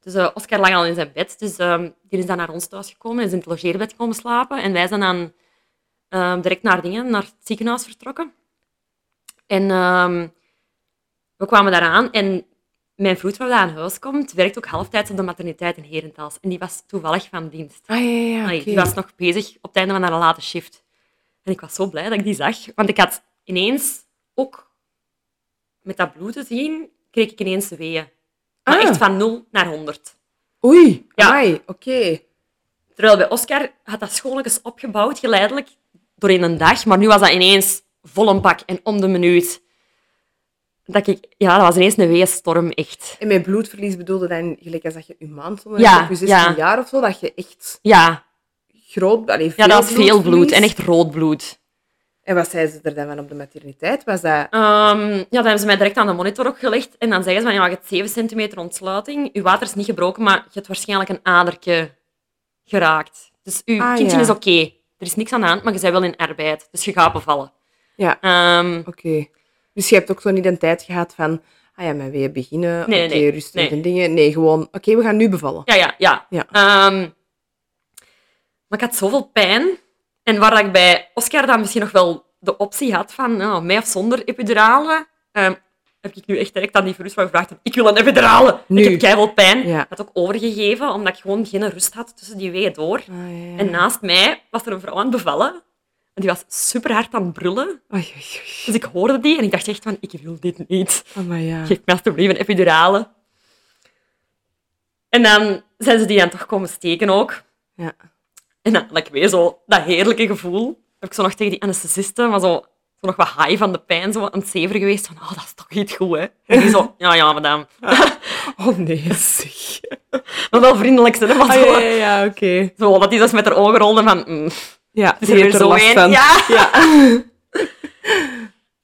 [SPEAKER 2] Dus eh, Oscar lag al in zijn bed. Dus ehm, die is dan naar ons thuis gekomen, is in het logeerbed komen slapen. En wij zijn dan ehm, direct naar, dingen, naar het ziekenhuis vertrokken. En ehm, we kwamen daaraan en mijn vroed waar we aan huis komt, werkt ook halftijds op de materniteit in Herentals. En die was toevallig van dienst.
[SPEAKER 1] Ah, ja, ja,
[SPEAKER 2] Allee,
[SPEAKER 1] oké.
[SPEAKER 2] Die was nog bezig op het einde van haar late shift. En ik was zo blij dat ik die zag. Want ik had ineens ook met dat bloed te zien, kreeg ik ineens weeën. Maar
[SPEAKER 1] Ah.
[SPEAKER 2] echt van 0 naar 100.
[SPEAKER 1] Oei,
[SPEAKER 2] Ja.
[SPEAKER 1] amai, oké.
[SPEAKER 2] Terwijl bij Oscar had dat schoonlijkens opgebouwd, geleidelijk, door in een dag. Maar nu was dat ineens vol een pak en om de minuut. Dat ik, ja, dat was ineens een weeënstorm, echt.
[SPEAKER 1] En met bloedverlies bedoelde dan, gelijk als dat je je maand onder
[SPEAKER 2] Ja,
[SPEAKER 1] hebt, op je 16
[SPEAKER 2] ja.
[SPEAKER 1] jaar of zo, dat je echt
[SPEAKER 2] Ja,
[SPEAKER 1] groot... Allee,
[SPEAKER 2] ja
[SPEAKER 1] veel
[SPEAKER 2] dat was veel bloed
[SPEAKER 1] bloedverlies.
[SPEAKER 2] en echt rood bloed.
[SPEAKER 1] En wat zei ze er dan van op de materniteit? Was dat...
[SPEAKER 2] Ehm, ja, dan hebben ze mij direct aan de monitor ook gelegd. En dan zeggen ze van, ja, je hebt 7 centimeter ontsluiting. Je water is niet gebroken, maar je hebt waarschijnlijk een adertje geraakt. Dus je
[SPEAKER 1] Ah,
[SPEAKER 2] kindje
[SPEAKER 1] ja.
[SPEAKER 2] is oké. Er is niks aan de hand, maar je bent wel in arbeid. Dus je gaat bevallen.
[SPEAKER 1] Ja.
[SPEAKER 2] Ehm,
[SPEAKER 1] Oké. Dus je hebt ook zo niet een tijd gehad van... Ah ja, maar weer beginnen.
[SPEAKER 2] Nee,
[SPEAKER 1] oké,
[SPEAKER 2] nee,
[SPEAKER 1] rustig
[SPEAKER 2] nee.
[SPEAKER 1] en dingen. Nee, gewoon... Oké, we gaan nu bevallen.
[SPEAKER 2] ja, ja, ja.
[SPEAKER 1] Ja.
[SPEAKER 2] Ehm, maar ik had zoveel pijn. En waar dat ik bij Oscar dan misschien nog wel de optie had van, nou, mij of zonder epidurale, ehm, heb ik nu echt direct aan die verrust gevraagd. Ik wil een epidurale.
[SPEAKER 1] Nu.
[SPEAKER 2] Ik heb keihard pijn.
[SPEAKER 1] Ja.
[SPEAKER 2] Ik had ook overgegeven, omdat ik gewoon geen rust had tussen die weeën door.
[SPEAKER 1] Ah, ja.
[SPEAKER 2] En naast mij was er een vrouw aan het bevallen. En die was super hard aan het brullen.
[SPEAKER 1] Oei, oei, oei.
[SPEAKER 2] Dus ik hoorde die en ik dacht echt van, ik wil dit niet.
[SPEAKER 1] Oh, maar ja.
[SPEAKER 2] Geef me alsjeblieft een epidurale. En dan zijn ze die dan toch komen steken ook.
[SPEAKER 1] Ja.
[SPEAKER 2] En dan had ik weer zo dat heerlijke gevoel. Heb ik zo nog tegen die anesthesiste, maar zo, zo nog wat high van de pijn, zo aan het zever geweest. Van, oh, dat is toch iets goed, hè? En die zo, ja, ja, madame.
[SPEAKER 1] Oh, nee, zeg.
[SPEAKER 2] Maar wel vriendelijk zijn, hè, maar
[SPEAKER 1] Ah,
[SPEAKER 2] zo,
[SPEAKER 1] ja, ja, ja, oké.
[SPEAKER 2] zo, dat die Oh, dus met haar ogen rolde van, mm,
[SPEAKER 1] Ja,
[SPEAKER 2] is er weer zo een. Ja.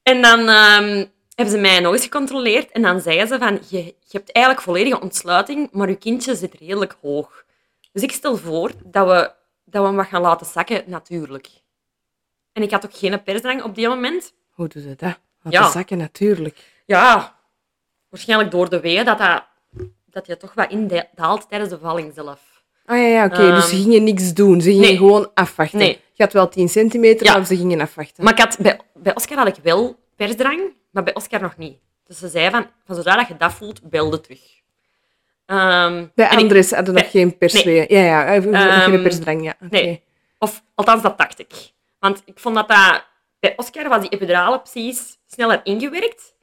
[SPEAKER 2] En dan ehm, hebben ze mij nog eens gecontroleerd en dan zeiden ze van, je, je hebt eigenlijk volledige ontsluiting, maar je kindje zit redelijk hoog. Dus ik stel voor dat we, dat we hem wat gaan laten zakken, natuurlijk. En ik had ook geen persdrang op die moment.
[SPEAKER 1] Hoe doet het dat? Laat
[SPEAKER 2] Ja.
[SPEAKER 1] de zakken, natuurlijk.
[SPEAKER 2] Ja, waarschijnlijk door de weeën dat dat, dat je toch wat indaalt tijdens de valling zelf.
[SPEAKER 1] Ah ja, ja oké. dus ze
[SPEAKER 2] Ehm,
[SPEAKER 1] gingen niks doen. Ze gingen
[SPEAKER 2] nee.
[SPEAKER 1] gewoon afwachten.
[SPEAKER 2] Nee.
[SPEAKER 1] Je had wel 10 centimeter,
[SPEAKER 2] Ja.
[SPEAKER 1] maar ze gingen afwachten.
[SPEAKER 2] Maar ik had, bij, bij Oscar had ik wel persdrang, maar bij Oscar nog niet. Dus ze zei van, van zodra dat je dat voelt, belde terug. Ehm,
[SPEAKER 1] Bij
[SPEAKER 2] en ik-
[SPEAKER 1] Andres hadden nog
[SPEAKER 2] Nee.
[SPEAKER 1] geen persweeën. Ja, ja, eh, geen
[SPEAKER 2] Ehm,
[SPEAKER 1] persdrang, ja. oké.
[SPEAKER 2] nee. Of althans, dat dacht ik. Want ik vond dat, dat bij Oscar was die epidurale precies sneller ingewerkt.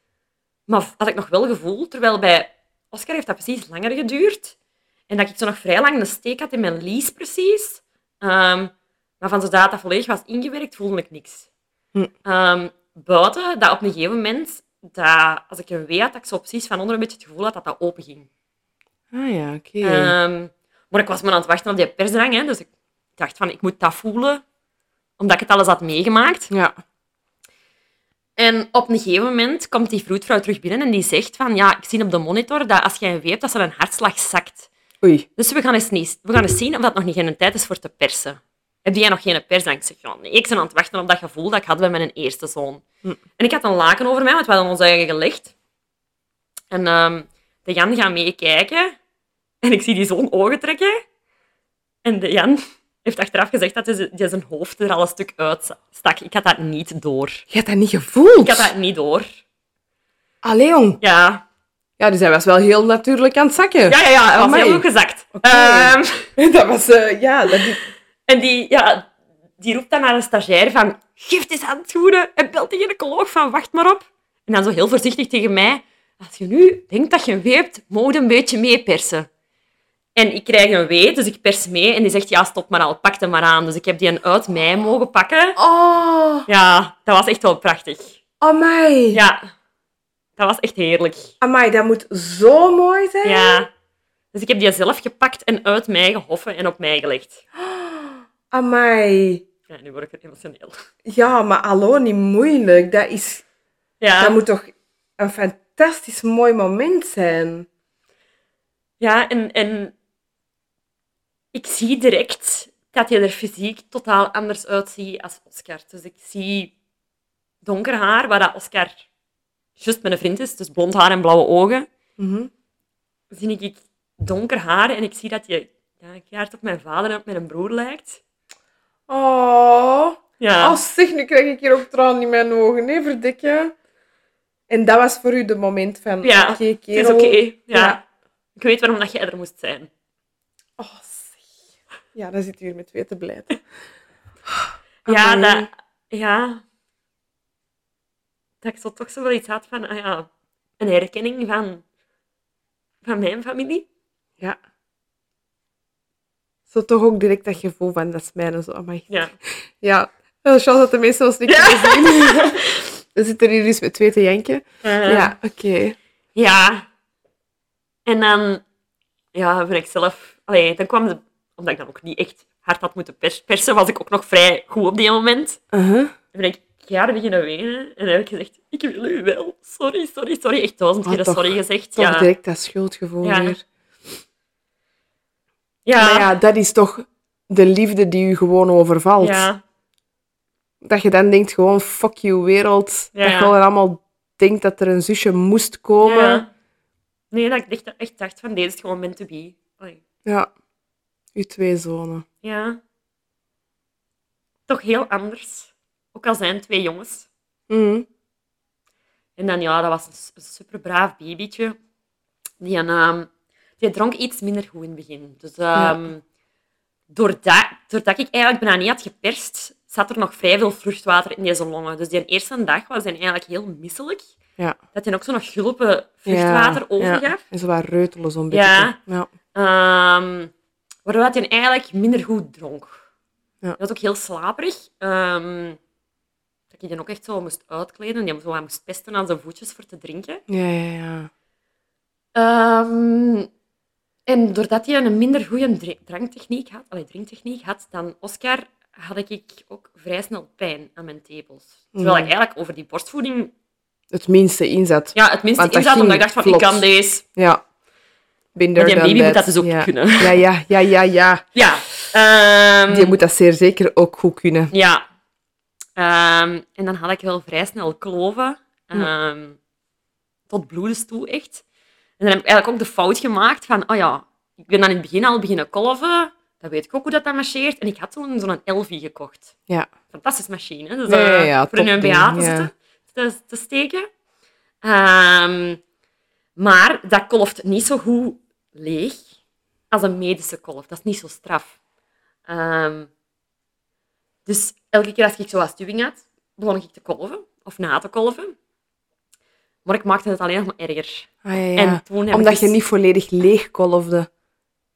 [SPEAKER 2] Maar had ik nog wel gevoel, terwijl bij Oscar heeft dat precies langer geduurd. En dat ik zo nog vrij lang een steek had in mijn lies precies. Ehm, maar van zodra dat volledig was ingewerkt, voelde ik niks.
[SPEAKER 1] Hm.
[SPEAKER 2] Ehm, buiten dat op een gegeven moment, dat, als ik een wee had, dat ik zo precies van onder een beetje het gevoel had dat dat open ging.
[SPEAKER 1] Ah ja, oké.
[SPEAKER 2] Ehm, maar ik was maar aan het wachten op die persdrang, hè, dus ik dacht van, ik moet dat voelen, omdat ik het alles had meegemaakt.
[SPEAKER 1] ja.
[SPEAKER 2] En op een gegeven moment komt die vroedvrouw terug binnen en die zegt van, ja, ik zie op de monitor dat als jij een weept, dat ze een hartslag zakt.
[SPEAKER 1] Oei.
[SPEAKER 2] Dus we gaan, eens, niet- we gaan eens zien of dat nog geen tijd is voor te persen. Heb jij nog geen persdrang? Ik zeg, ja, nee, ik ben aan het wachten op dat gevoel dat ik had bij mijn eerste zoon.
[SPEAKER 1] Hm.
[SPEAKER 2] En ik had een laken over mij, want we hadden ons eigen gelegd. En ehm, de Jan gaat meekijken. En ik zie die zoon ogen trekken. En de Jan heeft achteraf gezegd dat hij z- dat zijn hoofd er al een stuk uit stak. Ik had dat niet door.
[SPEAKER 1] Je had dat niet gevoeld?
[SPEAKER 2] Ik had dat niet door.
[SPEAKER 1] Allee, jong.
[SPEAKER 2] Ja,
[SPEAKER 1] Ja, dus hij was wel heel natuurlijk aan het zakken.
[SPEAKER 2] ja, ja, ja hij was
[SPEAKER 1] Amai.
[SPEAKER 2] heel goed gezakt.
[SPEAKER 1] Oké.
[SPEAKER 2] Ehm,
[SPEAKER 1] Dat was... eh, ja, dat...
[SPEAKER 2] En die, ja, die roept dan naar een stagiair van... Geef eens handschoenen en belt de gynaecoloog van wacht maar op. En dan zo heel voorzichtig tegen mij... Als je nu denkt dat je een wee hebt, moet je een beetje meepersen. En ik krijg een wee, dus ik pers mee. En die zegt, ja, stop maar al, pak hem maar aan. Dus ik heb die een uit mij mogen pakken.
[SPEAKER 1] Oh,
[SPEAKER 2] Ja, dat was echt wel prachtig.
[SPEAKER 1] amai.
[SPEAKER 2] Ja, dat was echt heerlijk.
[SPEAKER 1] Amai, dat moet zo mooi zijn.
[SPEAKER 2] Ja. Dus ik heb die zelf gepakt en uit mij gehoffen en op mij gelegd.
[SPEAKER 1] Amai.
[SPEAKER 2] Ja, nu word ik er emotioneel.
[SPEAKER 1] Ja, maar hallo, niet moeilijk. Dat, is,
[SPEAKER 2] Ja,
[SPEAKER 1] dat moet toch een fantastisch mooi moment zijn.
[SPEAKER 2] ja en, en ik zie direct dat je er fysiek totaal anders uitziet als Oscar. Dus ik zie donker haar, waar dat Oscar juist mijn vriend is, dus blond haar en blauwe ogen.
[SPEAKER 1] Mhm.
[SPEAKER 2] zie ik, ik donker haar en ik zie dat je ja, keihard op mijn vader en op mijn broer lijkt.
[SPEAKER 1] Oh.
[SPEAKER 2] Ja.
[SPEAKER 1] Oh, zeg, nu krijg ik hier ook tranen in mijn ogen. Nee, verdikken. En dat was voor u de moment van...
[SPEAKER 2] Ja,
[SPEAKER 1] oké,
[SPEAKER 2] het is
[SPEAKER 1] kerel.
[SPEAKER 2] oké. Ja.
[SPEAKER 1] Ja.
[SPEAKER 2] Ik weet waarom dat jij er moest zijn.
[SPEAKER 1] Oh, zeg. Ja, dan zit u hier met twee te blijven.
[SPEAKER 2] Ja,
[SPEAKER 1] Amai.
[SPEAKER 2] dat, ja, dat ik zo toch zo wel iets had van, ah ja, een herkenning van, van mijn familie.
[SPEAKER 1] Ja. Zo toch ook direct dat gevoel van, dat is mijn en zo. Amai.
[SPEAKER 2] Ja.
[SPEAKER 1] Ja, wel chance dat de mensen ons niet kunnen zien. We zitten hier dus met twee te janken.
[SPEAKER 2] Uh-huh.
[SPEAKER 1] ja, oké.
[SPEAKER 2] Ja. En dan, ja, vind ik zelf... Allee, dan kwam de... Omdat ik dan ook niet echt hard had moeten pers- persen, was ik ook nog vrij goed op die moment.
[SPEAKER 1] Uh-huh.
[SPEAKER 2] Dan ben ik keihard beginnen wenen. En dan heb ik gezegd, ik wil u wel. Sorry, sorry, sorry. Echt duizend
[SPEAKER 1] Ah,
[SPEAKER 2] keer
[SPEAKER 1] toch.
[SPEAKER 2] sorry gezegd.
[SPEAKER 1] Toch
[SPEAKER 2] ja.
[SPEAKER 1] direct dat schuldgevoel
[SPEAKER 2] Ja.
[SPEAKER 1] weer. Maar
[SPEAKER 2] Ja.
[SPEAKER 1] ja, dat is toch de liefde die u gewoon overvalt.
[SPEAKER 2] Ja.
[SPEAKER 1] Dat je dan denkt, gewoon fuck you wereld.
[SPEAKER 2] Ja.
[SPEAKER 1] Dat je gewoon allemaal denkt dat er een zusje moest komen. Ja.
[SPEAKER 2] ja. Nee, dat ik echt, echt dacht van, deze is gewoon meant to be. Allee,
[SPEAKER 1] Uw twee zonen.
[SPEAKER 2] Ja. Toch heel anders. Ook al zijn het twee jongens.
[SPEAKER 1] Mhm.
[SPEAKER 2] En dan, ja, dat was een, s- een superbraaf babytje. Die, een, ehm, die dronk iets minder goed in het begin. Dus ehm, doordat, doordat ik eigenlijk bijna niet had geperst, zat er nog vrij veel vruchtwater in deze longen. Dus die eerste dag was hij eigenlijk heel misselijk.
[SPEAKER 1] Ja.
[SPEAKER 2] Dat hij ook zo nog gulpen vruchtwater
[SPEAKER 1] ja.
[SPEAKER 2] overgaf.
[SPEAKER 1] En zo wat reutelen zo'n beetje.
[SPEAKER 2] Ja.
[SPEAKER 1] Ja.
[SPEAKER 2] Ehm, waardoor dat hij eigenlijk minder goed dronk.
[SPEAKER 1] Ja.
[SPEAKER 2] Dat was ook heel slaperig. Ehm, dat ik die ook echt zo moest uitkleden. Die hem zo wat moest pesten aan zijn voetjes voor te drinken.
[SPEAKER 1] Ja, ja, ja.
[SPEAKER 2] Ehm, en doordat hij een minder goede dr- dranktechniek had, allee, drinktechniek had dan Oscar, had ik ook vrij snel pijn aan mijn tepels. Terwijl
[SPEAKER 1] Mm.
[SPEAKER 2] ik eigenlijk over die borstvoeding
[SPEAKER 1] Het minste inzet.
[SPEAKER 2] ja, het minste
[SPEAKER 1] Want dat
[SPEAKER 2] in zat,
[SPEAKER 1] ging
[SPEAKER 2] omdat ik dacht van,
[SPEAKER 1] vlot.
[SPEAKER 2] ik kan deze.
[SPEAKER 1] Ja. Binder
[SPEAKER 2] Maar die
[SPEAKER 1] dan
[SPEAKER 2] baby moet dat dus ook
[SPEAKER 1] ja.
[SPEAKER 2] kunnen.
[SPEAKER 1] Ja, ja, ja, ja, ja.
[SPEAKER 2] Ja. ehm,
[SPEAKER 1] Die moet dat zeer zeker ook goed kunnen.
[SPEAKER 2] Ja. Ehm, en dan had ik wel vrij snel kloven. ehm, Tot bloedens toe, echt. En dan heb ik eigenlijk ook de fout gemaakt van... Oh ja, ik ben dan in het begin al beginnen kolven. Dan weet ik ook hoe dat, dat marcheert. En ik had toen zo'n Elvi gekocht.
[SPEAKER 1] Ja.
[SPEAKER 2] Fantastische machine. hè. Dus,
[SPEAKER 1] Ja, ja,
[SPEAKER 2] eh,
[SPEAKER 1] ja,
[SPEAKER 2] voor in een
[SPEAKER 1] topding,
[SPEAKER 2] BH
[SPEAKER 1] ja.
[SPEAKER 2] te, zitten, te, te steken. Ehm, maar dat kolft niet zo goed leeg als een medische kolf. Dat is niet zo straf. Ehm, dus elke keer als ik zo wat stuwing had, begon ik te kolven. Of na te kolven. Maar ik maakte het alleen nog maar erger.
[SPEAKER 1] Ah, ja, ja.
[SPEAKER 2] En toen heb ik
[SPEAKER 1] Omdat je
[SPEAKER 2] dus-
[SPEAKER 1] niet volledig leegkolfde.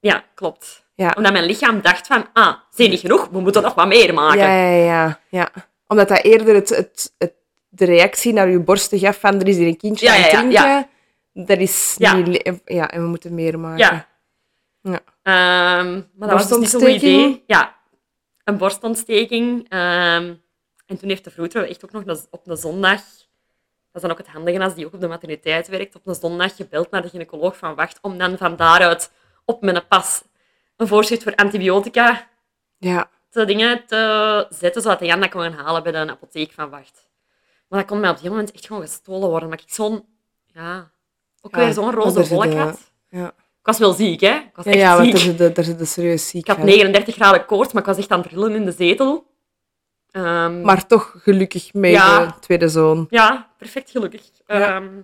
[SPEAKER 2] Ja, klopt.
[SPEAKER 1] Ja.
[SPEAKER 2] Omdat mijn lichaam dacht van, ah, zijn niet genoeg, we moeten nog wat meer maken.
[SPEAKER 1] Ja, ja, ja, ja. Omdat dat eerder het, het, het, de reactie naar je borsten gaf van er is hier een kindje
[SPEAKER 2] Ja,
[SPEAKER 1] aan het
[SPEAKER 2] ja,
[SPEAKER 1] drinken.
[SPEAKER 2] ja,
[SPEAKER 1] Dat is
[SPEAKER 2] Ja.
[SPEAKER 1] niet... le- Ja, en we moeten meer maken.
[SPEAKER 2] Ja.
[SPEAKER 1] Ja.
[SPEAKER 2] Ehm, maar dat was dus niet zo'n goed
[SPEAKER 1] Borstontsteking.
[SPEAKER 2] idee. Ja, een borstontsteking. Ehm, en toen heeft de vroedvrouw echt ook nog een- op een zondag... Dat is dan ook het handige als die ook op de materniteit werkt. Op een zondag gebeld naar de gynaecoloog van wacht, om dan van daaruit op mijn pas een voorschrift voor antibiotica
[SPEAKER 1] Ja.
[SPEAKER 2] te dingen te zetten, zodat Jan dat kon gaan halen bij de apotheek van Wacht. Maar dat kon mij op die moment echt gewoon gestolen worden. Maar ik zo'n... Ja, ook
[SPEAKER 1] Ja,
[SPEAKER 2] weer zo'n roze
[SPEAKER 1] onder de-
[SPEAKER 2] wolk had.
[SPEAKER 1] ja.
[SPEAKER 2] Ik was wel ziek, hè. Ik was
[SPEAKER 1] Ja,
[SPEAKER 2] echt
[SPEAKER 1] ja want
[SPEAKER 2] ziek.
[SPEAKER 1] daar zit de- daar zit de serieus ziek
[SPEAKER 2] Ik had
[SPEAKER 1] van.
[SPEAKER 2] 39 graden koorts, maar ik was echt aan het trillen in de zetel. Ehm,
[SPEAKER 1] Maar toch gelukkig met
[SPEAKER 2] Ja.
[SPEAKER 1] de tweede zoon.
[SPEAKER 2] Ja, perfect gelukkig.
[SPEAKER 1] Ja.
[SPEAKER 2] Ehm,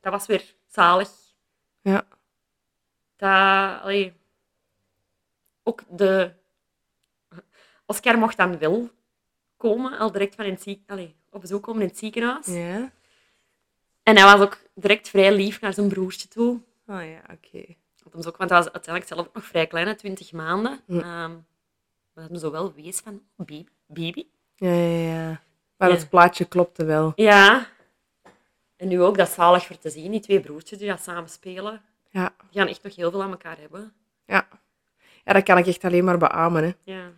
[SPEAKER 2] dat was weer zalig.
[SPEAKER 1] Ja.
[SPEAKER 2] Dat, allee, ook de... Oscar mocht dan wel komen, al direct van in het ziek, allee, op bezoek komen in het ziekenhuis.
[SPEAKER 1] Ja?
[SPEAKER 2] En hij was ook direct vrij lief naar zijn broertje toe.
[SPEAKER 1] Oh ja, oké.
[SPEAKER 2] Dat hem zo ook, want hij was uiteindelijk zelf ook nog vrij klein, hè, 20 maanden.
[SPEAKER 1] Hm.
[SPEAKER 2] Ehm, maar dat hem zo wel wees van, oh, baby, baby.
[SPEAKER 1] Ja, ja, ja. Maar
[SPEAKER 2] Ja.
[SPEAKER 1] het plaatje klopte wel.
[SPEAKER 2] Ja. En nu ook, dat is zalig voor te zien, die twee broertjes die dat samen spelen.
[SPEAKER 1] Ja.
[SPEAKER 2] Die gaan echt nog heel veel aan elkaar hebben.
[SPEAKER 1] Ja. ja, dat kan ik echt alleen maar beamen. Hè.
[SPEAKER 2] Ja.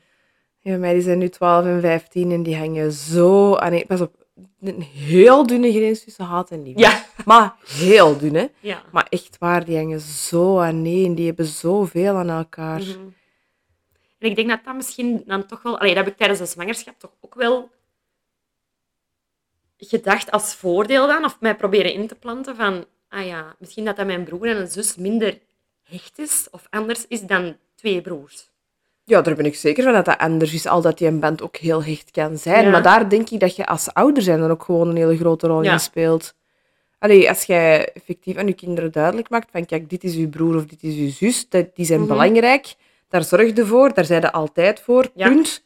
[SPEAKER 1] Ja, bij mij die zijn nu 12 en 15 en die hangen zo aan. een- Pas op, een heel dunne grens tussen haat en liefde.
[SPEAKER 2] Ja.
[SPEAKER 1] Maar heel dun, hè?
[SPEAKER 2] ja.
[SPEAKER 1] Maar echt waar, die hangen zo aan en Die hebben zoveel aan elkaar.
[SPEAKER 2] Mhm. En ik denk dat dat misschien dan toch wel... Allee, dat heb ik tijdens de zwangerschap toch ook wel gedacht als voordeel dan. Of mij proberen in te planten van... Ah ja, misschien dat, dat mijn broer en een zus minder hecht is of anders is dan twee broers.
[SPEAKER 1] Ja, daar ben ik zeker van dat dat anders is. Al dat die een band ook heel hecht kan zijn.
[SPEAKER 2] Ja.
[SPEAKER 1] Maar daar denk ik dat je als ouder zijn dan ook gewoon een hele grote rol
[SPEAKER 2] Ja.
[SPEAKER 1] in speelt. Allee, als jij effectief aan je kinderen duidelijk maakt van kijk, dit is uw broer of dit is uw zus, dat, die zijn
[SPEAKER 2] Mhm.
[SPEAKER 1] belangrijk, daar zorg je voor, daar zijn ze altijd voor,
[SPEAKER 2] Ja.
[SPEAKER 1] punt.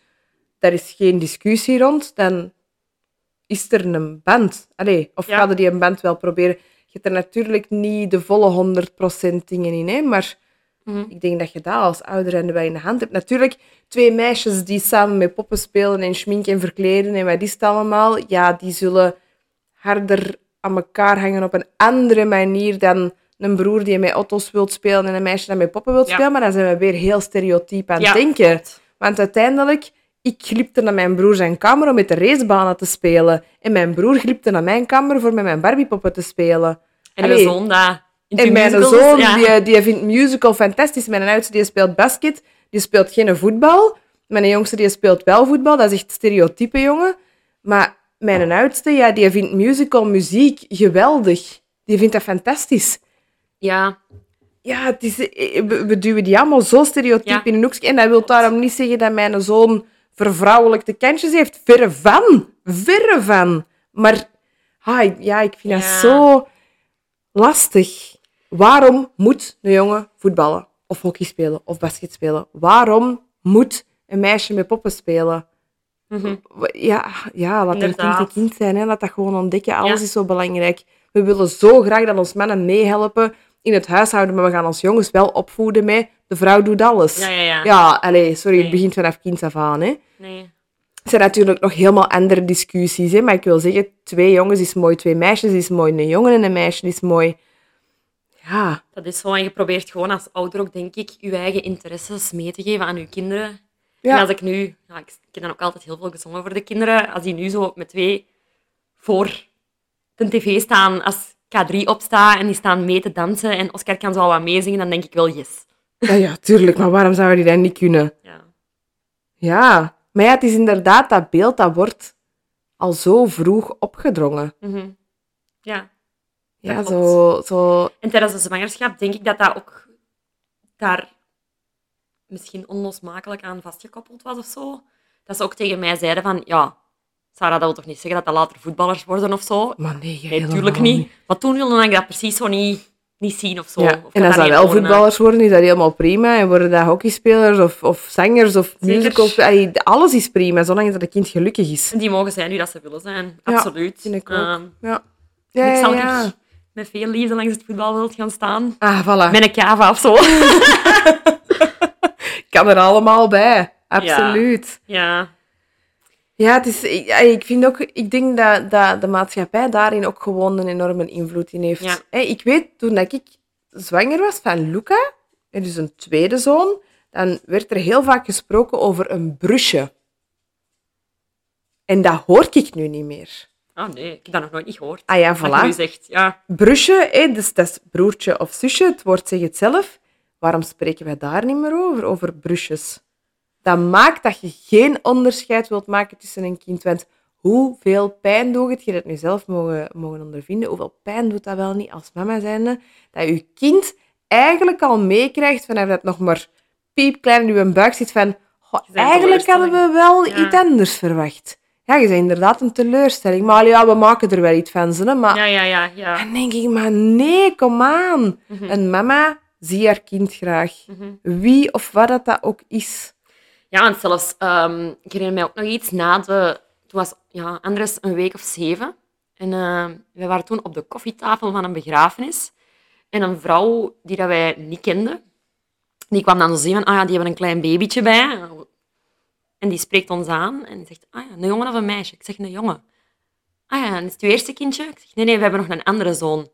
[SPEAKER 1] Daar is geen discussie rond, dan is er een band. Allee, of
[SPEAKER 2] Ja.
[SPEAKER 1] ga je die een band wel proberen? Je hebt er natuurlijk niet de volle 100% dingen in, hè, maar...
[SPEAKER 2] Mhm.
[SPEAKER 1] Ik denk dat je dat als ouder en wel in de hand hebt. Natuurlijk, twee meisjes die samen met poppen spelen en schminken en verkleden en wat is het allemaal, ja, die zullen harder aan elkaar hangen op een andere manier dan een broer die met auto's wilt spelen en een meisje dat met poppen wilt
[SPEAKER 2] Ja.
[SPEAKER 1] spelen. Maar dan zijn we weer heel stereotyp aan het
[SPEAKER 2] Ja,
[SPEAKER 1] denken.
[SPEAKER 2] klopt.
[SPEAKER 1] Want uiteindelijk, ik glipte naar mijn broer zijn kamer om met de racebanen te spelen. En mijn broer glipte naar mijn kamer voor met mijn Barbiepoppen te spelen.
[SPEAKER 2] En de
[SPEAKER 1] Allee.
[SPEAKER 2] zoon dat... in
[SPEAKER 1] En
[SPEAKER 2] de
[SPEAKER 1] mijn
[SPEAKER 2] musicals is-
[SPEAKER 1] zoon,
[SPEAKER 2] ja.
[SPEAKER 1] die, eh, die vindt musical fantastisch. Mijn oudste, die speelt basket. Die speelt geen voetbal. Mijn jongste, die speelt wel voetbal. Dat is echt stereotype, jongen. Maar mijn oudste, ja, die vindt musical muziek geweldig. Die vindt dat fantastisch.
[SPEAKER 2] Ja,
[SPEAKER 1] Ja, het is, eh, we, we duwen die allemaal zo stereotyp
[SPEAKER 2] Ja.
[SPEAKER 1] in een hoekje. En dat wil daarom niet zeggen dat mijn zoon vervrouwelijkte kantjes heeft. Verre van. Verre van. Maar ah, ik- ja, ik vind dat
[SPEAKER 2] Ja.
[SPEAKER 1] zo lastig. Waarom moet een jongen voetballen? Of hockey spelen? Of basket spelen? Waarom moet een meisje met poppen spelen?
[SPEAKER 2] Mhm.
[SPEAKER 1] W- Ja, ja laat een kind
[SPEAKER 2] Inderdaad.
[SPEAKER 1] een kind zijn. Hè. Laat dat gewoon ontdekken. Alles
[SPEAKER 2] Ja.
[SPEAKER 1] is zo belangrijk. We willen zo graag dat ons mannen meehelpen in het huishouden, maar we gaan ons jongens wel opvoeden met de vrouw doet alles.
[SPEAKER 2] ja, ja. ja.
[SPEAKER 1] Ja, allee, sorry, het
[SPEAKER 2] Nee.
[SPEAKER 1] begint vanaf kind af aan. Hè.
[SPEAKER 2] Nee.
[SPEAKER 1] Het zijn natuurlijk nog helemaal andere discussies, hè, maar ik wil zeggen, twee jongens is mooi, twee meisjes is mooi, een jongen en een meisje is mooi. Ja,
[SPEAKER 2] Dat is zo. En je probeert gewoon als ouder ook, denk ik, je eigen interesses mee te geven aan je kinderen.
[SPEAKER 1] Ja.
[SPEAKER 2] En als ik nu... Ja, ik, ik heb dan ook altijd heel veel gezongen voor de kinderen. Als die nu zo met twee voor de tv staan, als K3 opsta en die staan mee te dansen en Oscar kan zo al wat meezingen, dan denk ik wel yes.
[SPEAKER 1] ja, ja tuurlijk, maar waarom zouden die dat niet kunnen?
[SPEAKER 2] Ja.
[SPEAKER 1] Ja, maar ja, het is inderdaad, dat beeld dat wordt al zo vroeg opgedrongen.
[SPEAKER 2] Mhm. ja.
[SPEAKER 1] Ja,
[SPEAKER 2] Dat
[SPEAKER 1] zo, zo...
[SPEAKER 2] En tijdens de zwangerschap denk ik dat dat ook daar misschien onlosmakelijk aan vastgekoppeld was of zo. Dat ze ook tegen mij zeiden van, ja, Sarah, dat wil toch niet zeggen dat dat later voetballers worden of zo?
[SPEAKER 1] Maar nee, ja,
[SPEAKER 2] Nee,
[SPEAKER 1] helemaal
[SPEAKER 2] tuurlijk niet. Maar toen wilde ik dat precies zo niet, niet zien of zo.
[SPEAKER 1] Ja,
[SPEAKER 2] Of
[SPEAKER 1] En
[SPEAKER 2] dat
[SPEAKER 1] als dat
[SPEAKER 2] niet
[SPEAKER 1] wel
[SPEAKER 2] horen.
[SPEAKER 1] voetballers worden, is dat helemaal prima. En worden dat hockeyspelers of, of zangers of
[SPEAKER 2] Zeker.
[SPEAKER 1] musicals. Allee, Alles is prima, zolang dat het kind gelukkig is.
[SPEAKER 2] En die mogen zijn wie dat ze willen zijn.
[SPEAKER 1] Ja,
[SPEAKER 2] Absoluut.
[SPEAKER 1] vind ik ook.
[SPEAKER 2] Ehm,
[SPEAKER 1] Ja.
[SPEAKER 2] ik zal niet met veel liefde langs het voetbalveld gaan staan.
[SPEAKER 1] Ah, voilà.
[SPEAKER 2] Met een cava of zo.
[SPEAKER 1] kan er allemaal bij. Absoluut.
[SPEAKER 2] ja.
[SPEAKER 1] Ja, het is, ik, ey, ik, vind ook, ik denk dat, dat de maatschappij daarin ook gewoon een enorme invloed in heeft.
[SPEAKER 2] Ja.
[SPEAKER 1] Ey, ik weet, toen dat ik zwanger was van Luca, en dus een tweede zoon, dan werd er heel vaak gesproken over een brusje. En dat hoor ik nu niet meer.
[SPEAKER 2] Oh nee, ik heb dat nog nooit niet gehoord.
[SPEAKER 1] Ah ja,
[SPEAKER 2] Wat je nu
[SPEAKER 1] voilà.
[SPEAKER 2] zegt, ja.
[SPEAKER 1] Brusje, hè, dus dat is broertje of zusje, het woord zegt het zelf. Waarom spreken wij daar niet meer over, over brusjes? Dat maakt dat je geen onderscheid wilt maken tussen een kind. Want hoeveel pijn doet het, je dat nu zelf mogen, mogen ondervinden, hoeveel pijn doet dat wel niet als mama zijnde, dat je kind eigenlijk al meekrijgt vanaf dat nog maar piepklein in je buik zit van "Goh,
[SPEAKER 2] Je bent
[SPEAKER 1] eigenlijk hadden
[SPEAKER 2] teleurstelling."
[SPEAKER 1] we wel
[SPEAKER 2] Ja.
[SPEAKER 1] iets anders verwacht. Ja, je bent inderdaad een teleurstelling. Maar ja, we maken er wel iets van, ze, hè, maar...
[SPEAKER 2] Ja, ja, ja. ja.
[SPEAKER 1] En denk ik, maar nee, kom aan.
[SPEAKER 2] Mhm.
[SPEAKER 1] Een mama zie haar kind graag.
[SPEAKER 2] Mhm.
[SPEAKER 1] Wie of wat dat, dat ook is.
[SPEAKER 2] Ja, want zelfs, ehm, ik herinner mij ook nog iets na de... Toen was ja, Andres een week of zeven. En ehm, wij waren toen op de koffietafel van een begrafenis. En een vrouw die dat wij niet kenden, die kwam dan zien van, ah ja, die hebben een klein babytje bij. En die spreekt ons aan en zegt, ah ja, een jongen of een meisje? Ik zeg, een jongen. Ah ja, en is het uw eerste kindje? Ik zeg, nee, nee, we hebben nog een andere zoon.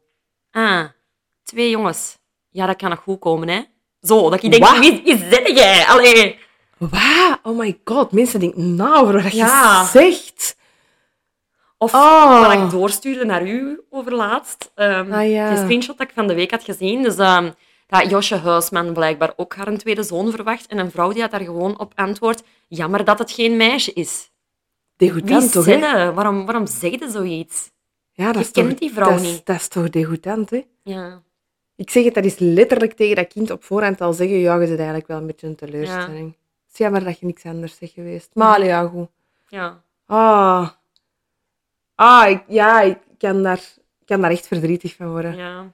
[SPEAKER 2] Ah, twee jongens. ja, dat kan nog goed komen, hè. Zo, dat ik denk,
[SPEAKER 1] Wat?
[SPEAKER 2] wie, wie zit jij? Allee.
[SPEAKER 1] Wauw, oh my god. Mensen denken nou over wat
[SPEAKER 2] Ja.
[SPEAKER 1] je zegt.
[SPEAKER 2] Of
[SPEAKER 1] Oh.
[SPEAKER 2] wat ik doorstuurde naar u overlaatst. Ehm
[SPEAKER 1] Ah, ja.
[SPEAKER 2] Die screenshot dat ik van de week had gezien. Dus ehm, dat Josje Huisman blijkbaar ook haar een tweede zoon verwacht. En een vrouw die had daar gewoon op antwoord... Jammer dat het geen meisje is. Wie
[SPEAKER 1] Degoutant toch, hè?
[SPEAKER 2] zit er? Waarom, waarom zei je zoiets?
[SPEAKER 1] Ja,
[SPEAKER 2] Je
[SPEAKER 1] dat is
[SPEAKER 2] kent
[SPEAKER 1] toch,
[SPEAKER 2] die vrouw
[SPEAKER 1] dat is-
[SPEAKER 2] niet.
[SPEAKER 1] Dat is toch degoutant, hè?
[SPEAKER 2] Ja.
[SPEAKER 1] Ik zeg het, dat is letterlijk tegen dat kind op voorhand al zeggen. Ja, je bent eigenlijk wel een beetje een teleurstelling. Het is jammer dat je niks anders bent geweest. Maar allee, ja, goed.
[SPEAKER 2] Ja.
[SPEAKER 1] Ah. Ah, ik, ja, ik kan daar, ik kan daar echt verdrietig van worden. Ja.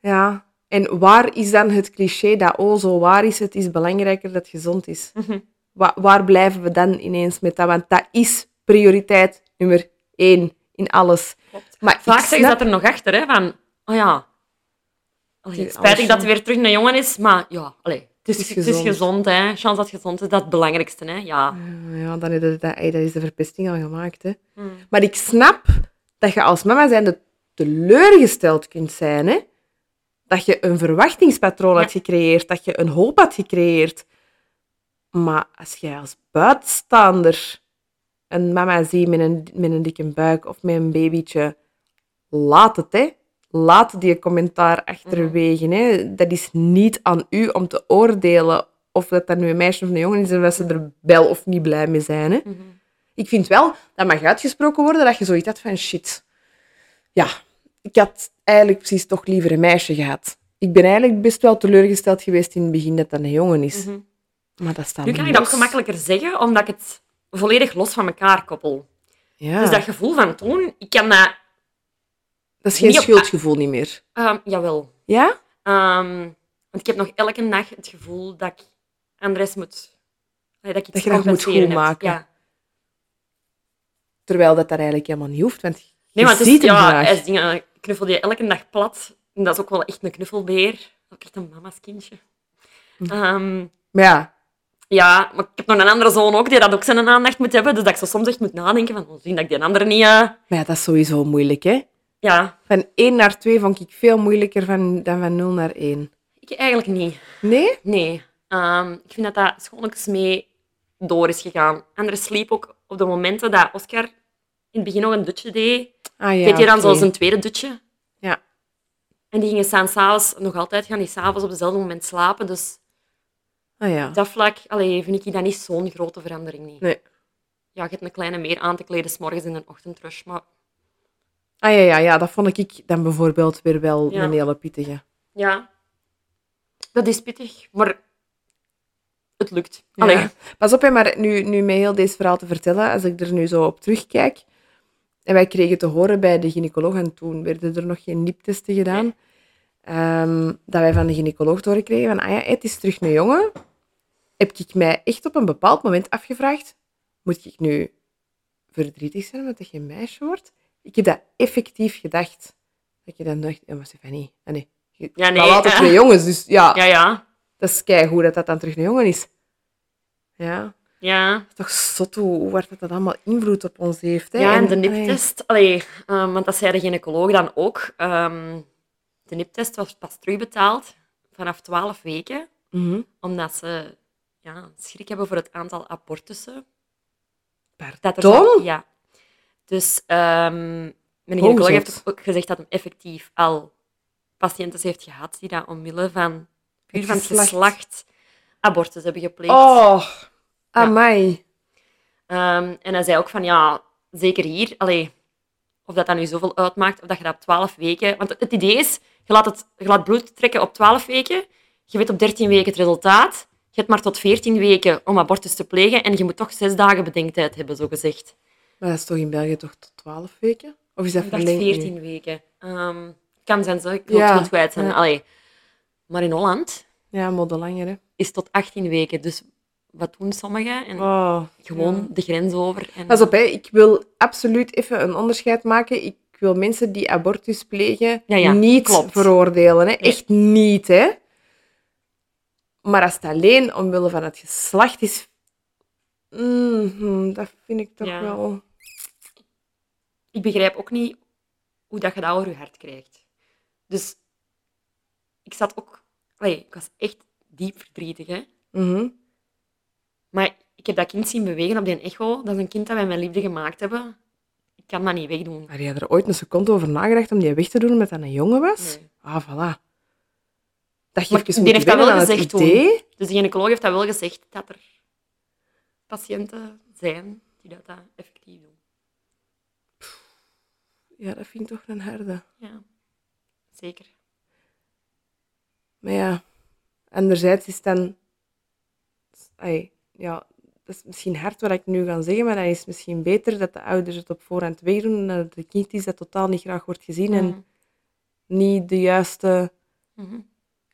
[SPEAKER 2] ja.
[SPEAKER 1] En waar is dan het cliché dat, oh, zo waar is het, is belangrijker dat het gezond is?
[SPEAKER 2] Mhm.
[SPEAKER 1] Wa- waar blijven we dan ineens met dat? Want dat is prioriteit nummer één in alles.
[SPEAKER 2] Klopt.
[SPEAKER 1] Maar
[SPEAKER 2] Vaak
[SPEAKER 1] ik
[SPEAKER 2] zeggen ze
[SPEAKER 1] snap-
[SPEAKER 2] dat er nog achter, hè, van... Oh ja. Allee,
[SPEAKER 1] Het is
[SPEAKER 2] spijtig
[SPEAKER 1] alles
[SPEAKER 2] dat
[SPEAKER 1] zo.
[SPEAKER 2] hij weer terug een jongen is, maar ja, allee, het, is,
[SPEAKER 1] Het is
[SPEAKER 2] het is
[SPEAKER 1] gezond.
[SPEAKER 2] gezond, hè. Chance dat het gezond is, dat is het belangrijkste, hè. Ja.
[SPEAKER 1] Ja, Ja, dan is dat, dat- ey, dat is de verpesting al gemaakt. Hè.
[SPEAKER 2] Hmm.
[SPEAKER 1] Maar ik snap dat je als mama zijnde teleurgesteld kunt zijn. Hè? Dat je een verwachtingspatroon had gecreëerd, dat je een hoop had gecreëerd. Maar als jij als buitenstaander een mama ziet met een, met een dikke buik of met een babytje, laat het, hè. Laat die commentaar achterwege. Hè. Dat is niet aan u om te oordelen of dat dat nu een meisje of een jongen is en of ze er wel of niet blij mee zijn. Hè.
[SPEAKER 2] Mhm.
[SPEAKER 1] Ik vind wel, dat mag uitgesproken worden, dat je zoiets had van shit. Ja, ik had eigenlijk precies toch liever een meisje gehad. Ik ben eigenlijk best wel teleurgesteld geweest in het begin dat dat een jongen is.
[SPEAKER 2] Mhm.
[SPEAKER 1] Maar dat staat
[SPEAKER 2] Nu kan ik dat ook
[SPEAKER 1] los.
[SPEAKER 2] gemakkelijker zeggen, omdat ik het volledig los van elkaar koppel.
[SPEAKER 1] Ja.
[SPEAKER 2] Dus dat gevoel van toen, ik kan dat...
[SPEAKER 1] dat is geen
[SPEAKER 2] niet op-
[SPEAKER 1] schuldgevoel niet meer.
[SPEAKER 2] ehm, jawel.
[SPEAKER 1] Ja?
[SPEAKER 2] Ehm, want ik heb nog elke nacht het gevoel dat ik Andres moet... allee, Dat, ik
[SPEAKER 1] Dat
[SPEAKER 2] iets
[SPEAKER 1] je dat
[SPEAKER 2] te
[SPEAKER 1] moet
[SPEAKER 2] compenseren heb.
[SPEAKER 1] goedmaken.
[SPEAKER 2] Ja.
[SPEAKER 1] Terwijl dat daar eigenlijk helemaal niet hoeft, want je
[SPEAKER 2] Nee, want het is,
[SPEAKER 1] ziet hem
[SPEAKER 2] ja,
[SPEAKER 1] graag.
[SPEAKER 2] hij is dingen, ik knuffel je elke dag plat. En dat is ook wel echt een knuffelbeer. Ook echt een mama's kindje.
[SPEAKER 1] Hm.
[SPEAKER 2] Ehm,
[SPEAKER 1] Maar ja,
[SPEAKER 2] ja, maar ik heb nog een andere zoon ook die dat ook zijn aandacht moet hebben. Dus dat ik zo soms echt moet nadenken van, oh, zien dat ik die andere niet... eh,
[SPEAKER 1] maar ja, dat is sowieso moeilijk, hè.
[SPEAKER 2] ja,
[SPEAKER 1] Van 1 naar 2 vond ik veel moeilijker van, dan van 0 naar 1.
[SPEAKER 2] ik eigenlijk niet.
[SPEAKER 1] Nee?
[SPEAKER 2] Nee. Ehm, ik vind dat dat schoonlijks mee door is gegaan. Anders sliep ook op de momenten dat Oscar in het begin nog een dutje deed.
[SPEAKER 1] Ah ja,
[SPEAKER 2] Deed hij dan
[SPEAKER 1] oké.
[SPEAKER 2] zo zijn tweede dutje.
[SPEAKER 1] Ja.
[SPEAKER 2] En die gingen staan s'avonds, nog altijd gaan die s'avonds op dezelfde moment slapen. Dus
[SPEAKER 1] Ah ja.
[SPEAKER 2] op dat vlak allee, vind ik dat niet zo'n grote verandering. Niet.
[SPEAKER 1] Nee.
[SPEAKER 2] Ja, je hebt een kleine meer aan te kleden s'morgens in een ochtendrush. Maar
[SPEAKER 1] Ah ja, ja, ja, dat vond ik dan bijvoorbeeld weer wel
[SPEAKER 2] Ja.
[SPEAKER 1] een hele pittige.
[SPEAKER 2] ja, dat is pittig. Maar het lukt.
[SPEAKER 1] Ja.
[SPEAKER 2] Allee.
[SPEAKER 1] Pas op, hè, maar nu, nu mij heel deze verhaal te vertellen, als ik er nu zo op terugkijk. En wij kregen te horen bij de gynaecoloog, en toen werden er nog geen niptesten gedaan, ehm, dat wij van de gynaecoloog te horen kregen van, ah ja, het is terug een jongen. Heb ik mij echt op een bepaald moment afgevraagd, moet ik nu verdrietig zijn omdat het geen meisje wordt? Ik heb dat effectief gedacht. Dat je dan dacht, ja, maar Stefanie, ah, nee. Je-
[SPEAKER 2] Ja, nee,
[SPEAKER 1] maar later
[SPEAKER 2] ja.
[SPEAKER 1] twee jongens, dus ja,
[SPEAKER 2] Ja, ja.
[SPEAKER 1] dat is keigoed dat dat dan terug een jongen is. Ja.
[SPEAKER 2] Ja.
[SPEAKER 1] Toch zot hoe hoe hard dat, dat allemaal invloed op ons heeft. Hè?
[SPEAKER 2] Ja, en de
[SPEAKER 1] allee,
[SPEAKER 2] niptest, allee, ehm, want dat zei de gynaecoloog dan ook. ehm, de niptest was pas terugbetaald vanaf 12 weken,
[SPEAKER 1] mhm.
[SPEAKER 2] omdat ze ja, schrik hebben voor het aantal abortussen. Dat er
[SPEAKER 1] Pardon?
[SPEAKER 2] zou- Ja. Dus ehm mijn
[SPEAKER 1] Oh,
[SPEAKER 2] gynaecoloog
[SPEAKER 1] zot.
[SPEAKER 2] heeft ook gezegd dat hem effectief al patiënten heeft gehad die dat omwille van, puur
[SPEAKER 1] Het
[SPEAKER 2] van het
[SPEAKER 1] geslacht.
[SPEAKER 2] geslacht abortus hebben gepleegd.
[SPEAKER 1] Oh, amai.
[SPEAKER 2] Ehm, en hij zei ook van ja, zeker hier, allee, of dat dat nu zoveel uitmaakt, of dat je dat op 12 weken. Want het idee is, je laat, het, je laat bloed trekken op 12 weken, je weet op 13 weken het resultaat, je hebt maar tot 14 weken om abortus te plegen en je moet toch zes dagen bedenktijd hebben, zo gezegd.
[SPEAKER 1] Maar dat is toch in België toch tot 12 weken? Of is dat
[SPEAKER 2] Ik dacht
[SPEAKER 1] verlengd? nu?
[SPEAKER 2] 14 weken. Ehm, kan zijn, zo, ik wil
[SPEAKER 1] Ja,
[SPEAKER 2] het niet kwijt zijn.
[SPEAKER 1] ja.
[SPEAKER 2] Allee. Maar in Holland
[SPEAKER 1] Ja, modder langer. Hè?
[SPEAKER 2] is tot 18 weken, dus wat doen sommigen? En
[SPEAKER 1] Oh,
[SPEAKER 2] gewoon
[SPEAKER 1] ja.
[SPEAKER 2] de grens over. En...
[SPEAKER 1] Pas op, hè. ik wil absoluut even een onderscheid maken. Ik wil mensen die abortus plegen
[SPEAKER 2] Ja, ja,
[SPEAKER 1] niet
[SPEAKER 2] klopt.
[SPEAKER 1] veroordelen. Hè? Echt niet, hè. Maar als het alleen omwille van het geslacht is... mhm, dat vind ik toch
[SPEAKER 2] Ja.
[SPEAKER 1] wel...
[SPEAKER 2] ik begrijp ook niet hoe dat je dat over je hart krijgt. Dus ik zat ook... Allee, ik was echt diep verdrietig, hè.
[SPEAKER 1] Mhm.
[SPEAKER 2] Maar ik heb dat kind zien bewegen op die echo. Dat is een kind dat wij met liefde gemaakt hebben. Ik kan dat niet wegdoen.
[SPEAKER 1] Had jij er ooit een seconde over nagedacht om die weg te doen omdat dat een jongen was?
[SPEAKER 2] Nee.
[SPEAKER 1] Ah, voilà. Dat
[SPEAKER 2] Maar
[SPEAKER 1] geeft dus
[SPEAKER 2] die heeft dat
[SPEAKER 1] motiverend
[SPEAKER 2] wel
[SPEAKER 1] aan het
[SPEAKER 2] gezegd
[SPEAKER 1] idee.
[SPEAKER 2] toen. Dus de gynaecoloog heeft dat wel gezegd, dat er patiënten zijn die dat, dat effectief doen.
[SPEAKER 1] Ja, dat vind ik toch een herde.
[SPEAKER 2] Ja, zeker.
[SPEAKER 1] Maar ja, anderzijds is dan... Ai, ja, dat is misschien hard wat ik nu ga zeggen, maar dan is het misschien beter dat de ouders het op voorhand wegdoen en dat het een kind is dat totaal niet graag wordt gezien
[SPEAKER 2] Mhm.
[SPEAKER 1] en niet de juiste
[SPEAKER 2] Mhm.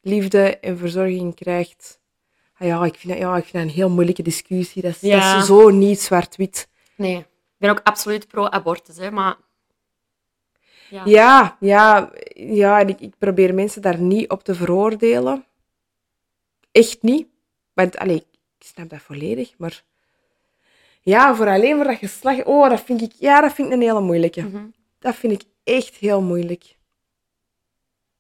[SPEAKER 1] liefde en verzorging krijgt. Ah ja, ik vind dat, ja, ik vind dat een heel moeilijke discussie. Dat is,
[SPEAKER 2] Ja.
[SPEAKER 1] dat is zo niet zwart-wit.
[SPEAKER 2] Nee, ik ben ook absoluut pro-abortus, hè, maar... Ja.
[SPEAKER 1] Ja, ja, ja. En ik, ik probeer mensen daar niet op te veroordelen. Echt niet. Want, allee, ik snap dat volledig, maar... Ja, voor alleen voor dat geslacht... Oh, dat vind ik... Ja, dat vind ik een hele moeilijke.
[SPEAKER 2] Mhm.
[SPEAKER 1] Dat vind ik echt heel moeilijk.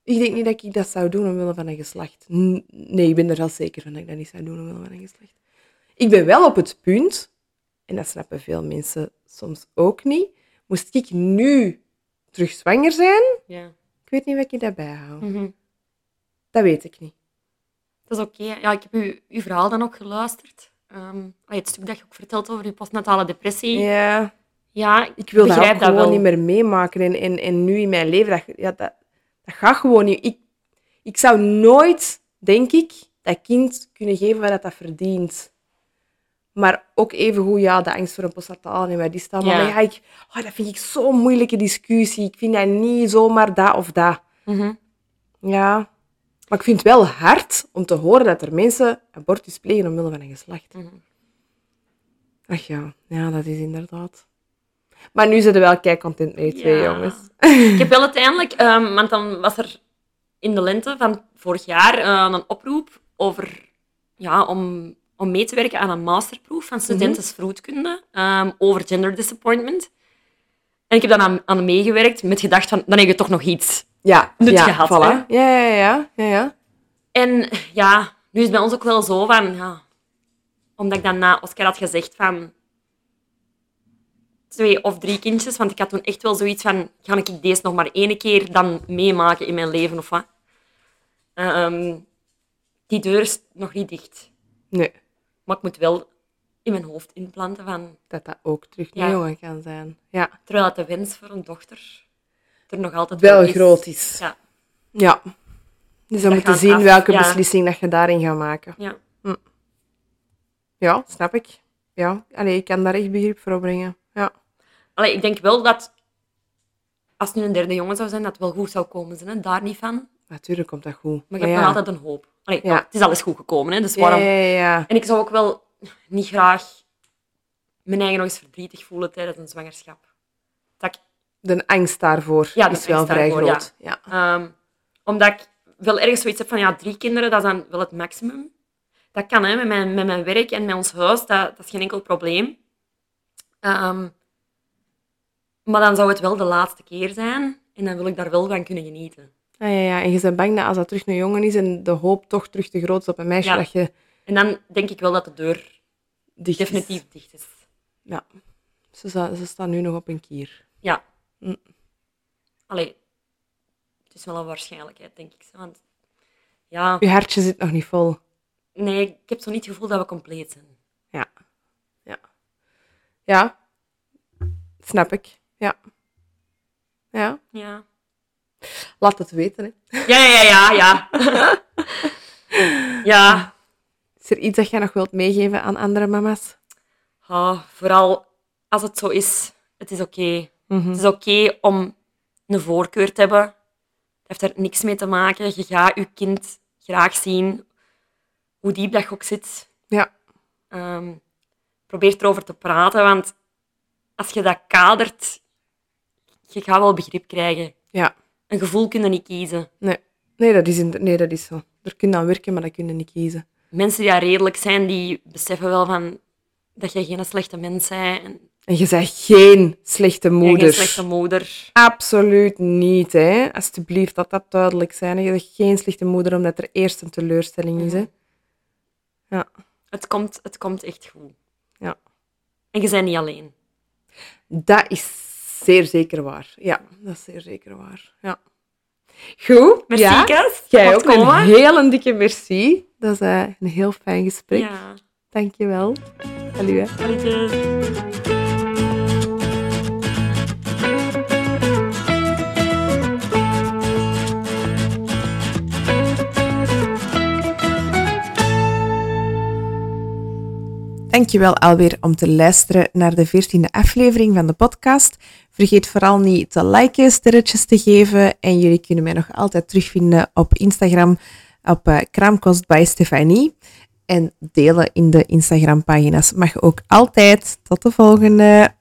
[SPEAKER 1] Ik denk niet dat ik dat zou doen omwille van een geslacht. N- Nee, ik ben er wel zeker van dat ik dat niet zou doen omwille van een geslacht. Ik ben wel op het punt, en dat snappen veel mensen soms ook niet, moest ik nu terug zwanger zijn,
[SPEAKER 2] ja.
[SPEAKER 1] ik weet niet wat ik daarbij hou.
[SPEAKER 2] Mhm.
[SPEAKER 1] Dat weet ik niet.
[SPEAKER 2] Dat is oké. Ja, ik heb uw, uw verhaal dan ook geluisterd. Ehm, allee, het stuk dat je ook vertelt over je postnatale depressie.
[SPEAKER 1] Ja,
[SPEAKER 2] Ja,
[SPEAKER 1] ik wil dat ook
[SPEAKER 2] begrijp
[SPEAKER 1] gewoon
[SPEAKER 2] wel.
[SPEAKER 1] niet meer meemaken. En, en, en nu in mijn leven, dat, ja, dat, dat gaat gewoon niet. Ik, ik zou nooit, denk ik, dat kind kunnen geven wat dat verdient. Maar ook evengoed, ja, de angst voor een postnataal en waar die staan.
[SPEAKER 2] Ja.
[SPEAKER 1] Maar ja, ik, oh, dat vind ik zo'n moeilijke discussie. Ik vind dat niet zomaar dat of dat.
[SPEAKER 2] Mhm.
[SPEAKER 1] Ja. Maar ik vind het wel hard om te horen dat er mensen abortus plegen omwille van een geslacht.
[SPEAKER 2] Mhm.
[SPEAKER 1] Ach ja, ja, dat is inderdaad. Maar nu zitten we wel kei content mee, twee
[SPEAKER 2] Ja.
[SPEAKER 1] jongens.
[SPEAKER 2] Ik heb wel uiteindelijk, ehm, want dan was er in de lente van vorig jaar eh, een oproep over, ja, om, om mee te werken aan een masterproef van studenten vroedkunde ehm, over gender disappointment. En ik heb dan aan, aan meegewerkt met gedacht van, dan heb je toch nog iets.
[SPEAKER 1] Ja,
[SPEAKER 2] Nut
[SPEAKER 1] ja,
[SPEAKER 2] gehad,
[SPEAKER 1] voilà. Ja, ja, ja, ja, ja.
[SPEAKER 2] En ja, nu is het bij ons ook wel zo van, ja, omdat ik dan na Oscar had gezegd van twee of drie kindjes, want ik had toen echt wel zoiets van, ga ik deze nog maar één keer dan meemaken in mijn leven of wat? Ehm, die deur is nog niet dicht,
[SPEAKER 1] Nee,
[SPEAKER 2] maar ik moet wel in mijn hoofd inplanten van,
[SPEAKER 1] dat dat ook terug
[SPEAKER 2] Ja.
[SPEAKER 1] naar jongen kan zijn. Ja,
[SPEAKER 2] terwijl dat de wens voor een dochter er nog altijd
[SPEAKER 1] wel groot is.
[SPEAKER 2] Ja,
[SPEAKER 1] Ja. Dus dan
[SPEAKER 2] Dat
[SPEAKER 1] moet je
[SPEAKER 2] gaat
[SPEAKER 1] zien
[SPEAKER 2] af,
[SPEAKER 1] welke
[SPEAKER 2] ja.
[SPEAKER 1] beslissing dat je daarin gaat maken.
[SPEAKER 2] ja.
[SPEAKER 1] Ja, snap ik. Ja, Allee, ik kan daar echt begrip voor opbrengen. Ja.
[SPEAKER 2] Allee, ik denk wel dat als het nu een derde jongen zou zijn, dat het wel goed zou komen. Ze zijn daar niet van.
[SPEAKER 1] Natuurlijk komt dat goed.
[SPEAKER 2] Maar je hebt
[SPEAKER 1] Oh ja.
[SPEAKER 2] nog altijd een hoop. Allee,
[SPEAKER 1] Ja.
[SPEAKER 2] Het is alles goed gekomen, hè, dus
[SPEAKER 1] Ja,
[SPEAKER 2] waarom...
[SPEAKER 1] ja, ja.
[SPEAKER 2] En ik zou ook wel niet graag mijn eigen nog eens verdrietig voelen tijdens een zwangerschap. Dat ik,
[SPEAKER 1] De angst daarvoor
[SPEAKER 2] Ja, de
[SPEAKER 1] is wel
[SPEAKER 2] angst
[SPEAKER 1] vrij
[SPEAKER 2] daarvoor, ja.
[SPEAKER 1] groot. Ja.
[SPEAKER 2] ehm, omdat ik wel ergens zoiets heb van, ja, drie kinderen, dat is dan wel het maximum. Dat kan, hè, met mijn, met mijn werk en met ons huis, dat, dat is geen enkel probleem. Ehm, maar dan zou het wel de laatste keer zijn en dan wil ik daar wel van kunnen genieten.
[SPEAKER 1] Ah, ja, ja. En je bent bang dat als dat terug een jongen is en de hoop toch terug te groot is op een meisje,
[SPEAKER 2] Ja.
[SPEAKER 1] dat je
[SPEAKER 2] En dan denk ik wel dat de deur
[SPEAKER 1] dicht is.
[SPEAKER 2] definitief dicht is.
[SPEAKER 1] Ze, sta- ze staan nu nog op een kier.
[SPEAKER 2] Ja.
[SPEAKER 1] Mm.
[SPEAKER 2] Allee, het is wel een waarschijnlijkheid, denk ik. Want ja,
[SPEAKER 1] Je hartje zit nog niet vol.
[SPEAKER 2] nee, ik heb zo niet het gevoel dat we compleet zijn.
[SPEAKER 1] Ja. Ja. Ja. Snap ik. Ja. Ja.
[SPEAKER 2] Ja,
[SPEAKER 1] Laat het weten. Hè.
[SPEAKER 2] ja, ja, ja, ja. Ja, ja.
[SPEAKER 1] Is er iets dat jij nog wilt meegeven aan andere mama's?
[SPEAKER 2] Ah, vooral als het zo is, het is oké.
[SPEAKER 1] Mhm.
[SPEAKER 2] Het is oké om een voorkeur te hebben. Het heeft er niks mee te maken. Je gaat je kind graag zien, hoe diep dat je ook zit.
[SPEAKER 1] Ja.
[SPEAKER 2] Ehm, probeer erover te praten, want als je dat kadert, je gaat wel begrip krijgen.
[SPEAKER 1] Ja.
[SPEAKER 2] Een gevoel kun je niet kiezen.
[SPEAKER 1] Nee. Nee, dat is, in- nee, dat is zo. Er kun je aan werken, maar dat kun je niet kiezen.
[SPEAKER 2] Mensen die daar redelijk zijn, die beseffen wel van dat je geen slechte mens bent. En
[SPEAKER 1] En je bent geen slechte
[SPEAKER 2] Ik ben
[SPEAKER 1] moeder.
[SPEAKER 2] geen slechte moeder.
[SPEAKER 1] Absoluut niet, hè. Alsjeblieft, dat dat duidelijk zijn. Je bent geen slechte moeder, omdat er eerst een teleurstelling is, hè.
[SPEAKER 2] Het komt, het komt echt goed.
[SPEAKER 1] Ja.
[SPEAKER 2] En je bent niet alleen.
[SPEAKER 1] Dat is zeer zeker waar. Ja, dat is zeer zeker waar. Ja. Goed.
[SPEAKER 2] Merci,
[SPEAKER 1] ja.
[SPEAKER 2] Kes.
[SPEAKER 1] Jij
[SPEAKER 2] Voor
[SPEAKER 1] ook
[SPEAKER 2] het
[SPEAKER 1] een
[SPEAKER 2] komen.
[SPEAKER 1] hele dikke merci. Dat is eh, een heel fijn gesprek.
[SPEAKER 2] Ja.
[SPEAKER 1] Dank je wel. Salut, hè.
[SPEAKER 2] Groetjes.
[SPEAKER 3] Dankjewel alweer om te luisteren naar de 14e aflevering van de podcast. Vergeet vooral niet te liken, sterretjes te geven. En jullie kunnen mij nog altijd terugvinden op Instagram op eh, Kraamkost by Stefanie. En delen in de Instagram-pagina's mag ook altijd. Tot de volgende.